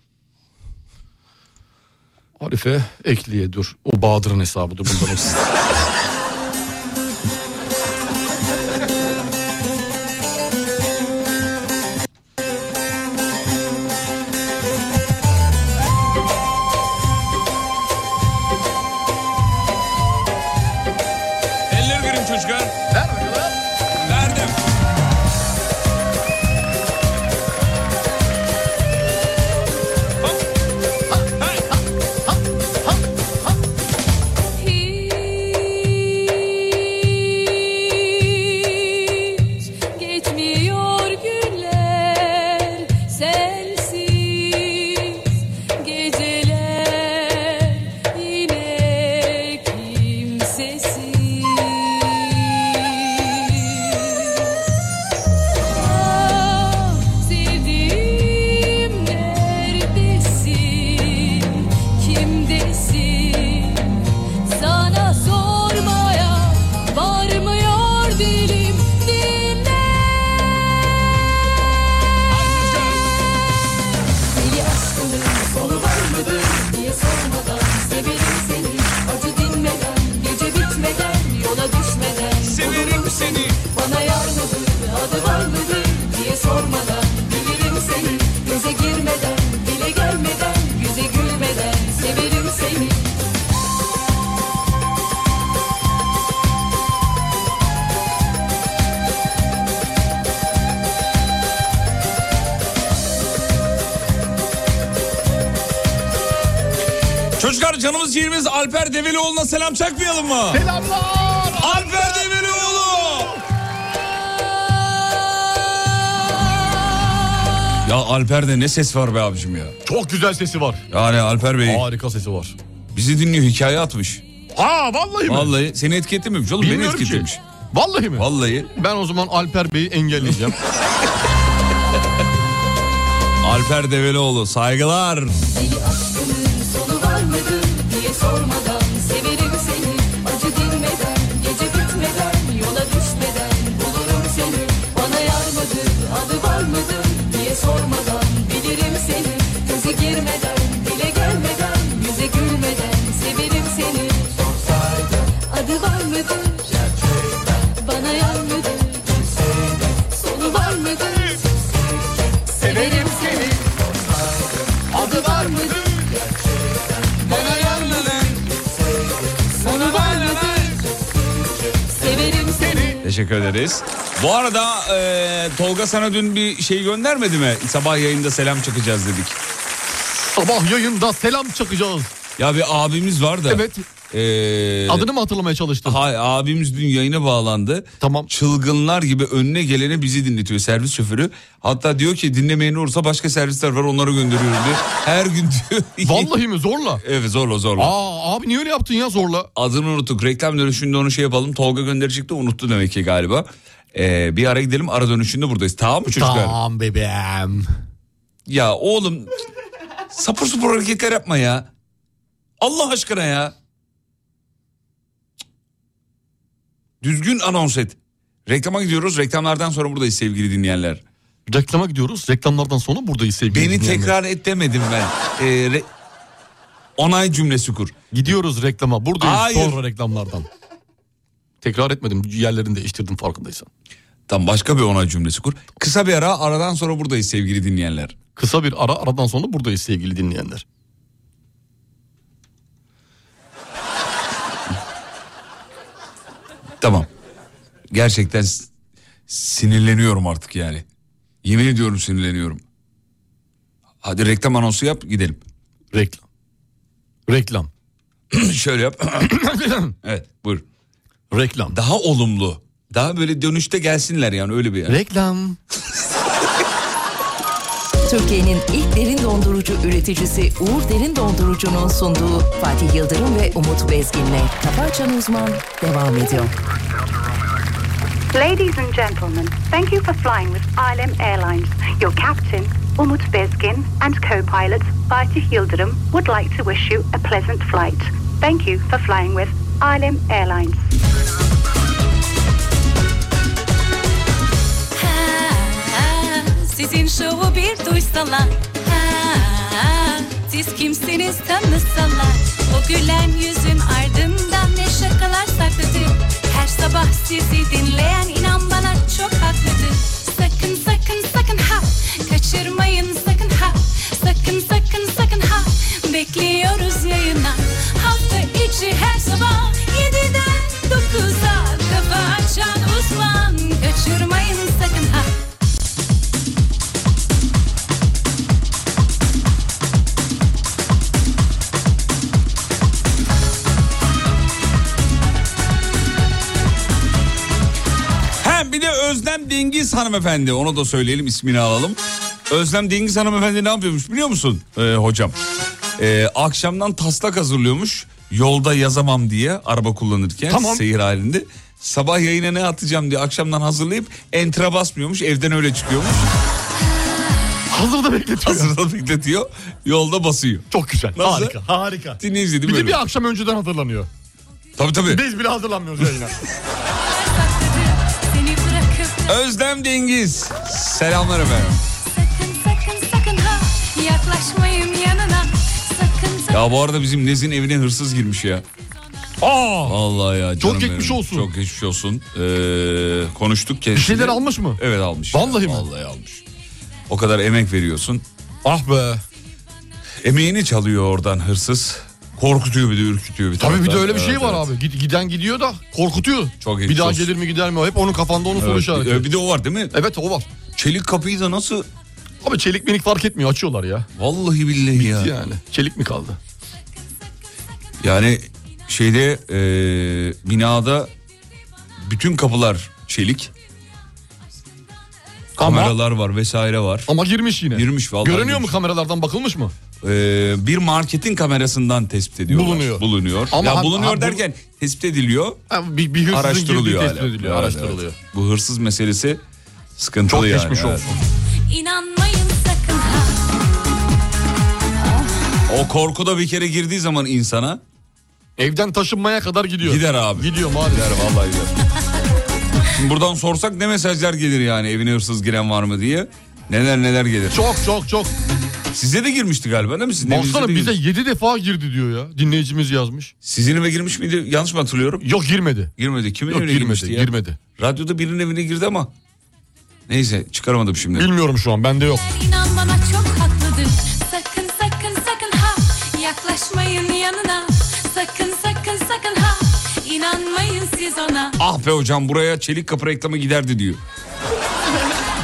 D: Arife ekliye dur. O Bahadır'ın hesabıdır bundan olsun.
B: Eller görün çocuklar. Ver Verdim.
A: Hiç geçmiyor günler sensiz geceler yine kimsesiz. Ah sevdiğim neredesin kimdesin? Sana sormaya varmıyor dilim dinle Deli aşkının sonu var mıdır diye sormadan Severim seni acı dinmeden gece bitmeden yola düşmeden Severim seni bana yar mıdır adı var mıdır diye sormadan Bilirim seni göze girmeden dile gelmeden yüze gülmeden Severim seni
B: Çocuklar canımız ciğerimiz Alper Develioğlu'na selam çakmayalım mı?
D: Selamlar.
B: Alper Develioğlu. Ya Alper'de ne ses var be abicim ya.
D: Çok güzel sesi var.
B: Yani Alper Bey.
D: Harika sesi var.
B: Bizi dinliyor hikaye atmış.
D: Aa vallahi mi?
B: Vallahi seni etki etmemiş oğlum beni
D: Bilmiyorum ki.
B: etkilemiş.
D: Vallahi mi?
B: Vallahi.
D: Ben o zaman Alper Bey'i engelleyeceğim.
B: Alper Develioğlu saygılar.
A: Deli aşkının sonu var mıdır diye sormadan Severim seni acı dinmeden Gece bitmeden yola düşmeden Bulurum seni bana yar mıdır adı var mıdır diye sormadan Bilirim seni göze girmeden dile gelmeden Yüze gülmeden severim seni Adı var mıdır bana yar mıdır Sonu var mıdır severim seni Adı var mıdır? Bana yanmadan Sonu var mıdır? Severim seni
B: Teşekkür ederiz. Bu arada e, Tolga sana dün bir şey göndermedi mi? Sabah yayında selam çakacağız dedik.
D: Sabah yayında selam çakacağız.
B: Ya bir abimiz var da.
D: Evet.
B: e,
D: Adını mı hatırlamaya çalıştın?
B: Hay abimiz dün yayına bağlandı.
D: Tamam.
B: Çılgınlar gibi önüne gelene bizi dinletiyor servis şoförü. Hatta diyor ki dinlemeyen olursa başka servisler var onlara gönderiyorum diyor. Her gün diyor.
D: Vallahi mi zorla?
B: Evet zorla zorla.
D: Aa abi niye öyle yaptın ya zorla?
B: Adını unuttuk. Reklam dönüşünde onu şey yapalım. Tolga gönderecek de unuttu demek ki galiba. Ee, bir ara gidelim ara dönüşünde buradayız. Tamam mı çocuklar?
D: Tamam bebeğim.
B: Ya oğlum sapır sapır hareketler yapma ya. Allah aşkına ya. Düzgün anons et. Reklama gidiyoruz. Reklamlardan sonra buradayız sevgili dinleyenler.
D: Reklama gidiyoruz. Reklamlardan sonra buradayız sevgili
B: Beni
D: dinleyenler.
B: tekrar et demedim ben. Ee, re- Onay cümlesi kur.
D: Gidiyoruz reklama. Buradayız
B: Hayır.
D: sonra reklamlardan. Tekrar etmedim. Yerlerini değiştirdim farkındaysan.
B: Tam başka bir onay cümlesi kur. Kısa bir ara aradan sonra buradayız sevgili dinleyenler.
D: Kısa bir ara aradan sonra buradayız sevgili dinleyenler.
B: Tamam. Gerçekten s- sinirleniyorum artık yani. Yemin ediyorum sinirleniyorum. Hadi reklam anonsu yap gidelim.
D: Reklam. Reklam.
B: Şöyle yap. evet buyur.
D: Reklam.
B: Daha olumlu. Daha böyle dönüşte gelsinler yani öyle bir yer.
D: Reklam.
I: Türkiye'nin ilk derin dondurucu üreticisi Uğur Derin Dondurucu'nun sunduğu Fatih Yıldırım ve Umut Bezgin'le Kafa Açan Uzman devam ediyor.
N: Ladies and gentlemen, thank you for flying with ILM Airlines. Your captain, Umut Bezgin, and co-pilot Fatih Yıldırım would like to wish you a pleasant flight. Thank you for flying with ILM Airlines.
O: Ha, Sizin şovu bir duysalar Ha, Siz kimsiniz tanısalar O gülen yüzün ardından ne şakalar saklıdır Her sabah sizi dinleyen inan bana çok haklıdır Sakın sakın sakın ha Kaçırmayın sakın ha Sakın sakın sakın ha Bekliyoruz yayına Hafta içi her sabah 7'den 9'a Kafa açan uzman Kaçırmayın sakın ha
B: Hem bir de Özlem Dengiz hanımefendi. Onu da söyleyelim ismini alalım. Özlem Dengiz hanımefendi ne yapıyormuş biliyor musun ee, hocam? Ee, akşamdan taslak hazırlıyormuş. Yolda yazamam diye araba kullanırken
D: Tamam.
B: seyir halinde. Sabah yayına ne atacağım diye akşamdan hazırlayıp entra basmıyormuş. Evden öyle çıkıyormuş.
D: Hazırda bekletiyor.
B: Hazırda bekletiyor. Yolda basıyor.
D: Çok güzel. Harika, harika.
B: Dinleyici dedi
D: Bir de
B: böyle.
D: bir akşam önceden hazırlanıyor.
B: Tabii tabii.
D: Biz bile hazırlanmıyoruz yayına.
O: Seni bırakıp
B: Özlem Dengiz. Selamlar efendim.
O: sakın sakın ha Yaklaşmayın yanına Sakın sakın
B: Ya bu arada bizim Nez'in evine hırsız girmiş ya.
D: Aa!
B: Vallahi ya
D: Çok
B: canım
D: geçmiş
B: benim.
D: olsun.
B: Çok geçmiş olsun. Ee, konuştuk kendisiyle.
D: Bir şeyler almış mı?
B: Evet almış.
D: Vallahi mi?
B: Vallahi almış. O kadar emek veriyorsun.
D: Ah be.
B: Emeğini çalıyor oradan hırsız. Korkutuyor bir de ürkütüyor bir
D: Tabii bir de
B: taraftan.
D: öyle bir şey
B: Evet,
D: var
B: evet.
D: abi. Gid- Giden gidiyor da korkutuyor.
B: Çok
D: bir daha
B: olsun.
D: gelir mi gider mi? Hep onun kafanda onun soru
B: Evet,
D: işareti.
B: bir- Bir de o var değil mi?
D: Evet o var.
B: Çelik kapıyı da nasıl...
D: Abi çelik minik fark etmiyor açıyorlar ya.
B: Vallahi billahi ya.
D: Bitti yani. Çelik mi kaldı?
B: Yani şeyde eee, binada bütün kapılar çelik.
D: Ama-
B: Kameralar var vesaire var.
D: Ama girmiş yine.
B: Girmiş vallahi.
D: Görünüyor mu
B: girmiş.
D: kameralardan bakılmış mı?
B: Eee, bir marketin kamerasından tespit ediyorlar.
D: Bulunuyor.
B: Bulunuyor.
D: Ama
B: ya
D: ha-
B: bulunuyor
D: ha- bu-
B: derken tespit ediliyor.
D: Ha, bir, bir hırsızın girdiği
B: araştırılıyor hala.
D: tespit ediliyor.
B: Evet,
D: araştırılıyor.
B: evet. Bu hırsız meselesi sıkıntılı
D: Çok
B: yani.
D: geçmiş
B: evet.
D: olsun.
O: inanmayın sakın ha
B: O korku da bir kere girdiği zaman insana
D: Evden taşınmaya kadar gidiyor.
B: gider abi.
D: Gidiyor maalesef.
B: Gider vallahi gider. Şimdi buradan sorsak ne mesajlar gelir yani evine hırsız giren var mı diye. Neler neler gelir.
D: Çok çok çok.
B: Size de girmişti galiba değil mi? Sizin evinize
D: Baksana
B: de
D: bize
B: girmiş.
D: 7 defa girdi diyor ya. Dinleyicimiz yazmış.
B: Sizin eve girmiş miydi? Yanlış mı hatırlıyorum?
D: Yok girmedi.
B: Girmedi. Kimin
D: Yok
B: evine
D: girmedi.
B: girmişti ya?
D: Girmedi.
B: Radyoda birinin evine girdi ama. Neyse çıkaramadım şimdi.
D: Bilmiyorum şu an bende yok.
O: İnan bana çok haklıdır Sakın sakın sakın ha Yaklaşmayın yanına Sakın sakın sakın ha İnanmayın siz ona
B: Ah be hocam buraya çelik kapı reklamı giderdi diyor.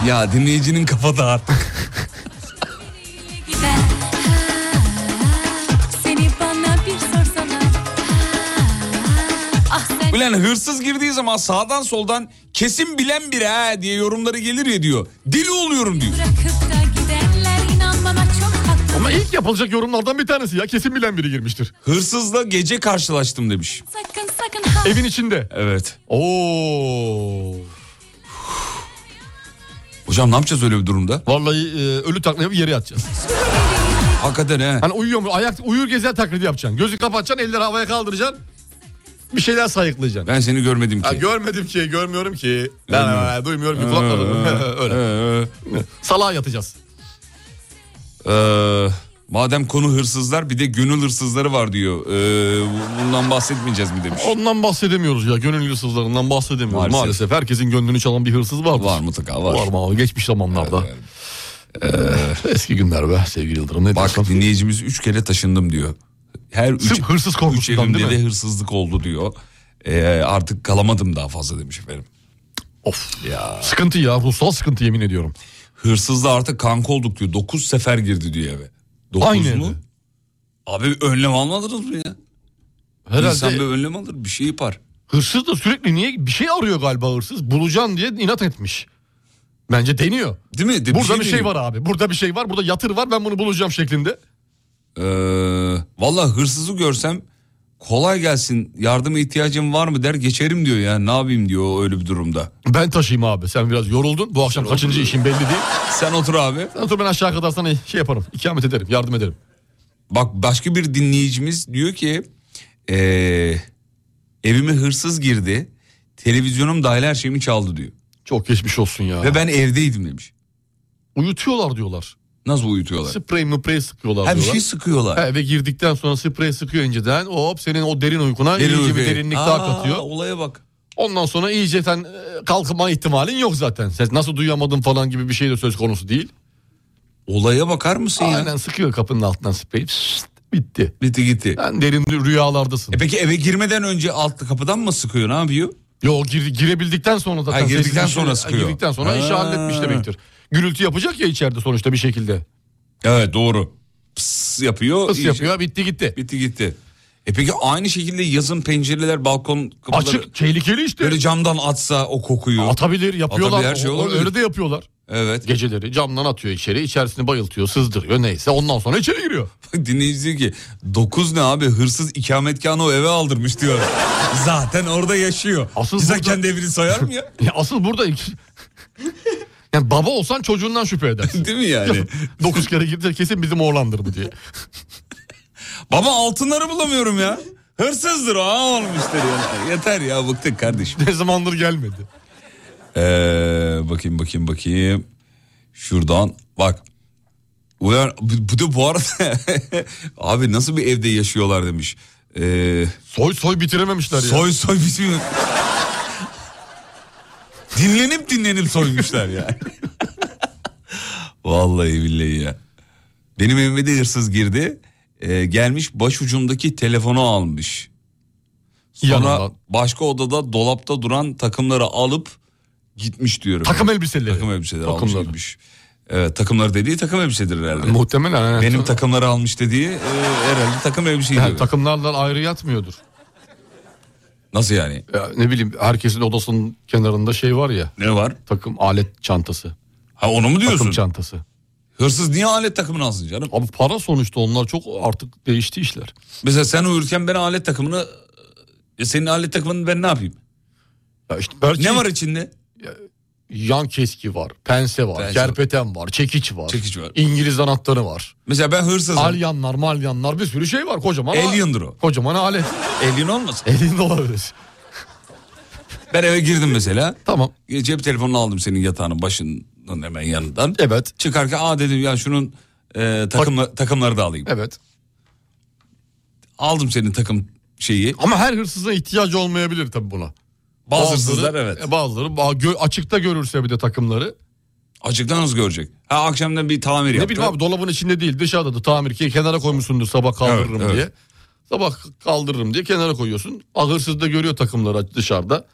B: ya dinleyicinin kafada artık.
O: gider Ha, Seni bana bir sorsana Ah sen
B: Ulan hırsız girdiği zaman sağdan soldan kesin bilen biri ha diye yorumları gelir ya diyor. Deli oluyorum diyor.
O: bırakıp da giderler İnan bana çok haklıdır
D: Ama ilk yapılacak yorumlardan bir tanesi ya. Kesin bilen biri girmiştir.
B: Hırsızla gece karşılaştım demiş.
O: Sakın sakın ha
D: Evin içinde.
B: Evet.
D: Oo.
B: Hocam ne yapacağız öyle bir durumda?
D: Vallahi e, ölü taklidi yapıp yere yatacağız.
B: Hakikaten he.
D: Hani uyuyor mu? Ayak uyur gezer taklidi yapacaksın. Gözü kapatacaksın, elleri havaya kaldıracaksın. Bir şeyler sayıklayacaksın.
B: Ben seni görmedim ki.
D: Ya görmedim ki, görmüyorum ki. Ben, ben- duymuyorum ki kulaklarım. Öyle.
B: Ee,
D: Salağa yatacağız.
B: e, Madem konu hırsızlar bir de gönül hırsızları var diyor. Ee, bundan bahsetmeyeceğiz mi demiş.
D: Ondan bahsedemiyoruz ya. Gönül hırsızlarından bahsedemiyoruz. Maalesef.
B: Maalesef.
D: herkesin gönlünü çalan bir hırsız vardır. Var
B: mutlaka var.
D: Var mı abi? Geçmiş zamanlarda. Ee, eski günler be sevgili Yıldırım. Ne
B: Bak dinleyicimiz üç kere taşındım diyor. Her üç,
D: Sırf hırsız
B: üç
D: korkusundan
B: evimde
D: değil
B: de
D: mi?
B: hırsızlık oldu diyor. Ee, artık kalamadım daha fazla demiş efendim.
D: Of
B: ya.
D: Sıkıntı ya ruhsal sıkıntı yemin ediyorum.
B: Hırsızla artık kanka olduk diyor. Dokuz sefer girdi diyor eve. Dokuz
D: Aynı
B: mu?
D: eve.
B: Abi önlem almadınız mı ya?
D: Herhalde-
B: İnsan bir önlem alır bir şey yapar.
D: Hırsız da sürekli niye bir şey arıyor galiba hırsız. Bulacağım diye inat etmiş. Bence deniyor.
B: Değil mi? De- bir
D: burada
B: şey
D: bir şey,
B: deniyor.
D: var abi. Burada bir şey var. Burada yatır var. Ben bunu bulacağım şeklinde.
B: Ee, Valla hırsızı görsem kolay gelsin yardıma ihtiyacım var mı der geçerim diyor ya ne yapayım diyor öyle bir durumda.
D: Ben taşıyayım abi. Sen biraz yoruldun. Bu akşam kaçıncı işin belli değil.
B: Sen otur abi.
D: Sen otur ben aşağı kadar sana şey yaparım. İkamet ederim. Yardım ederim.
B: Bak başka bir dinleyicimiz diyor ki eee, evime hırsız girdi televizyonum dahil her şeyimi çaldı diyor.
D: Çok geçmiş olsun ya.
B: Ve ben evdeydim demiş.
D: Uyutuyorlar diyorlar.
B: Nasıl uyutuyorlar?
D: Sprey mıprey sıkıyorlar
B: Ha, bir
D: diyorlar.
B: şey sıkıyorlar.
D: Ha, eve girdikten sonra sprey sıkıyor inceden. Hop senin o derin uykuna
B: Derin
D: iyice
B: uykuya.
D: bir derinlik
B: Aa,
D: daha katıyor.
B: Olaya bak.
D: Ondan sonra iyice sen e, kalkma ihtimalin yok zaten. Ses nasıl duyamadın falan gibi bir şey de söz konusu değil.
B: Olaya bakar mısın
D: Aynen, sıkıyor kapının altından spreyi. Pişt, bitti.
B: Bitti gitti.
D: Sen derin rüyalardasın.
B: E peki eve girmeden önce alt kapıdan mı sıkıyor ne yapıyor?
D: Yo gir- girebildikten sonra zaten.
B: Ha, girdikten
D: sessiz işi-
B: sonra sıkıyor.
D: Girdikten sonra işi
B: Ha.
D: halletmiş demektir. Gürültü yapacak ya içeride sonuçta bir şekilde.
B: Evet doğru. Pıs yapıyor.
D: Pıs
B: iyice-
D: yapıyor bitti gitti.
B: Bitti gitti. E peki aynı şekilde yazın pencereler, balkon kapıları...
D: Açık, tehlikeli işte.
B: Böyle camdan atsa o kokuyu.
D: Atabilir yapıyorlar.
B: Atabilir, her şey
D: O-
B: olabilir.
D: Öyle de yapıyorlar.
B: Evet.
D: Geceleri camdan atıyor içeri. içerisini bayıltıyor, sızdırıyor neyse. Ondan sonra içeri giriyor.
B: Bak dinleyici diyor ki 9 ne abi hırsız ikametgahını o eve aldırmış diyor. Zaten orada yaşıyor. Asıl Bize kendi evini soyar mı ya?
D: Ya asıl burada... yani baba olsan çocuğundan şüphe edersin.
B: Değil mi yani?
D: Dokuz kere girdi kesin bizim oğlandır bu diye.
B: Baba altınları bulamıyorum ya. Hırsızdır o ha olmuştur yani. Yeter ya bıktık kardeşim.
D: Ne zamandır gelmedi.
B: Ee, bakayım bakayım bakayım. Şuradan bak. Ulan bu bu da bu arada abi nasıl bir evde yaşıyorlar demiş. Ee,
D: soy soy bitirememişler ya.
B: Soy soy bitirmemiş. dinlenip dinlenip soymuşlar yani. Vallahi billahi ya. Benim evime de hırsız girdi. Ee, gelmiş başucumdaki telefonu almış. Sonra
D: Yanından.
B: başka odada dolapta duran takımları alıp gitmiş diyorum.
D: Takım elbiseleri.
B: Takım elbiseleri
D: Takımları.
B: almış gitmiş. Evet takımları dediği takım elbisedir herhalde.
D: Muhtemelen. evet.
B: Benim takımları almış dediği e, herhalde takım elbiseydi.
D: Yani takımlardan ayrı yatmıyordur.
B: Nasıl yani?
D: Ya ne bileyim herkesin odasının kenarında şey var ya.
B: Ne var?
D: Takım alet çantası.
B: Ha onu mu diyorsun?
D: Takım çantası.
B: Hırsız niye alet takımını alsın canım?
D: Abi para sonuçta onlar çok artık değişti işler.
B: Mesela sen uyurken ben alet takımını e, senin alet takımını ben ne yapayım? ne var içinde?
D: Yan keski var, pense var,
B: Pense
D: kerpeten var, çekiç var.
B: Çekiç var.
D: İngiliz anahtarı var.
B: Mesela ben hırsızım.
D: Alyanlar, malyanlar bir sürü şey var kocaman.
B: Alien'dir o.
D: Kocaman alet.
B: Alien olmasın?
D: Alien de olabilir.
B: Ben eve girdim mesela.
D: Tamam.
B: E, Cep telefonunu aldım senin yatağının başından hemen yanından.
D: Evet.
B: Çıkarken aa dedim ya şunun e, takımla- takımları da alayım.
D: Evet.
B: Aldım senin takım şeyi.
D: Ama her hırsızın ihtiyacı olmayabilir tabii buna.
B: Bazı hırsızlar evet.
D: e, Bazıları ba- gö- açıkta görürse bir de takımları.
B: Açıktan nasıl görecek? Ha akşamdan bir tamir
D: Ne
B: yaptı.
D: bileyim abi dolabın içinde değil dışarıda da tamir ki kenara koymuşsundur sabah kaldırırım
B: Evet, evet.
D: diye. Sabah kaldırırım diye kenara koyuyorsun. Ah, Hırsız da görüyor takımları dışarıda.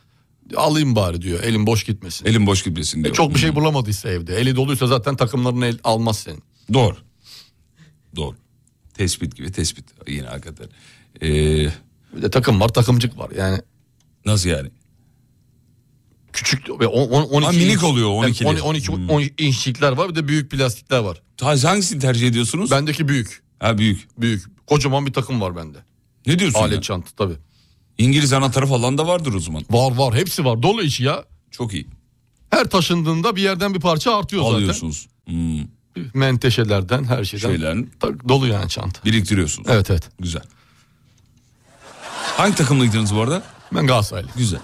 D: Alayım bari diyor elim boş gitmesin.
B: Elim boş gitmesin
D: E,
B: diyor.
D: çok bir şey bulamadıysa evde. Eli doluysa zaten takımlarını el, almaz senin.
B: Doğru. Doğru. Tespit gibi tespit. Yine hakikaten. Ee,
D: Bir de takım var takımcık var yani.
B: Nasıl yani?
D: Küçük ve on- on- 12
B: Ha, minik
D: inç-
B: oluyor, Hmm, 12'li.
D: Yani 12 on inçlikler var bir de büyük plastikler var.
B: Hangisini tercih ediyorsunuz?
D: Bendeki büyük.
B: Ha büyük.
D: Büyük. Kocaman bir takım var bende.
B: Ne diyorsun?
D: Alet
B: ya?
D: çanta tabii.
B: İngiliz anahtarı falan da vardır o zaman.
D: Var var hepsi var dolu içi ya.
B: Çok iyi.
D: Her taşındığında bir yerden bir parça artıyor
B: Alıyorsunuz. Hmm,
D: zaten. Menteşelerden her şeyden.
B: Şeylerin.
D: Tak- Dolu yani çanta.
B: biriktiriyorsunuz.
D: Evet evet.
B: Güzel. Hangi takımlıydınız bu arada?
D: Ben Galatasaraylı.
B: Güzel.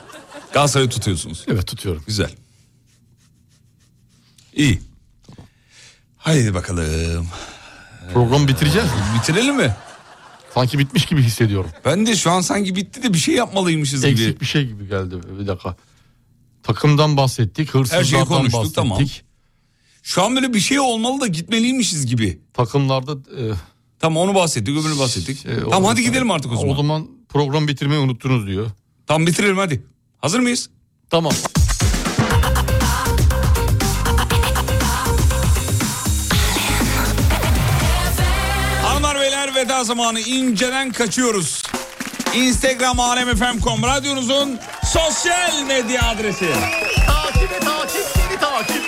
B: Galatasaray'ı tutuyorsunuz.
D: Evet tutuyorum.
B: Güzel. İyi. Haydi bakalım.
D: Programı bitireceğiz mi?
B: Bitirelim mi?
D: Sanki bitmiş gibi hissediyorum.
B: Ben de şu an sanki bitti de bir şey yapmalıymışız gibi.
D: Eksik bir şey gibi geldi bir dakika. Takımdan bahsettik, hırsızlardan
B: Her şeyi konuştuk
D: bahsettik.
B: tamam. Şu an böyle bir şey olmalı da gitmeliymişiz gibi.
D: Takımlarda... e, şey,
B: Tamam onu bahsettik öbürünü bahsettik. tamam hadi gidelim artık o zaman.
D: O zaman program bitirmeyi unuttunuz diyor.
B: Tamam bitirelim hadi. Hazır mıyız?
D: Tamam.
B: Hanımlar beyler veda zamanı inceden kaçıyoruz. Instagram alemfm.com radyonuzun sosyal medya adresi.
D: Takip et takip seni takip.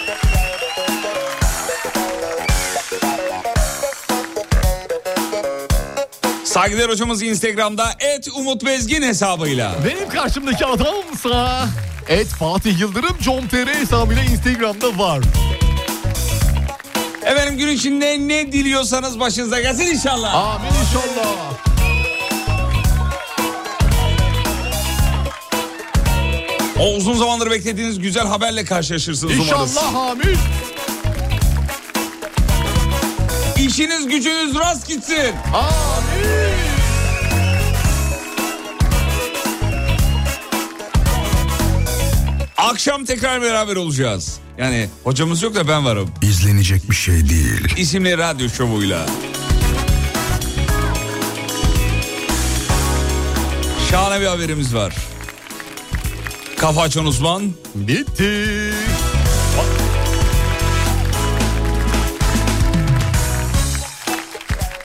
B: Saygıdeğer hocamız Instagram'da et Umut Bezgin hesabıyla.
D: Benim karşımdaki adamsa... Et Fatih Yıldırım Com.tr hesabıyla Instagram'da var.
B: Efendim gün içinde ne diliyorsanız başınıza gelsin inşallah.
D: Amin inşallah.
B: O uzun zamandır beklediğiniz güzel haberle karşılaşırsınız umarız.
D: İnşallah amin.
B: İşiniz gücünüz rast gitsin.
D: Amin.
B: Akşam tekrar beraber olacağız. Yani hocamız yok da ben varım.
P: İzlenecek bir şey değil.
B: İsimli radyo şovuyla. Şahane bir haberimiz var. Kafa açan uzman.
D: Bitti.